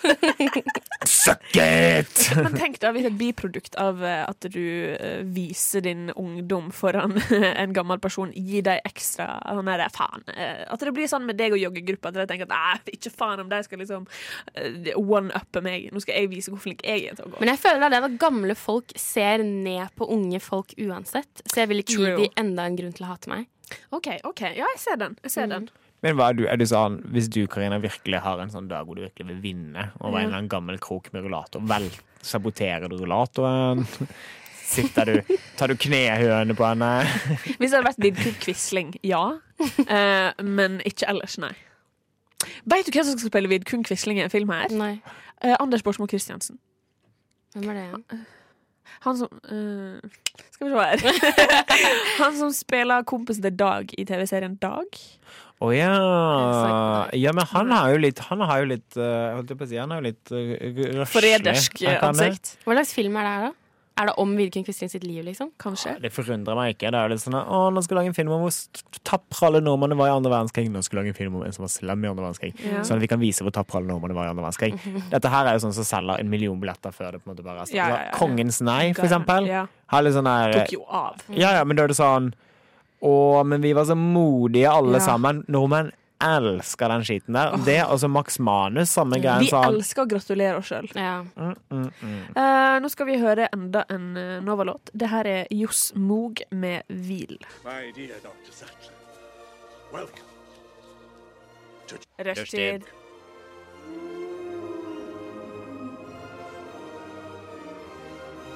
Speaker 2: suck it!
Speaker 4: Men tenk da, hvis et biprodukt av eh, at du eh, viser din ungdom foran <laughs> en gammel person, gir deg ekstra sånn der, faen. eh, At det blir sånn med deg og joggegruppa, at jeg tenker at "Æ, ikke faen om de skal liksom eh, one-uppe meg. Nå skal jeg vise hvor flink jeg er til å gå.
Speaker 3: Men jeg føler det er det at gamle folk ser ned på unge folk uansett. Så jeg vil ikke gi
Speaker 4: True.
Speaker 3: de enda en grunn til å hate meg.
Speaker 4: OK, ok, ja, jeg ser den. Jeg ser den.
Speaker 2: Men hva er du, er du sånn, hvis du Karina virkelig har en sånn dag hvor du virkelig vil vinne over en eller annen gammel krok med rullator, vel, saboterer du rullatoren? <laughs> Sitter du, tar du knehøne på
Speaker 4: <laughs>
Speaker 2: henne?
Speaker 4: Hvis det hadde vært Vidkun Quisling, ja. Eh, men ikke ellers, nei. Veit du hvem som skal spille Vidkun Quisling i en film her?
Speaker 3: Nei.
Speaker 4: Eh, Anders Borsmo Christiansen.
Speaker 3: Hvem er det igjen?
Speaker 4: Han som eh, Skal vi se her. <laughs> Han som spiller kompisen til Dag i TV-serien Dag.
Speaker 2: Å ja. ja! Men han har jo litt Han har jo litt eh, holdt jeg på å si, han har jo litt uh,
Speaker 4: Forrædersk eh, ansikt.
Speaker 3: Hva slags film er det her, da? Er det om Vidkun Quisling sitt liv, liksom?
Speaker 4: Kanskje.
Speaker 2: Det forundrer meg ikke. Det er jo litt sånn Å, nå skal vi lage en film om hvor st- tapre alle nordmennene var i andre verdenskrig. Nå skal vi lage en film om en som var slem i andre verdenskrig.
Speaker 4: Ja.
Speaker 2: Sånn at vi kan vise hvor tapre alle nordmennene var i
Speaker 4: <laughs>
Speaker 2: andre verdenskrig. Dette her er jo sånn som selger en million billetter før det på en måte bare er
Speaker 4: Ja, ja, ja, ja.
Speaker 2: Kongens nei, for eksempel.
Speaker 4: Ja.
Speaker 2: Har litt sånn her
Speaker 4: Tok jo av.
Speaker 2: Ja, ja, men da er det sånn Å, men vi var så modige alle
Speaker 4: Ja.
Speaker 2: sammen. Nordmenn elsker den skiten der. Det, og så Max Manus, samme greien.
Speaker 4: Vi
Speaker 2: Sånn.
Speaker 4: elsker å gratulere oss sjøl.
Speaker 3: Ja.
Speaker 4: Eh, nå skal vi høre enda en eh, Nova-låt. Det her er Johs Moog med 'Hvil'.
Speaker 6: My dear Dr. Sattler, welcome.
Speaker 4: Rushtid.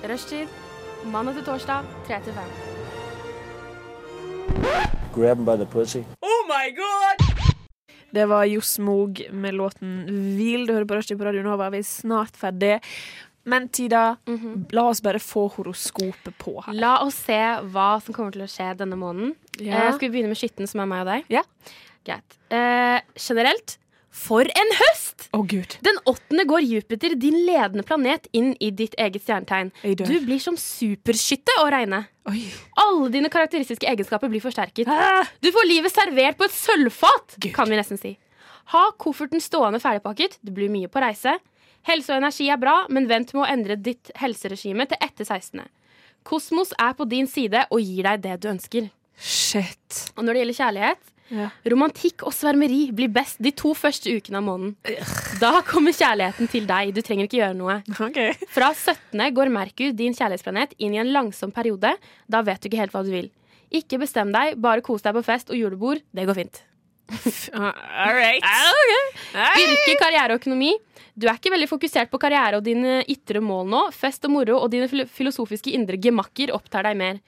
Speaker 3: Rushtid. Mandag til torsdag, 3 til 5.
Speaker 14: Grab him by the pussy.
Speaker 4: Oh my god! Det var Johs Moog med låten 'Hvil'. Du hører på Rushdie på Radio Nova. Vi er snart ferdig. Men Tida, mm -hmm. la oss bare få horoskopet på her.
Speaker 3: La oss se hva som kommer til å skje denne måneden. Ja. Eh, skal vi begynne med Skytten, som er meg og deg?
Speaker 4: Ja.
Speaker 3: Greit. Eh, generelt, for en høst!
Speaker 4: Å, Gud.
Speaker 3: Den åttende går Jupiter, din ledende planet, inn i ditt eget stjernetegn. Du blir som superskytte å regne.
Speaker 4: Oi.
Speaker 3: Alle dine karakteristiske egenskaper blir forsterket. Ah. Du får livet servert på et sølvfat,
Speaker 4: Gud.
Speaker 3: kan vi nesten si. Ha kofferten stående ferdigpakket. Det blir mye på reise. Helse og energi er bra, men vent med å endre ditt helseregime til etter 16. Kosmos er på din side og gir deg det du ønsker.
Speaker 4: Shit.
Speaker 3: Og når det gjelder kjærlighet,
Speaker 4: Ja.
Speaker 3: romantikk og svermeri blir best de to første ukene av måneden. Da kommer kjærligheten til deg. Du trenger ikke gjøre noe.
Speaker 4: <laughs> Ok.
Speaker 3: Fra 17. går Merkur, din kjærlighetsplanet, inn i en langsom periode. Da vet du ikke helt hva du vil. Ikke bestem deg, bare kos deg på fest og julebord. Det går fint.
Speaker 4: All right.
Speaker 3: Virke, karriere og økonomi. Du er ikke veldig fokusert på karriere og dine ytre mål nå. Fest og moro og dine fil- filosofiske indre gemakker opptar deg mer.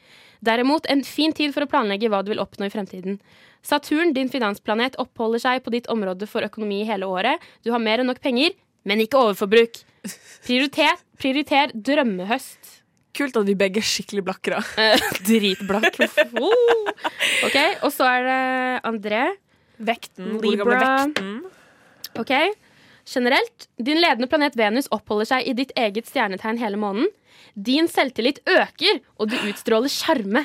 Speaker 3: Derimot en fin tid for å planlegge hva du vil oppnå i fremtiden. Saturn, din finansplanet, oppholder seg på ditt område for økonomi hele året. Du har mer enn nok penger, men ikke overforbruk. Prioriter, prioriter drømmehøst.
Speaker 4: Kult at vi begge er skikkelig blakke, da.
Speaker 3: <laughs> Dritblakk. ok, og så er det André.
Speaker 4: Vekten.
Speaker 3: Libra. Ok, Generelt, din ledende planet Venus oppholder seg i ditt eget stjernetegn hele måneden. Din selvtillit øker, og du utstråler sjarme.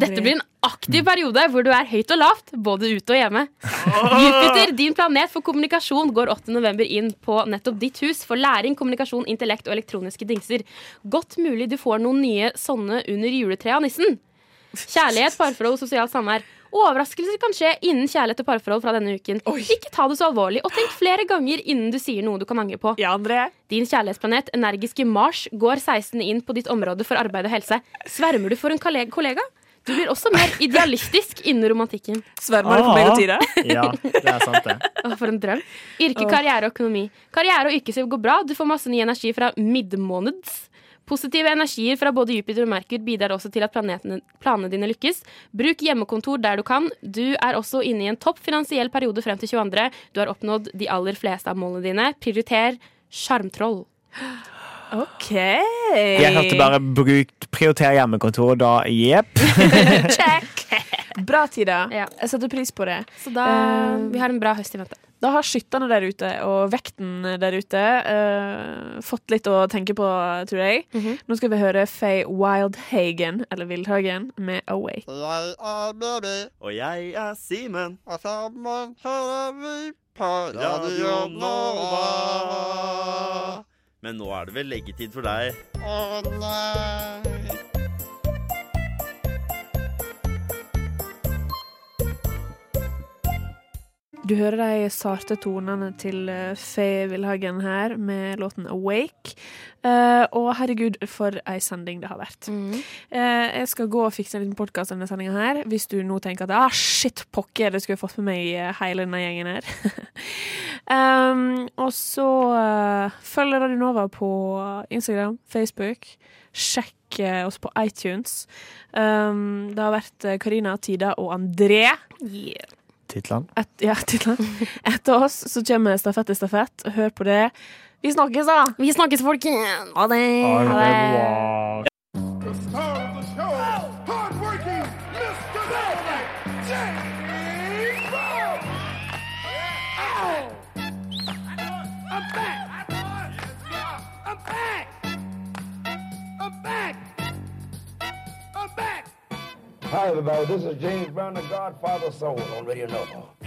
Speaker 3: Dette blir en aktiv periode hvor du er høyt og lavt, både ute og hjemme. Jupiter, din planet for kommunikasjon, går 8. november inn på nettopp ditt hus for læring, kommunikasjon, intellekt og elektroniske dingser. Godt mulig du får noen nye sånne under juletreet av nissen. Kjærlighet, parforhold og sosialt samvær. Overraskelser kan skje innen kjærlighet og parforhold fra denne uken. Ikke ta det så alvorlig, og tenk flere ganger innen du sier noe du kan angre på.
Speaker 4: Ja, André.
Speaker 3: Din kjærlighetsplanet, energiske Mars, går 16. inn på ditt område for arbeid og helse. Svermer du for en kollega- kollega? Du blir også mer idealistisk innen romantikken.
Speaker 4: Svermer
Speaker 2: Ah.
Speaker 4: du for meg og Tida?
Speaker 2: Ja, det er sant,
Speaker 4: <laughs>
Speaker 2: det.
Speaker 3: Å, for en drøm. Yrke, karriere og økonomi. Karriere og yrkesliv går bra. Du får masse ny energi fra midmåneds. Positive energier fra både Jupiter og Merkur bidrar også til at planetene, planene dine lykkes. Bruk hjemmekontor der du kan. Du er også inne i en topp finansiell periode frem til 22. Du har oppnådd de aller fleste av målene dine. Prioriter sjarmtroll.
Speaker 4: OK.
Speaker 2: Jeg hørte bare brukt 'prioriter hjemmekontor', da jepp.
Speaker 4: Bra, Tida.
Speaker 3: Ja.
Speaker 4: Jeg setter pris på det.
Speaker 3: Så da
Speaker 4: Eh,
Speaker 3: Vi har en bra høst i vente.
Speaker 4: Da har skytterne der ute og vekten der ute eh, fått litt å tenke på, tror jeg.
Speaker 3: Mhm.
Speaker 4: Nå skal vi høre Faye Wildhagen, eller Wildhagen, med Awake.
Speaker 13: Jeg er Mary. Og jeg er Simen. Og sammen hører vi på Radio Nova. Men nå er det vel leggetid for deg. Å nei.
Speaker 4: Du hører de sarte tonene til eh, Faye Wildhagen her med låten Awake. Eh, og herregud, for ei sending det har vært. Eh, jeg skal gå og fikse en liten podkast denne sendinga her. Hvis du nå tenker at ah, shit, pokker, det skulle jeg fått med meg eh, hele denne gjengen her. <laughs> um, og så eh, følg Radio Nova på Instagram, Facebook. Sjekk eh, oss på iTunes. Um, det har vært eh, Karina, Tida og André.
Speaker 2: Titland.
Speaker 4: Et, ja, titlene. <laughs> Etter oss så kommer Stafett i stafett. Hør på det. Vi snakkes, da!
Speaker 3: Vi snakkes, folkens! Ha det!
Speaker 6: It's time to show hardworking Mr. Perfect, James Brown. Ow! I'm back. I'm back. I'm back. I'm back.
Speaker 15: Hi, everybody. This is James Brown, the Godfather Soul on Radio Nova.